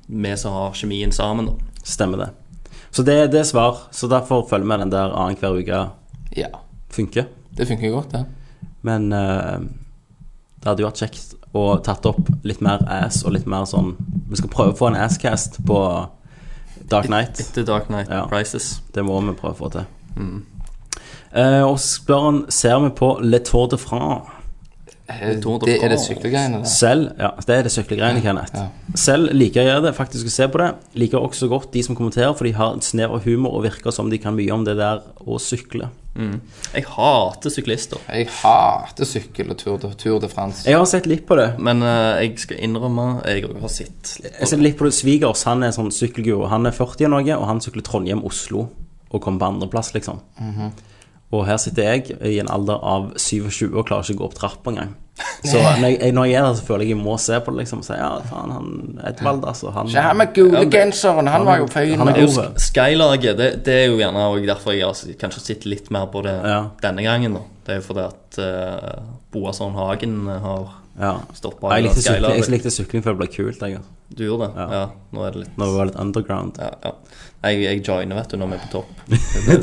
H: vi som har kjemien sammen, da.
F: Stemmer det. Så det, det er svar. Så derfor følger vi den der annenhver uke
C: Ja.
F: funker.
C: Det funker godt, det.
F: Men eh, det hadde jo vært kjekt å tatt opp litt mer ass og litt mer sånn Vi skal prøve å få en asscast på Dark Night.
H: Etter Dark Night
F: Ja.
H: Rises.
F: Det må vi prøve å få til.
C: Mm.
F: Eh, og så spør han ser vi på Le Tour de France.
C: Eh,
H: Tour de
C: Det er det
H: France.
C: syklegreiene, det.
F: Selv, ja, det er det syklegreiene, Kenneth.
C: ja.
F: Selv liker jeg det, faktisk å se på det. Liker også godt de som kommenterer, for de har et snev av humor og virker som de kan mye om det der å sykle.
H: Jeg hater syklister,
C: Jeg hater sykkel og Tour de, Tour de France.
F: Jeg har sett litt på det.
H: men eh, jeg skal innrømme jeg også har sett litt.
F: Jeg ser litt på det. Svigers han er sånn sykkelguru. Han er 40 og noe, og han sykler Trondheim-Oslo og kommer på andreplass, liksom. Og her sitter jeg i en alder av 27 og klarer ikke å gå opp trappa engang. Så når jeg, når jeg er der, så føler jeg jeg må se på det, liksom. Og si ja, faen, han Edvald, altså. Han,
C: Se her med gule genseren, han var jo føyen.
F: han er
H: Jo,
F: god.
H: Skylaget, det, det er jo gjerne også derfor jeg har s- kanskje sett litt mer på det
F: Ja.
H: denne gangen, da. Det er jo fordi at eh, Boasson Hagen har
F: Ja.
H: stoppet
F: Jeg likte, sykling, jeg
H: Skylaget.
F: likte sykling før det ble kult, jeg. altså.
H: Du gjorde det?
F: Ja.
H: Ja. Nå er det litt
F: Når det var litt underground.
H: Ja, ja. Jeg, jeg joiner, vet du, når vi er på topp.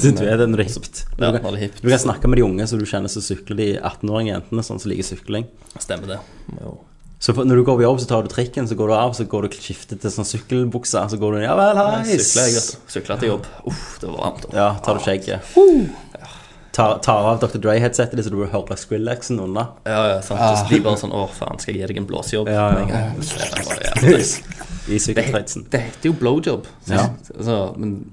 F: du, du er den ript. Du,
H: Ja, når det er
F: kan-
H: hipt.
F: du kan snakke med de unge som du kjenner som sykler, de 18-årige jentene sånn som liker sykling.
H: Stemmer det. Jo.
F: Så for, når du går på jobb, så tar du trikken, så går du av, så går du skifter til sånn sykkelbukse, så går du Ja altså. vel, heis!
H: Sykla, jeg, vet du. Sykla til jobb. Uff, det var varmt. da.
F: Ja, tar du skjegget. Tar, tar av Dr. Dre-headsetet ditt, så du hører Skrillex-en unna.
H: Ja, ja, sant. Og så blir det bare sånn Å, faen, skal jeg gi deg en blåsejobb?
F: Ah. Ja, ja.
H: Med en gang. Så jeg bare, ja.
F: I sykkeltreitsen.
H: Det heter jo blowjob.
F: Ja.
H: Altså, men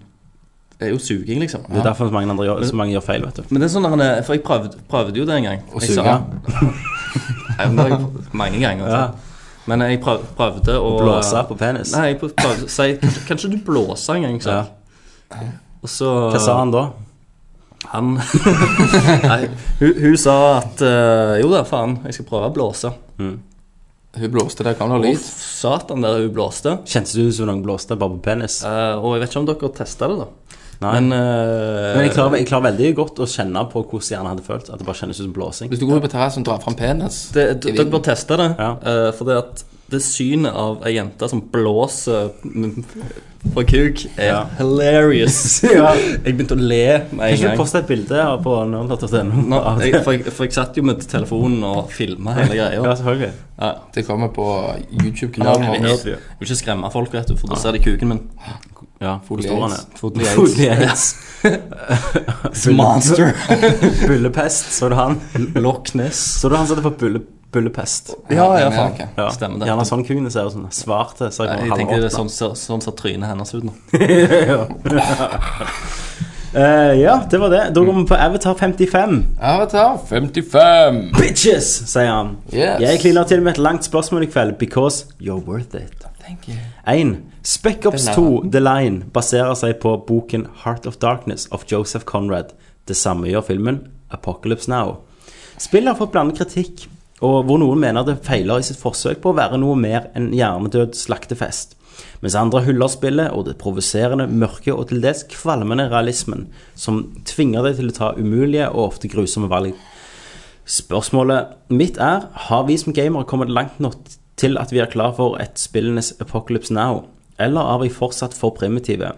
H: det er jo suging, liksom.
F: Det er derfor så mange, andre gjør, så mange gjør feil, vet du.
H: Men det er sånn der, For jeg prøvde, prøvde jo det en gang. Å
C: suge?
H: Mange ganger.
F: Ja.
H: altså. Men jeg prøv, prøvde å
F: Blåse på penis.
H: Nei, jeg prøvde å si Kanskje, kanskje du blåser en gang, sa
F: Ja.
H: jeg. Og så
F: Hva sa han da?
H: Han Nei, hun, hun sa at eh, Jo da, faen, jeg skal prøve å blåse.
C: Hun blåste, der kom det
H: Og
C: lyd.
H: satan der hun blåste.
F: Kjente du som noen blåste bare på penis?
H: Eh, og jeg vet ikke om dere testa det, da.
F: Nei.
H: Men,
F: Men,
H: eh,
F: jeg, klarer, jeg klarer veldig godt å kjenne på hvordan han hadde følt. At det bare kjennes ut som blåsing.
C: Hvis du går ut på terrassen og drar fram penis
H: det, d- dere bør teste det.
F: Ja.
H: eh, for det at det synet av ei jente som blåser m- på kuk, er
F: Ja.
H: hilarious.
F: Ja.
H: Jeg begynte å le med
F: Kan
H: en
F: ikke du
H: gang.
F: poste et bilde her på nerdlåter.no?
H: Nå, jeg, for, jeg, for jeg satt jo med telefonen og filma hele
F: Ja,
H: greia.
F: selvfølgelig.
H: Ja.
C: Det kommer på
H: Jeg
C: YouTube-kanalen
H: vil
C: vår.
H: ikke- jeg vil ikke skremme folk, vet du, for da ser de kuken min.
F: Ja, hvor stor han er.
C: Fodlig aids.
F: Fodlig aids.
H: Monster.
F: Bullepest, så du han? Loch Ness. Så du han som heter for bulle, Bullepest?
H: Ja, ja,
C: Amerika.
H: faen.
F: Ja.
H: Stemmer
F: Gjerne
H: det.
F: sånn kune ser ut som svarte. Ser
H: Jeg tenker det er sånn ser sånn ser trynet hennes ut nå.
F: Eh, ja, det var det. Da går vi på Avatar 55.
C: Avatar 55.
F: Bitches, sier han.
C: Yes.
F: Jeg kliner til med et langt spørsmål i kveld because you're worth it.
C: Thank you.
F: 1. Spec Ops 2 The Line baserer seg på boken Heart of Darkness av Joseph Conrad. Det samme gjør filmen Apocalypse Now. Spillet har fått blandet kritikk, og hvor noen mener det feiler i sitt forsøk på å være noe mer enn hjernedød slaktefest. Mens andre hyller spillet og det provoserende, mørke og til dels kvalmende realismen, som tvinger deg til å ta umulige og ofte grusomme valg. Spørsmålet mitt er Har vi som gamere kommet langt nok til at vi er klar for et spillenes apocalypse now? Eller er vi fortsatt for primitive?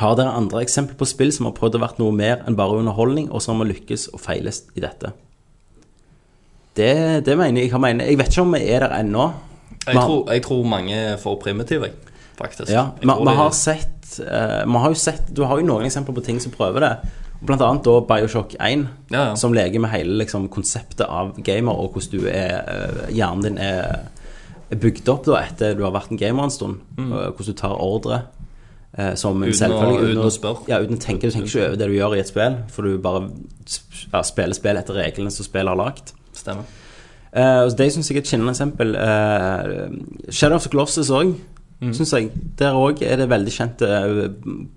F: Har dere andre eksempler på spill som har prøvd å være noe mer enn bare underholdning, og som har lykkes og feiles i dette? Det, det mener jeg. Jeg mener, jeg vet ikke om vi er der ennå.
H: Jeg
F: Man-
H: tror, jeg tror mange er for primitive, jeg, faktisk.
F: Ja,
H: Jeg tror
F: man, man
H: de-
F: har sett, eh, man har jo sett Du har jo noen eksempler på ting som prøver det. Blant annet da Bioshock 1,
H: Ja, ja.
F: som leker med hele liksom, konseptet av gamer, og hvordan du er, eh, hjernen din er er bygd opp da, etter du har vært en gamer en stund. eh, Hvordan du tar ordre. eh, som en
H: Mm. Uten å-
F: selvfølge.
H: uten å spørre.
F: Ja, uten å tenke. Du tenker ikke over det du gjør i et spill, for du bare sp- ja, spiller spill etter reglene som spillet har lagd.
H: Stemmer.
F: Eh, og det synes jeg er et skinnende eksempel. Eh, Shadow of the Glosses òg, synes jeg. Der òg er det veldig kjente eh,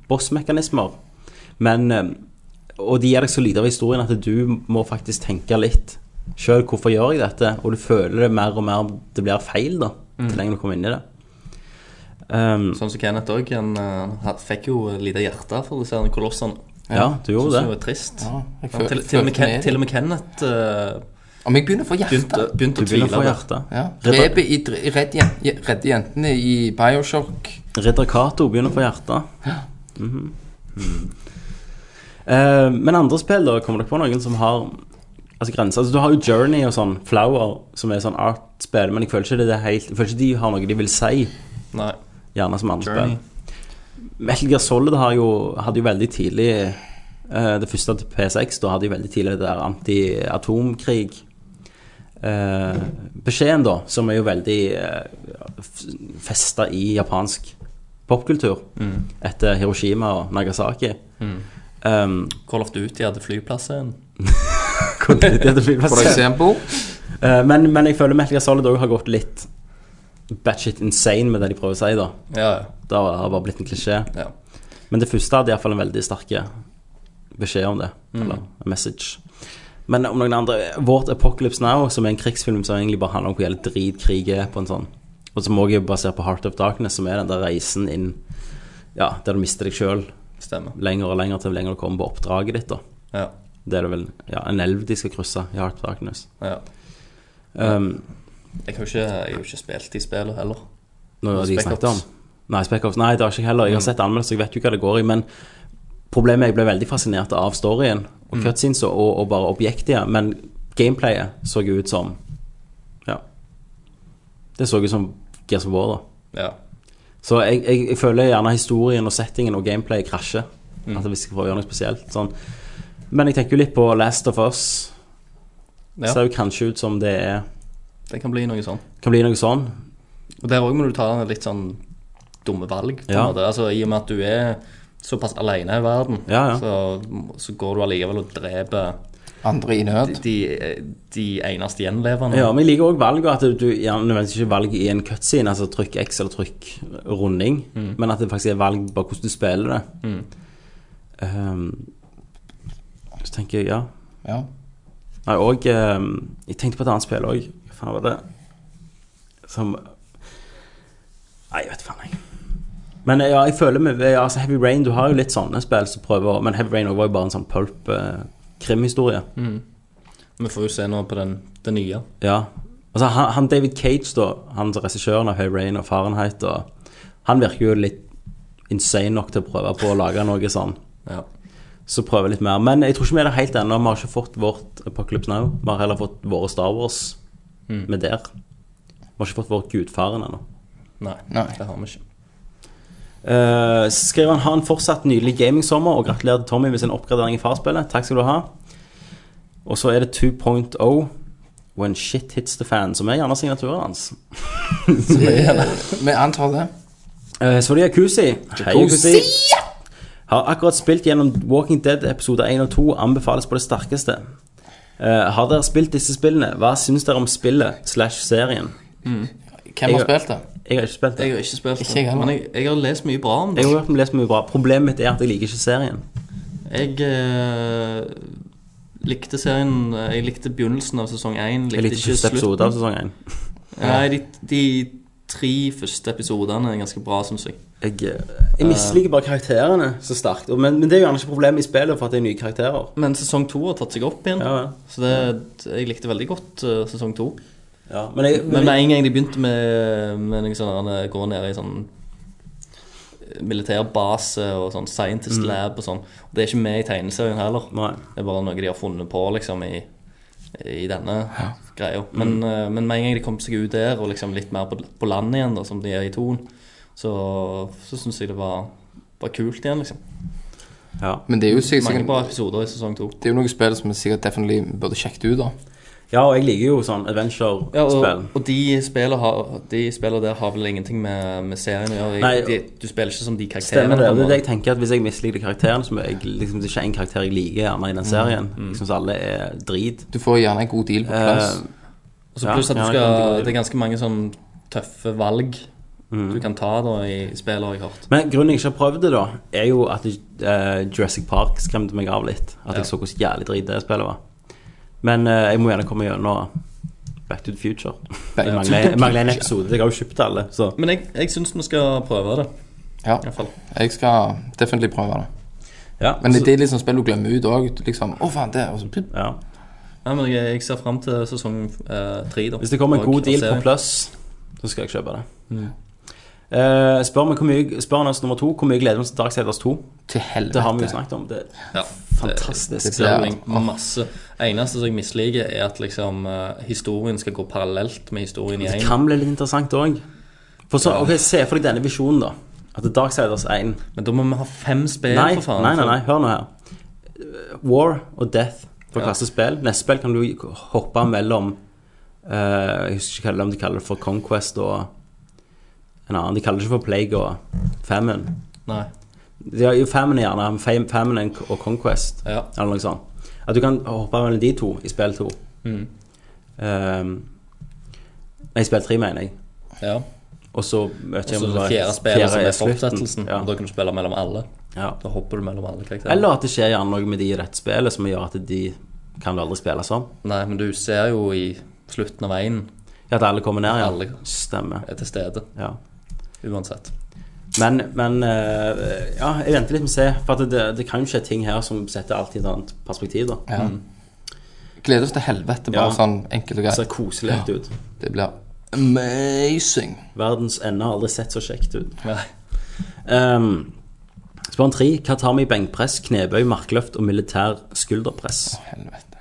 F: bossmekanismer. Men eh, Og de gir deg så lite av historien at du må faktisk tenke litt sjøl hvorfor gjør jeg dette, og du føler det mer og mer det blir feil da, til lenger du kommer inn i det. Um,
H: Sånn som Kenneth òg. Han eh, had- fikk jo et lite hjerte for disse her kolossene.
F: ja, du gjorde
H: Som
F: det.
H: var trist.
C: Ja, jeg
H: Ja,
C: føl-
H: til, til, og med
C: følte
H: Ken,
C: med.
H: til og med Kenneth eh,
C: Om jeg begynner å få hjerte.
H: begynte, begynte
F: Du
H: å
F: begynner å
H: tvile.
F: få
H: der.
F: hjertet.
C: Ja. Rebet i dr- i Redd jen- je- redde jentene i Bioshock.
F: Ridder Cato begynner å få hjertet. Mhm. Eh, men andre spill, da? Kommer dere på noen som har Altså grenser? Altså, du har jo Journey og sånn, Flower, som er sånn art-spill, men jeg føler ikke det, er helt Jeg føler ikke de har noe de vil si.
H: Nei.
F: Gjerne som andre
H: Journey.
F: spill. Metal Gear Solid har jo, hadde jo veldig tidlig eh, Det første til P6 da hadde jo veldig tidlig det der anti-atomkrig. eh, beskjeden, da, som er jo veldig uh, festa i japansk popkultur etter Hiroshima og Nagasaki. Um,
H: Call of Duty hadde flyplassen.
F: hvor det- det blir
C: For eksempel.
F: Eh, men, men jeg føler Metal Gear Solid òg har gått litt batshit insane med det de prøver å si, da.
H: Ja,
F: Da har det bare blitt en klisjé.
H: ja. ja.
F: Men det første hadde iallfall en veldig sterk beskjed om det. Eller en message. Men om noen andre Vårt Apocalypse Now, som er en krigsfilm som egentlig bare handler om hvor jævlig drit krig er på en sånn Og som også er basert på Heart of Darkness, som er den der reisen inn Ja, der du mister deg sjøl
H: Stemmer.
F: lenger og lenger til lenger du kommer på oppdraget ditt, da.
H: Ja.
F: Det er det vel ja, en elv de skal krysse i Heart of Darkness.
H: ja.
F: Um,
H: Jeg har jo ikke, jeg har jo ikke spilt de spillene heller.
F: Når de
H: Spec
F: snakket om
H: Ops. Mm.
F: Nei, Spec Ops, nei, det har jeg ikke heller Jeg har sett anmeldelser, jeg vet jo hva det går i Men problemet er jeg ble veldig fascinert av storyen
H: Mm.
F: Og cutscenes og, og, og bare objektet ja. Men gameplayet så jo ut som Ja Det så ut som Gears of War da
H: Ja.
F: Så jeg, jeg, jeg føler gjerne historien og settingen Og gameplayet krasjer
H: Mm.
F: At vi skal prøve å gjøre noe spesielt sånn. Men jeg tenker jo litt på Last of Us
H: Ja.
F: Ser jo kanskje ut som det er
H: Det kan bli noe sånn.
F: Kan bli noe sånn
H: Og der òg må du ta litt sånn dumme valg. På
F: Ja.
H: en måte. Altså, I og med at du er såpass alene i verden,
F: Ja, ja.
H: Så, så går du allikevel og dreper
C: Andre i nød.
H: de, de eneste gjenlevende.
F: Ja, men jeg liker òg valget at du gjerne nødvendigvis ikke valg i en cutscene, altså trykk X eller trykk runding, men at det faktisk er valg bare hvordan du spiller det. Ehm, så tenker jeg, ja
C: Ja.
F: Nei, og ehm, Jeg tenkte på et annet spill òg. Hva faen var det? Som Nei, jeg vet faen, jeg. Men ja, jeg føler med ja, altså Heavy Rain Du har jo litt sånne spill som prøver å Men Heavy Rain også var jo bare en sånn pulp eh, krimhistorie.
H: Vi får jo se nå på den, det nye.
F: Ja. Altså, han, han David Cage, da, han som er regissøren av Heavy Rain og Fahrenheit, og, han virker jo litt insane nok til å prøve på å lage noe sånn.
H: Ja.
F: Så prøver jeg litt mer. Men jeg tror ikke vi er der helt ennå. Vi har ikke fått vårt Apocalypse Now. Vi har heller fått våre Star Wars med der. Vi har ikke fått vår Gudfaren ennå.
H: Nei,
C: Nei.
H: det har vi ikke.
F: Eh, så skriver han ha en fortsatt nydelig gamingsommer, og gratulerer til Tommy med sin oppgradering i farspillet. Takk skal du ha. Og så er det 2.0, When Shit Hits The Fan, som er gjerne signaturen hans.
C: Vi antar det.
F: Eh, Så var det Jacuzzi. Hei, Jacuzzi. Har akkurat spilt gjennom Walking Dead episode 1 og 2. Anbefales på det sterkeste. Eh, har dere spilt disse spillene? Hva syns dere om spillet slash serien?
C: Hvem har spilt det?
F: Jeg har ikke spilt det.
H: Jeg har ikke spilt
C: Ikke
H: det,
C: jeg heller.
H: men jeg, jeg har lest mye bra om det.
F: Jeg har hørt om det som er bra. Problemet mitt er at jeg liker ikke serien.
H: Jeg eh, likte serien eh, Jeg likte begynnelsen av sesong 1.
F: Jeg likte ikke første episode av sesong 1.
H: Nei, de, de tre første episodene er ganske bra, syns jeg.
F: Jeg, eh, jeg misliker bare karakterene så sterkt. Og- Men, men det er jo gjerne ikke problemet i spillet for at det er nye karakterer.
H: Men sesong to har tatt seg opp igjen,
F: Ja, ja.
H: så det, jeg likte veldig godt eh, sesong to.
F: Ja, men jeg,
H: Men med en gang de begynte med, med noe sånn der, gå ned i sånn militærbase og sånn scientist
F: Mm.
H: lab og sånn Det er ikke med i tegneserien heller.
F: Nei.
H: Det er bare noe de har funnet på liksom i, i denne greia. Men,
F: Mm.
H: eh, men med en gang de kom seg ut der, og liksom litt mer på, på land igjen, da, som de er i Ton, så, så syns jeg det var, var kult igjen, liksom.
F: ja.
C: Men det er jo sikkert,
H: Mange bra
C: sikkert
H: episoder i sesong to.
C: Det er jo noen spill som vi sikkert definitely burde sjekket ut, da.
F: ja, og jeg liker jo sånn adventure-spill.
H: Ja, og, og de spillene har, de spillene der har vel ingenting med, med serien å gjøre.
F: Nei,
H: de, du spiller ikke som de karakterene.
F: Stemmer det.
H: på
F: og det er
H: en
F: det
H: måte.
F: jeg tenker at Hvis jeg misliker karakteren så må jeg, liksom, Det er ikke én karakter jeg liker gjerne i den serien. Jeg syns alle er drit.
C: Du får gjerne en god deal på plass.
F: Eh,
H: Og så
F: Ja,
H: pluss at du
F: ja, det
H: skal,
F: kan det gå i.
H: det er ganske mange sånn tøffe valg
F: Mm.
H: du kan ta da i spillet, har jeg hørt.
F: men grunnen jeg ikke har prøvd det, da, er jo at eh, Jurassic Park skremte meg av litt. At
H: Ja.
F: jeg så hvordan jævlig drit det spillet var. Men eh, jeg må gjerne komme gjennom Back to the Future.
C: Nei,
F: Jeg mangler, jeg mangler en episode. Jeg har jo kjøpt alle, så
H: Men jeg, jeg syns vi skal prøve det.
C: Ja,
H: I hvert fall.
C: jeg skal definitivt prøve det.
F: ja.
C: Men
F: så,
C: det er liksom spill du glemmer ut òg. Liksom, å faen, det og så,
F: ja.
H: Nei, men jeg, jeg ser fram til sesong eh, tre. da.
F: Hvis det kommer en
H: Og-
F: god deal
H: og serien.
F: på Plus, så skal jeg kjøpe det. Eh, spør, meg hvor mye, spør han oss nummer to hvor mye gleder vi oss til Darksiders 2.
C: Til helvete.
F: Det har vi jo snakket om. Det er
H: Ja,
F: fantastisk.
C: det blir-
H: Serien, masse. Eneste som jeg misliker, er at liksom, eh, historien skal gå parallelt med historien i
F: Det
H: én.
F: kan bli litt interessant òg. Ok, se for deg denne visjonen, da. At det er Darksiders 1
H: Men da må vi ha fem spill,
F: Nei,
H: for faen.
F: nei,
H: altså.
F: nei, nei, hør nå her. War og Death for
H: Ja.
F: klassespill. Neste spill kan du hoppe mellom eh, Jeg husker ikke hva det er, om de kaller det for Conquest og en annen. De kaller det ikke for Plague og Famine.
H: Nei.
F: De har jo Famine gjerne. men Fam- Famine og Conquest
H: Ja.
F: eller noe sånt. At du kan hoppe mellom de to i spill to.
H: Mm.
F: Ehm, nei, spill tre, mener jeg.
H: ja.
F: Og så vet jeg om
H: Så
F: det
H: det
F: var
H: fjerde spillet som
F: fjerde
H: er
F: slutten.
H: fortsettelsen.
F: Ja.
H: og Da kan du spille mellom alle.
F: Ja.
H: Da hopper du mellom alle karakterer.
F: Eller at det skjer gjerne noe med de i rett spillet som gjør at de kan du aldri spille som.
H: Nei, men du ser jo i slutten av veien
F: Ah, Ja, at alle kommer ned igjen.
H: Alle.
F: Stemmer.
H: er til stede,
F: Ja.
H: uansett.
F: Men, men eh, ja, jeg venter litt med å se. For at det, det kan jo skje ting her som setter alt i et annet perspektiv. da
C: Ja. Gleder oss til helvete,
F: Mm.
C: bare
F: Ja. Altså-
C: sånn enkelt og
F: Det ser
C: greit.
F: koselig
C: Ja.
F: ut.
C: Det blir amazing.
F: Verdens ende har aldri sett så kjekt ut.
H: Nei.
F: Um, Spør tre. Hva tar vi i benkpress, knebøy, markløft og militær skulderpress?
C: Helvete.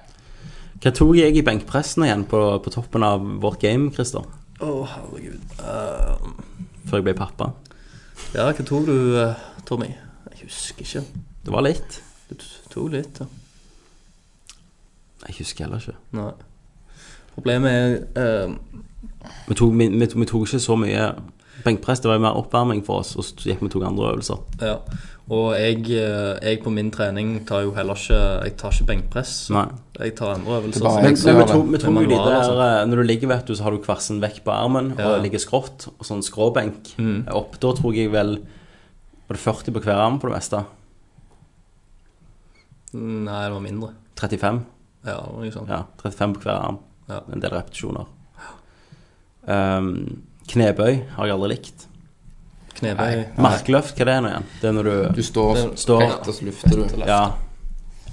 F: Hva tok jeg i benkpressen igjen på, på toppen av vårt game, Christer?
H: Å, herregud. Eh,
F: Før jeg ble pappa?
H: ja, hva tok du, eh, Tommy? Jeg husker ikke.
F: Det var litt.
H: Du t- tok litt, ja.
F: Jeg husker heller ikke.
H: Nei. Problemet er eh,
F: Vi tok, vi, vi, vi tok ikke så mye benkpress, det var jo mer oppvarming for oss, og så gikk vi og tok andre øvelser.
H: Ja, og jeg, eh, jeg på min trening tar jo heller ikke Jeg tar ikke benkpress.
F: Nei.
H: Jeg tar andre øvelser.
C: Det er bare
H: så-
F: Men,
C: jeg som
F: men vi
C: gjør
F: tok,
C: det.
F: vi tok jo de
H: Manual,
F: der
H: altså.
F: eh, Når du ligger, vet du, så har du kvarsen vekk på armen,
H: Ja.
F: og ligger skrått, og sånn skråbenk
H: Mm.
F: opp. Da tror jeg vel Var det 40 på hver arm på det meste?
H: Nei, det var mindre.
F: 35?
H: Ja, det var noe sånt.
F: Ja, 35 på hver arm.
H: Ja.
F: En del repetisjoner. Um, knebøy har jeg aldri likt.
H: Knebøy.
F: Markløft, hva er det nå igjen? Det er når du
C: Du står
H: Det-
F: står-
C: rett og så lufter du.
F: Ja.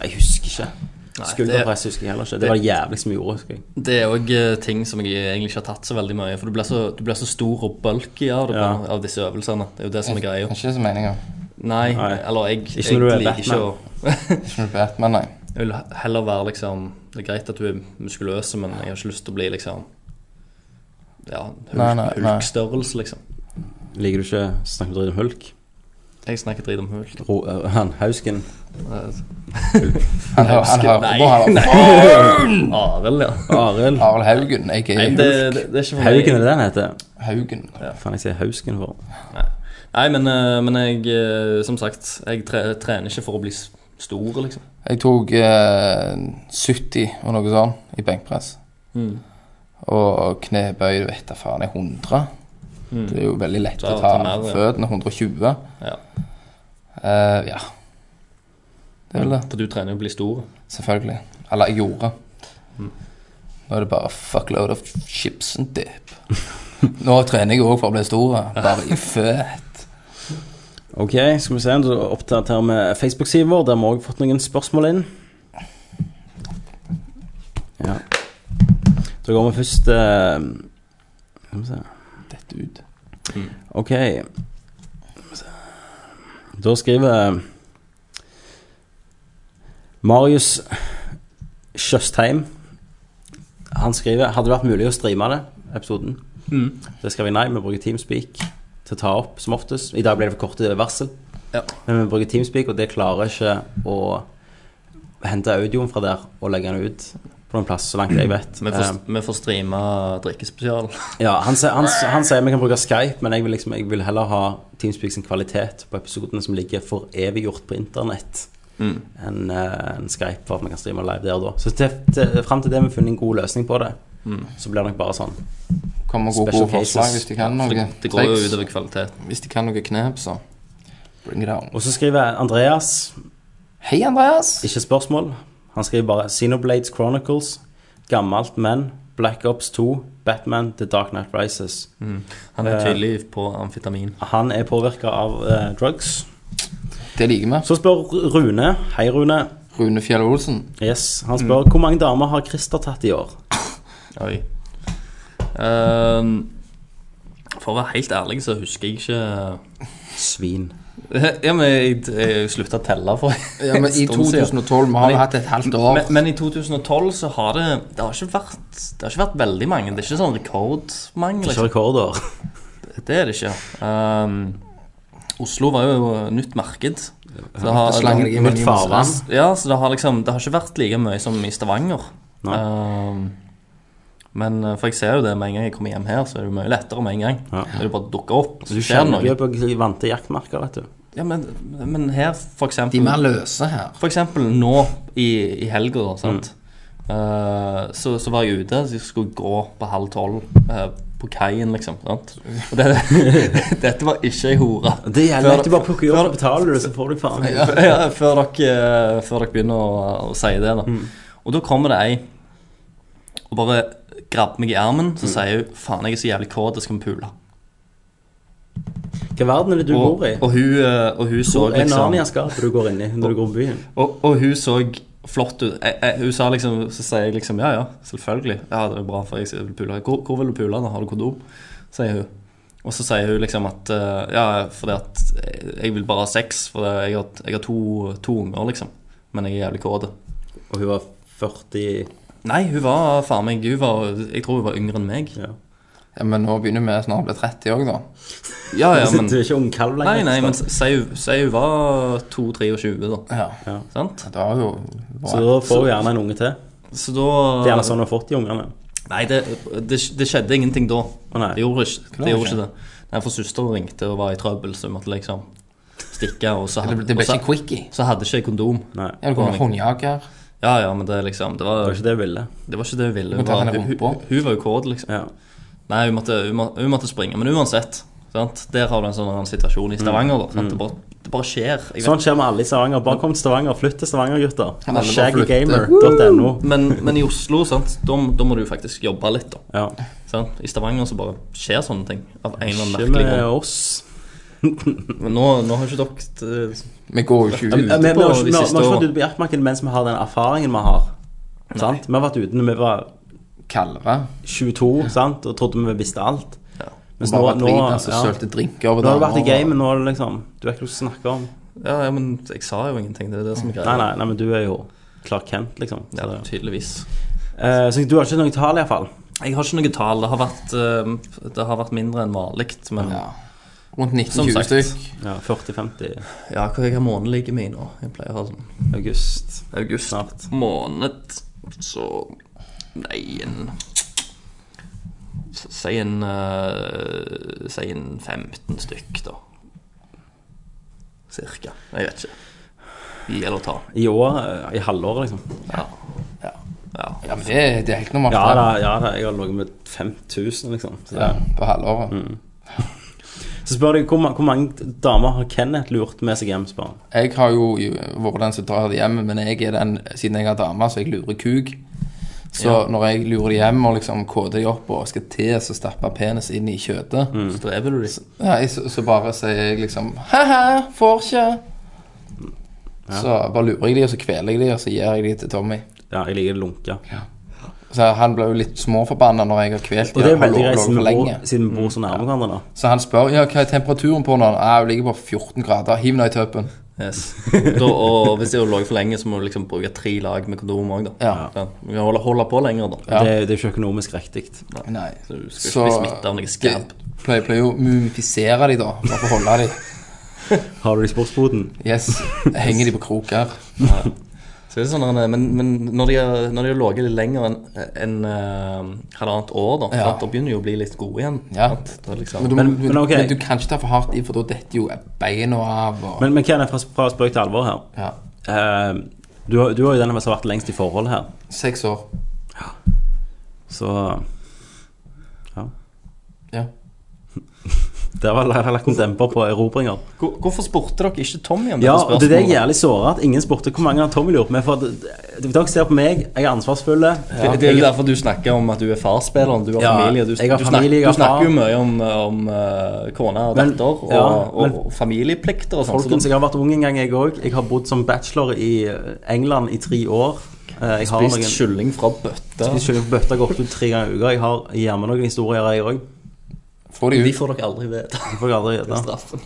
F: Jeg husker ikke.
H: Nei,
F: Skulderpress husker jeg heller ikke. Det var det jævligste vi gjorde, husker jeg.
H: Det er òg ting som jeg egentlig ikke har tatt så veldig mye. For du blir så, du blir så stor og bulky av, det,
F: Ja.
H: på- av disse øvelsene. Det er jo det som er
C: Det er
H: greia.
C: ikke det som er meninga.
H: Nei,
F: Nei.
H: eller jeg,
F: Ikke
H: jeg
F: når du er
H: liker ikke å
C: Ikke noe Batman, nei.
H: Jeg vil heller være liksom Det er greit at du er muskuløs, men jeg har ikke lyst til å bli liksom Ja,
C: Nei, nei,
H: hulk-
C: nei.
H: hulkstørrelse, liksom.
F: Liker du ikke snakke dritt om hulk?
H: Jeg snakker drit om hulk.
F: Ro, øh, han Hausken?
C: Han har han har-
H: Nei.
C: Å, han har-
H: Arild, ja.
F: Arild?
C: Arild Haugen, jeg
H: Nei,
C: er
H: det, det, det er ikke for meg.
F: Haugen er det den heter?
C: Haugen.
F: Hva faen jeg sier Hausken for?
H: Nei, men, eh, men jeg, eh, som sagt, jeg tre, trener ikke for å bli s- stor, liksom.
C: Jeg tok eh, 70 og noe sånn i benkpress. Og knebøy, du vet da faen, er 100. Det er jo veldig lett
H: Ja,
C: å ta
H: ta mer, ja.
C: føttene. 120.
H: Ja.
C: Eh, ja. Det er vel det.
H: For du trener jo å bli stor.
C: Selvfølgelig. Eller jeg gjorde.
H: Mm.
C: Nå er det bare fuckload of chips and dip. Nå trener jeg òg for å bli stor. Bare i fett.
F: Ok, skal vi se. Da oppdaterer vi Facebook-siden vår. Der har vi også fått noen spørsmål inn. Ja. Da går vi først eh, Skal vi se.
C: Dette ut.
F: Ok. Skal vi se. Da skriver eh, Marius Tjøstheim. Han skriver Hadde det vært mulig å streame det, episoden? Det skrev jeg nei. Vi bruker Teamspeak til å ta opp som oftest. I dag ble det for korte varsel.
H: Ja.
F: Men vi bruker Teamspeak, og det klarer ikke å hente audioen fra der og legge den ut på noen plass, så langt jeg vet.
H: Vi
F: Eh,
H: får, vi får streame drikkespesial.
F: ja, han, sier- han, han sier vi kan bruke Skype, men jeg vil, liksom, jeg vil heller ha Teamspeak sin kvalitet på episodene som ligger foreviggjort på internett,
C: Mm.
F: enn eh, enn Skype for at vi kan streame live der og da. Så til, til, fram til det vi har funnet en god løsning på det, så blir det nok bare sånn.
C: Kommer gode,
F: Special
C: gode forslag
F: cases.
C: hvis de kan
H: For
C: noe.
H: Det, det går jo
C: Triks.
H: utover kvaliteten.
C: Hvis de kan noe knep, så bring it on.
F: Og så skriver Andreas
C: Hei, Andreas.
F: ikke spørsmål. Han skriver bare Xenoblades Chronicles, Gammelt menn, Black Ops 2, Batman, The Dark Knight Rises.
H: Han er tydelig på amfetamin.
F: Han er påvirka av eh, drugs.
C: Det liker vi.
F: Så spør Rune Hei, Rune.
C: Rune Fjell Olsen.
F: Yes, Han spør hvor mange damer har Christer tatt i år.
H: Oi. Ehm, for å være helt ærlig så husker jeg ikke
F: Svin.
H: Ja, men jeg, jeg slutta å telle for
C: Ja, men I 2012 Vi har jo hatt et halvt år.
H: Men, men i 2012 så har det Det har ikke vært, det har ikke vært veldig mange. Det er ikke sånn rekordmange.
F: Ikke
H: Liksom.
F: rekorder.
H: Det er det ikke. Ehm, Oslo var jo nytt marked. Så det
C: Det slanger deg i
F: Nytt
C: menyen.
F: farvann.
H: Ja, så det har liksom Det har ikke vært like mye som i Stavanger. Ehm, men eh, For jeg ser jo det med en gang jeg kommer hjem her, så er det jo mye lettere med en gang.
F: Ja.
H: Når det bare dukker opp,
F: Du
H: så skjer det
F: kjenner jo
H: noe.
F: på vante jaktmerker, vet du.
H: Ja, men, men her, for
C: De er
H: eksempel
C: mer løse her.
H: For eksempel nå i, i helga, da,
F: Mm.
H: sant? Eh, så, så var jeg ute, så jeg skulle gå på halv tolv eh, på kaien, liksom. Sant? Og det, dette var ikke ei hore.
F: Det gjelder
H: Før-
F: at du bare plukker
H: før-
F: opp og betaler, du, så får du faen meg.
H: ja, før, dere, eh, før dere begynner å, å si det, da.
F: Mm.
H: Og da kommer det ei og bare grabber meg i armen,
F: Mm.
H: så sier hun 'faen, jeg er så jævlig kåt, jeg skal vi pule'.
F: Hva verden er det du
H: Og,
F: bor i?
H: og, hun, eh, og hun så
F: Hvor er
H: liksom
F: Narnia-skapet du går inn i når du går på byen?
H: Og, og hun så flott ut. Jeg, jeg, hun sa liksom, Så sier jeg liksom ja, ja, selvfølgelig. Ja, det er bra, for jeg vil pule. Hvor, hvor vil du pule? da? Har du kondom? sier hun. Og så sier hun liksom at eh, ja, fordi at jeg vil bare ha sex, for jeg har, jeg har to, to unger, liksom. Men jeg er jævlig kåt.
F: Og hun var 40
H: Nei, hun var faen meg hun var, Jeg tror hun var yngre enn meg.
F: ja.
C: Ja, men nå begynner vi snart å bli 30 òg, da.
H: Ja, ja, men
F: Du er ikke ungkalv lenger?
H: Nei, nei, men si hun si hun var 22-23, da.
C: Ja.
H: Sant?
C: Det har jo
F: Så
C: vært
F: da får hun gjerne en unge til.
H: Så da
F: Det er gjerne sånn hun har fått de ungene.
H: Nei, det, det, det skjedde ingenting da.
F: Å, nei.
H: Det gjorde ikke, det gjorde ikke det. Nei, for søsteren ringte og var i trøbbel, så vi måtte liksom stikke. Og så
C: Det
H: hadde,
C: ble- det ble
H: og så,
C: ikke quickie.
H: så hadde ikke jeg kondom.
F: Nei.
C: Ja, du kommer med håndjager.
H: Ja, ja, men det er liksom Det
F: Det
H: var,
F: var ikke det hun ville.
H: det var ikke det hun ville.
C: Du må
H: Hun
C: ta
H: var,
C: henne
H: hun,
C: rumpa.
H: hun- hun var jo kåt, liksom.
F: Ja.
H: Nei, hun måtte, hun, må- hun måtte springe. Men uansett, sant? der har du en sånn annen situasjon i Stavanger. Da, sant? Det, bare, det bare skjer. Jeg
F: Mm.
H: vet
F: Sånn skjer med alle i Stavanger. Bare kom til Stavanger. Flytt til Stavanger, gutter.
C: bare
F: Shaggygamer.no.
H: Men, men i Oslo, sant? Da, da må du jo faktisk jobbe litt, da.
F: Ja.
H: Sant? I Stavanger så bare skjer sånne ting. Av en eller annen
F: Ikke
H: merkelig
F: med
H: grunn.
F: oss.
H: Men nå, nå har ikke dere eh,
C: Vi går jo
F: Vi
C: ikke ut.
F: vi- vi har ikke
H: på de
F: vi har
H: siste
F: ikke vært
H: årene.
F: ute på jaktmarkedet mens vi har den erfaringen vi har. Sant? Vi har vært ute når vi var
C: Kalve.
F: 22 sant? og trodde vi visste alt. Mens nå,
C: Bare
F: nå,
C: driten som
F: ja.
C: altså, sølte drinker over
F: nå har du vært i
C: damer, og-
F: gamet, nå er det liksom Du vet ikke hva du snakker om.
H: Ja, ja, men jeg sa jo ingenting. Det er det som er greia.
F: Nei, nei, nei, men du er jo Clark Kent, liksom. Så,
H: Ja,
F: det-
H: tydeligvis.
F: Eh, så du har ikke noe tall, iallfall.
H: Jeg har ikke noe tall. Det har vært, eh, det har vært mindre enn vanlig. Men ja,
C: Ja. Rundt
H: Som
C: 19-20
H: sagt.
C: stykk.
F: Ja, 40-50
H: hva jeg har månedlig i min nå? Jeg pleier å ha sånn
F: august.
H: august
F: Snart.
H: måned. Så Nei, en Si en eh, Si en 15 stykk, da. Cirka. Jeg vet ikke. Gi eller ta.
F: I år, eh, i halvåret, liksom.
H: Ja. ja.
C: Ja, men det, det er helt normalt.
F: Ja da, ja, da jeg har ligget med 5000, liksom. Så, det- Mm.
C: Ja, På halvåret.
F: så spør de hvor, ma- hvor mange damer har Kenneth lurt med seg hjem? spør han.
C: Jeg har jo vært den som drar det hjem, men jeg er den, siden jeg har dame, så jeg lurer kuk. Så når jeg lurer de hjem og liksom koder de opp og skal til, så stapper penis inn i kjøttet.
F: Mm.
H: Så dreper du dem.
C: Ja, jeg, så, så bare sier jeg liksom Ha-ha, får ikke. Så bare lurer jeg de, og så kveler jeg de, og så gir jeg de til Tommy.
F: Ja, jeg liker det lunka.
C: Så han ble jo litt småforbanna når jeg har kvelt
F: Og
C: de
F: det er
C: og
F: veldig
C: lå-
F: greit
C: lå
F: siden
C: for
F: vi bor,
C: lenge.
F: siden vi bor så nærme hverandre. da
C: Så han spør ja, hva er temperaturen på nå. Ja, hun ligger på 14 grader. Hiv henne i tøppen.
H: Yes. Da, og hvis det har ligget for lenge, så må du liksom bruke tre lag med kondom òg, da.
C: Ja.
H: Du kan holde, holde på lenger, da.
C: Ja.
F: Det, det er jo ikke økonomisk riktig.
C: Nei.
H: Så du skal ikke bli smittet av noe skabb.
C: Jeg pleier, pleier jo å mumifisere de da, bare for å holde de.
F: Har du det i sportsboden?
C: Yes. Henger de på kroker.
H: Så det er sånn, eh, men, men når de har når de har ligget litt lenger enn enn, eh, halvannet år, da,
C: Ja.
H: sant, da begynner de å bli litt gode igjen.
C: Ja.
H: sant? Da liksom,
C: Men du,
F: Men- men ok.
C: men du kan ikke ta for hardt i, for da detter jo beina av. Og,
F: Men, men Kenneth, fra, fra spøk til alvor her.
C: ja.
F: Eh, du, har- du er jo den av oss som har vært lengst i forhold her,
C: Seks år.
F: så
C: Ja.
F: Der var det lagt en demper på erobringer. Altså,
H: Hvor- Hvorfor spurte dere ikke Tommy om
F: Ja,
H: dette
F: og det er det jeg er
H: spørsmålet?
F: jævlig såret at ingen spurte hvor mange av Tommy lurer på meg. For at, det- dere ser på meg, jeg er ansvarsfull.
H: Det- Det er jo derfor du snakker om at du er farsspilleren, du har
F: Ja,
H: familie. Du,
F: jeg har
H: du,
F: familie, jeg
H: snakker,
F: har
H: du snakker jo
F: far.
H: mye om, om eh, kone og
F: Men-
H: datter og,
F: ja, men-
H: og, og familieplikter og sånn.
F: Folkens,
H: Så
F: jeg har vært ung en gang, jeg òg. Jeg har bodd som bachelor i eh, England i tre år. Eh, Jeg
H: da
F: har
H: spist
F: noen
H: kylling fra bøtta.
F: Spist kylling på bøtta går opp tre ganger i uka. Jeg har jammen noen historier, jeg òg.
C: Få de
H: De
C: ut.
H: får dere aldri vite.
F: Det får jeg aldri vite.
H: Straffen.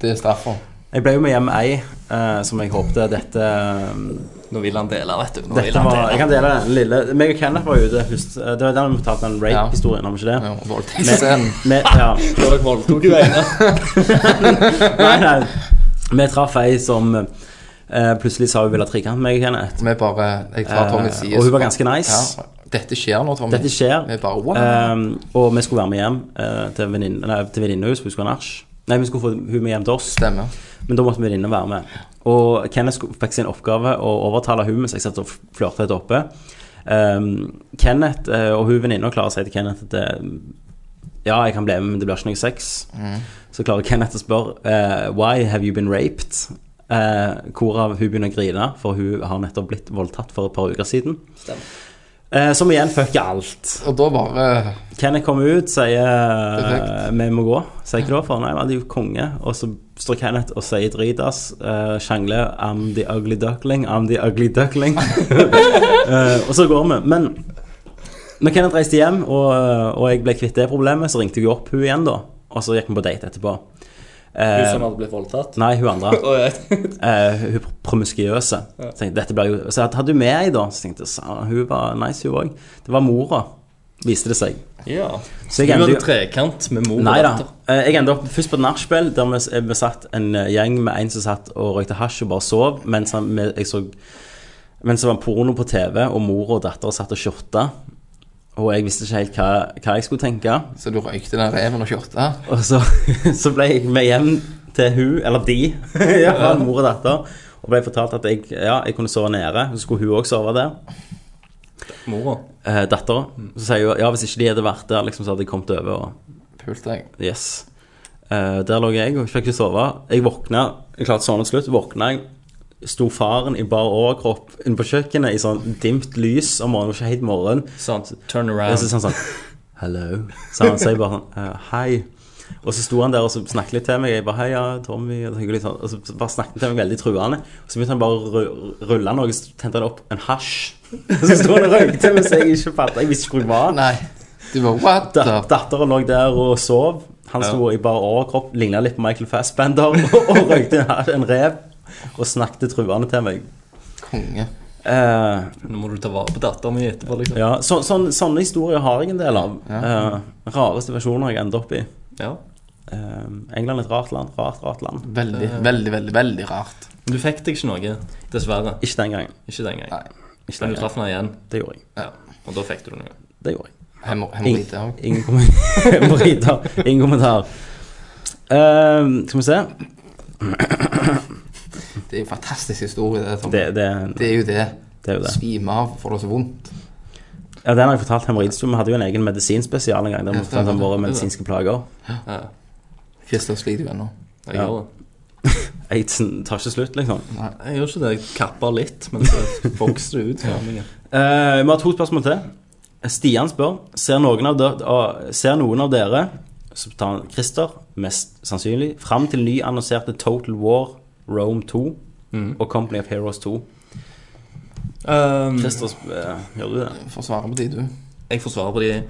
C: Det er straffa.
F: Jeg ble jo med hjem ei, eh, som jeg håpte dette eh,
H: Nå vil han dele, vet du. Nå vil
F: Dette
H: han
F: var,
H: dele.
F: Jeg kan dele den lille Meg og Kenneth var ute først. Eh, Det var den vi fortalte den rape-historien, har vi ikke det?
C: Ja, voldtektsscenen.
F: Med, ja.
H: Før dere voldtok jo ene.
F: Nei, nei. Vi traff ei som eh, plutselig sa hun ville ha trekant med meg, Kenneth.
C: Vi bare Jeg tar
F: Eh,
C: Tommys side.
F: og hun var ganske nice.
C: Ja. Dette skjer nå, Tommy.
F: Dette skjer.
C: Vi bare wow.
F: Ehm, og vi skulle være med hjem eh, til venninne- nei, til venninna hennes, for hun skulle ha nach. Nei, vi skulle få hun med hjem til oss,
C: Stemmer.
F: men da måtte venninna være med. Og Kenneth skulle- fikk sin oppgave å overtale hun mens jeg satt og f- flørte helt oppe. Ehm, Kenneth eh, og hun venninna klarer å si til Kenneth at eh, ja, jeg kan bli med, men det blir ikke noe sex.
C: Mm.
F: Så klarer Kenneth å spørre eh, Why have you been raped? Eh, hvorav hun begynner å grine, for hun har nettopp blitt voldtatt for et par uker siden. Eh, som igjen fucker alt.
C: Og da bare
F: Kenneth kommer ut, sier eh,
C: Perfekt.
F: vi må gå. Sier ikke da for nei, han er jo konge. Og så står Kenneth og sier dritas. Uh, sjangler I'm the ugly duckling, I'm the ugly duckling. Eh, og så går vi. Men når Kenneth reiste hjem, og, og jeg ble kvitt det problemet, så ringte jeg opp hun igjen, da. Og så gikk vi på date etterpå. Eh,
H: Hun som hadde blitt voldtatt.
F: nei, hun andre.
H: Å, ja.
F: Eh, hun promiskuøse. Så tenkte jeg, dette blir jo Så jeg hadde hun med ei, da. Så tenkte jeg, sa- hun var nice, hun òg. Det var mora, viste det seg.
H: ja.
F: Så
H: Du
F: jeg endte
H: hadde
F: jo
H: trekant med mor og
F: Nei da.
H: datter.
F: Eh, Jeg endte opp først på et nachspiel der vi, vi satt en eh, gjeng med en som satt og røykte hasj og bare sov, mens han, med, jeg så mens det var porno på TV, og mor og datter satt og skjorta. Og jeg visste ikke helt hva, hva jeg skulle tenke.
C: Så du røykte den reven og kjørte?
F: Og så, så ble jeg med hjem til hun, eller de, ja, mor og datter, og ble fortalt at jeg, ja, jeg kunne sove nede. Så skulle hun òg sove der.
H: Mora.
F: Eh, dattera. Så sier hun ja, hvis ikke de hadde vært der, liksom, så hadde jeg kommet over. og
C: Pulte jeg.
F: Yes. Eh, der lå jeg og jeg fikk ikke sove. Jeg våkna jeg klarte sånn til slutt, våkna jeg, sto faren i bar overkropp inne på kjøkkenet i sånn dimt lys om morgenen, det var ikke helt morgen.
H: Sånn, turn
F: Og så
H: around.
F: sa han sånn Hello. Så han sier bare sånn eh, Hei. Og så sto han der og så snakket litt til meg. Jeg bare Hei, ja, Tommy. Og, så hyggelig sånn. og så bare snakket han til meg veldig truende. Og så begynte han bare å ru- rulle noe, så tente han opp en hasj. Og så sto han og røykte mens jeg ikke fattet Jeg visste ikke hvor jeg var.
C: Nei. Du bare what the
F: Dat datteren lå der og sov. Han sto i bare overkropp, ligna litt på Michael Fassbender og røykte en, en rev. Og snakket truende til meg.
C: konge.
F: Eh,
H: Nå må du ta vare på datteren min etterpå, liksom.
F: ja, så, sånn- sånne historier har jeg en del av. Eh, rareste versjoner jeg ender opp i.
H: Ja.
F: Eh, England er et rart land. Rart, rart land.
C: Veldig, veldig, veldig veldig rart.
H: Men du fikk deg ikke noe, dessverre.
F: Ikke den gangen.
H: Ikke den gangen.
C: Nei.
F: Ikke den
H: Men du
F: gangen.
H: traff henne igjen,
F: Det gjorde jeg.
H: ja. og da fikk du noe.
F: Det gjorde jeg.
C: Hemo-
F: Ingen,
C: Hemoroider òg.
F: ingen kommentar. Hemoroider. ingen kommentar. Eh, skal vi se.
C: Det er en fantastisk historie, det. Tom.
F: Det, det,
C: Det er jo det.
F: det er jo det.
C: Svime av, får det så vondt.
F: Ja, den har jeg fortalt hemoroidstudium. Vi hadde jo en egen medisinspesial en gang. Der vi fortalte om våre medisinske plager.
H: Ja,
C: Christer sliter jo ennå.
H: jeg
F: Ja.
H: gjør det.
F: Aidsen tar ikke slutt, liksom.
H: Jeg gjør ikke det. Jeg kapper litt, men så vokser det ut. Ja.
F: Eh, vi har to spørsmål til. Stian spør Ser noen av, dø- å, ser noen av dere Så tar han Christer, mest sannsynlig, fram til ny annonserte Total War Rome 2 og Company of Heroes 2.
H: Um,
F: Christer, sp- eh, gjør du det?
C: Får svare på de, du.
H: jeg får svare på de. Eh,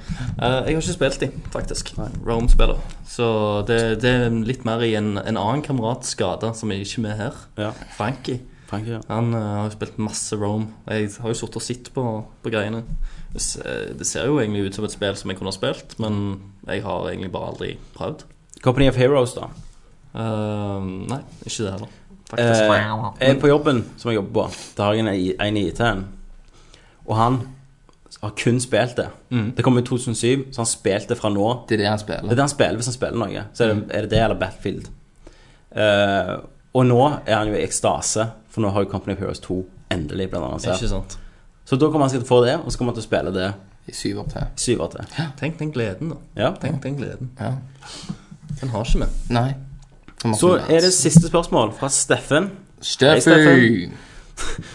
H: jeg har ikke spilt de, faktisk. Rome-spiller. Så det, det er litt mer i en, en annen kamerats skade, som er ikke med her.
F: Ja.
H: Frankie.
F: Frank, ja.
H: Han eh, har jo spilt masse Rome. Jeg har jo sittet og sett på, på greiene. Det se- Det ser jo egentlig ut som et spill som jeg kunne ha spilt, men jeg har egentlig bare aldri prøvd.
F: Company of Heroes, da.
H: Eh, nei, ikke det heller. Faktisk.
F: Eh, jeg på jobben som jeg jobber på, der har jeg en, i- en i IT-en. Og han har kun spilt det. Det kom i 2007, så han spilte fra nå.
C: Det er det han
F: Det er
C: spiller.
F: det han spiller hvis han spiller noe. Så er det
C: Mm.
F: er det, det eller Battlefield. Eh, og nå er han jo i ekstase, for nå har jo Company of Heroes 2 endelig blitt annonsert.
H: Ikke sant.
F: Så da kommer han sikkert til å få det, og så kommer han til å spille det
C: I syv år til.
F: syv år til.
H: Tenk den gleden, da.
F: Ja.
H: Tenk den gleden.
C: Ja.
H: Den har ikke vi.
C: Nei. Han har
F: Så
C: ikke
F: er det siste spørsmål fra Steffen. Hei,
C: Steffen!
F: Steffen.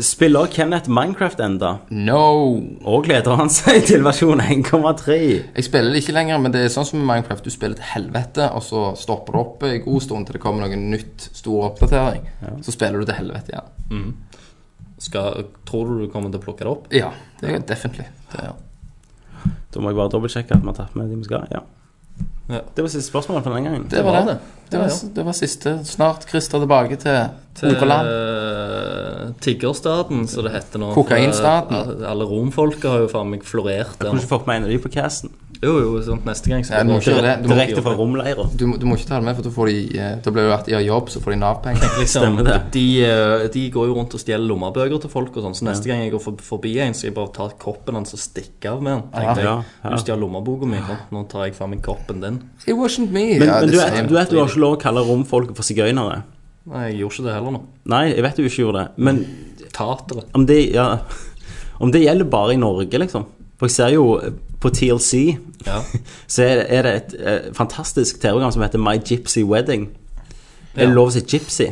F: Spiller Kenneth Minecraft enda?
C: No!
F: Og gleder han seg til versjon 1,3?
C: Jeg spiller det ikke lenger, men det er sånn som med Minecraft. Du spiller til helvete, og så stopper det opp en god stund til det kommer noen nytt stor oppdatering. Så spiller du til helvete igjen.
F: Mm.
H: Skal, tror du du kommer til å plukke det opp?
C: Ja, det er definitely. Det er,
F: Da må jeg bare dobbeltsjekke at vi har tatt med de vi skal. Ja.
H: Ja.
F: Det var siste spørsmål for den gangen.
C: det var det. Det
H: Ja,
C: var,
H: ja.
C: det var siste. Snart Christer tilbake til, til Rogaland.
H: Eh, Tiggerstaten, som det heter nå.
C: Kokainstaten.
H: Eh, Alle, alle romfolka har jo faen meg florert
F: Jeg
H: der.
F: kunne ikke fått med en av de på casten.
H: Jo, jo, sånn, neste gang så
C: Nei, du må ikke gjøre det. Du må,
F: Direkte fra romleira.
C: du, må- du må ikke ta det med, for da får de eh, Da blir det jo at de har jobb, så får de Nav-penger.
H: Liksom,
F: Stemmer det.
H: de, eh, de går jo rundt og stjeler lommebøker til folk og sånn, så neste gang jeg går for- forbi en, skal jeg bare ta koppen hans og stikke av med den. Tenkte
F: Ja,
H: jeg,
F: ja.
H: Du stjal lommeboka mi, sant? nå tar jeg faen meg koppen din.
C: It wasn't me.
F: Men,
C: Ja,
F: men
C: det
F: du,
C: er
F: vet,
C: same.
F: du vet du har ikke lov å kalle romfolket for sigøynere?
H: Nei, jeg gjorde ikke det heller nå.
F: Nei, jeg vet du ikke gjorde det. Men
H: Tatere.
F: om det, ja, om det gjelder bare i Norge, liksom. For jeg ser jo på TLC
H: Ja.
F: så er det, er det et eh, fantastisk TV-program som heter My Gypsy Wedding. Er
H: Ja.
F: det lov å si gypsy?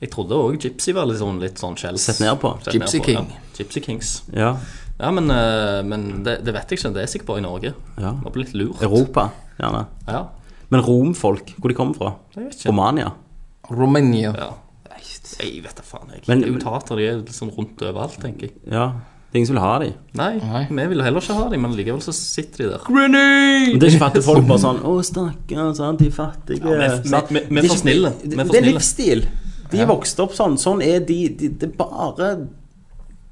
H: Jeg trodde òg Gypsy var litt sånn, litt sånn skjells.
F: Sett ned på.
H: Sett ned
C: Gypsy
H: på,
C: King.
H: Ja. Gypsy Kings.
F: Ja.
H: Ja, men, eh, men det, det vet jeg ikke. Det er sikkert bare i Norge.
F: Ja.
H: Man blir litt lurt.
F: Europa, gjerne.
H: Ja,
F: Men romfolk, hvor de kommer fra?
H: jeg vet ikke.
F: Romania.
C: Romania.
H: Ja. Nei, Jeg vet da faen, jeg.
F: Men-
H: det er jo tatere, de er liksom rundt overalt, tenker jeg.
F: Ja. Det er ingen som vil ha dem.
H: Nei,
C: Nei.
H: vi vil heller ikke ha dem, men likevel så sitter de der.
F: Men det er ikke fattige folk bare sånn Å, stakkar, så er de fattige.
H: Ja, men-
F: Sant?
H: men- men- men
F: Det er
H: for
F: ikke-
H: snille.
F: Det,
H: Men for
F: det er
H: snille.
F: livsstil. De er vokst opp sånn. Sånn er de. de det er bare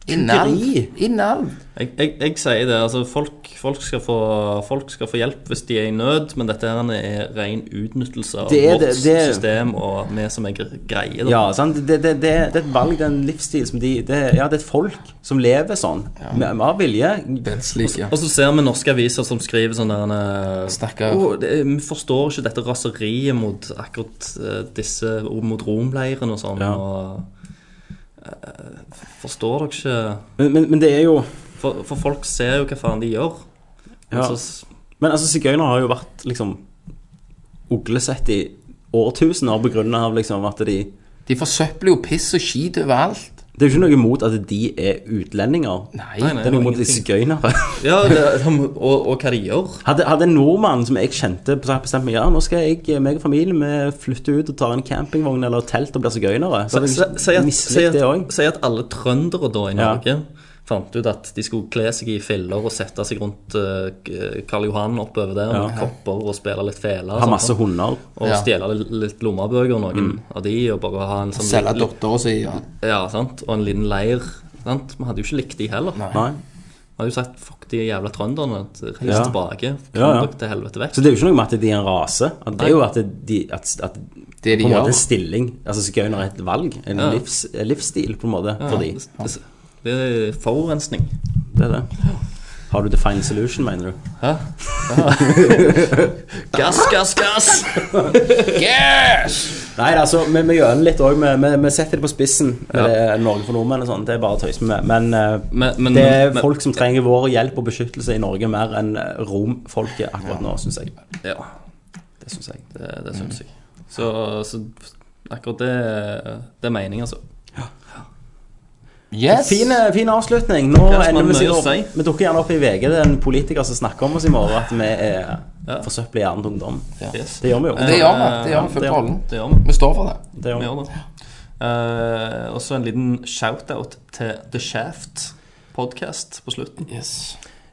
F: Kukkeri.
C: Innavl. Innavl.
H: Jeg, jeg, jeg sier det, altså folk, folk, skal få, folk skal få hjelp hvis de er i nød, men dette her er ren utnyttelse av
F: Det er
H: vårt
F: det- det er-
H: system og vi som er gre- greie. da.
F: Ja, sant? Det, det, det, det er et valg, det er en livsstil som de det, Ja, det er et folk som lever sånn. Med, med av vilje.
C: Det er slik, ja.
H: Og så ser vi norske aviser som skriver sånn der eh,
C: Stakkar.
H: «Å, det, Vi forstår ikke dette raseriet mot akkurat eh, disse Mot romleiren og sånn.
F: Ja.
H: Og, eh, forstår dere ikke
F: Men, men, men det er jo
H: for, for folk ser jo hva faen de gjør.
F: ja.
H: Og så-
F: Men altså, sigøynere har jo vært liksom uglesett i årtusener på grunn av liksom at de
C: De forsøpler jo piss og skit overalt.
F: Det er jo ikke noe imot at de er utlendinger.
C: Nei.
H: Nei, nei,
F: Det er noe imot de
H: ingenting.
F: sigøynere.
H: Ja, det, og, og hva de gjør.
F: Hadde, hadde en nordmann som jeg kjente, bestemt meg ja, nå skal jeg, eh, meg og familien vi flytter ut og tar en campingvogn eller telt og blir sigøynere, så hadde
H: Si- si
F: jeg
H: at- Si
F: mislikt det
H: at-
F: òg.
H: si at alle trøndere da i
F: Ja.
H: Norge fant ut at de skulle kle seg i filler og sette seg rundt eh, k- Karl Johan oppover der
F: Ja.
H: med kopper og spille litt fele. og
F: Har
H: sånt,
F: masse Mm.
H: da.
F: hunder.
H: Og
C: Ja.
H: stjele litt- litt lommebøker, noen av de, og bare ha en sånn
C: Selge
H: liten-
C: dattera si. Ja.
H: Ja, sant? Og en liten leir. Sant? Vi hadde jo ikke likt de heller. Vi
F: Nei.
H: hadde jo sagt fuck de jævla trønderne, reis
F: Ja.
H: tilbake, kom
F: Ja, ja.
H: dere til helvete vekk.
F: Så det er jo ikke noe med at de er en rase. At det er jo at de at, at på
C: Det de
F: en måte
C: gjør.
F: en stilling. Altså sigøyner er et valg. En
H: Ja.
F: livs, en livsstil, på en måte, for de.
H: det, det, det er forurensning.
F: Det er det. Har du defined solution, mener du?
H: Gass, gass, gass!
F: Nei, altså, vi, vi gjør det litt òg. Vi, vi, vi setter det på spissen. med Det, Norge for nordmenn og sånn. Det er bare tøys med. Men, eh,
H: Men- men-
F: det er
H: Mm. men-
F: folk som trenger vår hjelp og beskyttelse i Norge mer enn eh, romfolket akkurat nå, syns jeg.
H: Ja,
F: Det synes jeg.
H: Det, det syns jeg. Så, så akkurat det, det er mening, altså.
C: Yes!
F: Fin, eh, fin avslutning. Nå
H: Hva skal
F: ender
H: man
F: vi
H: nøye
F: sikkert
H: seg?
F: opp Vi dukker gjerne opp i VG. Det er en politiker som snakker om oss i morgen, at vi er eh,
H: Ja.
F: forsøpler hjernen til ungdom.
H: Yes.
F: Det gjør vi jo.
C: Det gjør vi. Det gjør vi
H: Eh,
C: fullt
F: det
C: på
F: gjør-
C: rollen.
H: Det gjør vi.
C: Vi står for det.
F: Det gjør
H: vi
F: vi.
H: gjør det. Eh, også en liten shout-out til The Shaft podcast på slutten.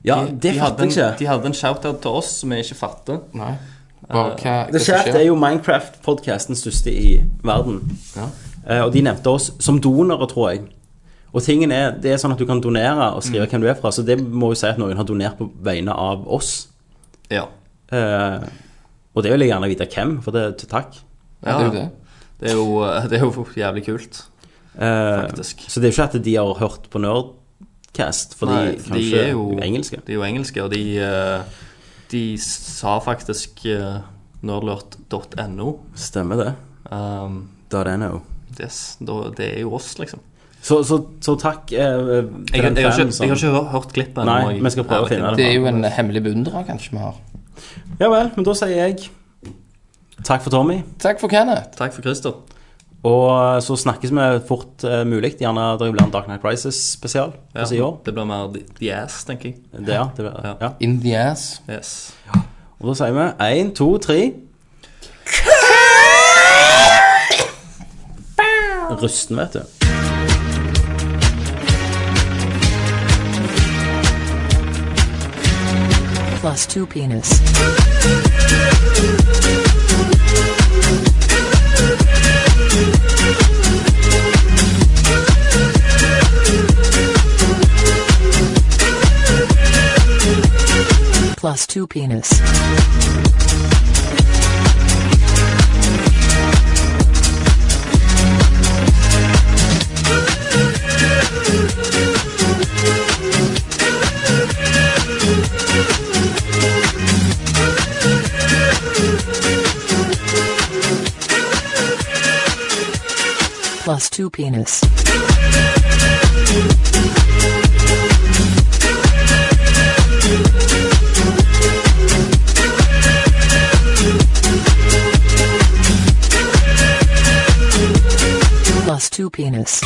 F: Ja, det
H: de hadde
F: fatter jeg
H: En,
F: ikke.
H: de hadde en shout-out til oss som vi ikke fatter.
C: Nei. Bare hva, hva
F: The
C: som
F: Shaft er
C: skjer.
F: jo Minecraft-podcasten den største i verden.
C: Ja.
F: Eh, Og de nevnte oss som donorer, tror jeg. Og tingen er, det er sånn at du kan donere og
H: Mm.
F: skrive hvem du er fra, så det må jo si at noen har donert på vegne av oss.
H: Ja.
F: Eh, og det vil jeg gjerne vite hvem, for det til takk.
C: Det er jo det.
H: Det er jo, eh, det er jo jævlig kult,
F: Eh,
H: faktisk.
F: så det er jo ikke at de har hørt på Nerdcast, for
H: Nei,
F: de kanskje
H: er jo
F: engelske.
H: De er jo engelske, og de, eh, de sa faktisk eh, nerdlurt.no.
F: Stemmer det.
H: Um,
F: Da er det noe.
H: yes, da, det er jo oss, liksom.
F: Så, så, så takk eh, til
H: Jeg, jeg,
F: den
H: har, ikke,
F: fanen som-
H: jeg har ikke hørt, hørt klippet ennå.
F: Nei, vi skal prøve å finne
C: Det er jo en hemmelig beundrer, kanskje, vi har.
F: Ja vel, men da sier jeg Takk for Tommy.
C: Takk for Kenneth.
H: Takk for Christer.
F: Og eh, så snakkes vi fort eh, mulig. Gjerne det blir en Dark Night Crisis-spesial.
H: Ja,
F: Altså i år.
H: Det blir mer the, the ass, tenker jeg.
F: Det, ja, det blir,
H: Ja.
F: ja.
C: In the ass.
H: Yes.
F: Og da sier vi én, to, tre. Rusten, vet du.
D: Plus two penis. Plus two penis. Plus two penis. Plus two penis.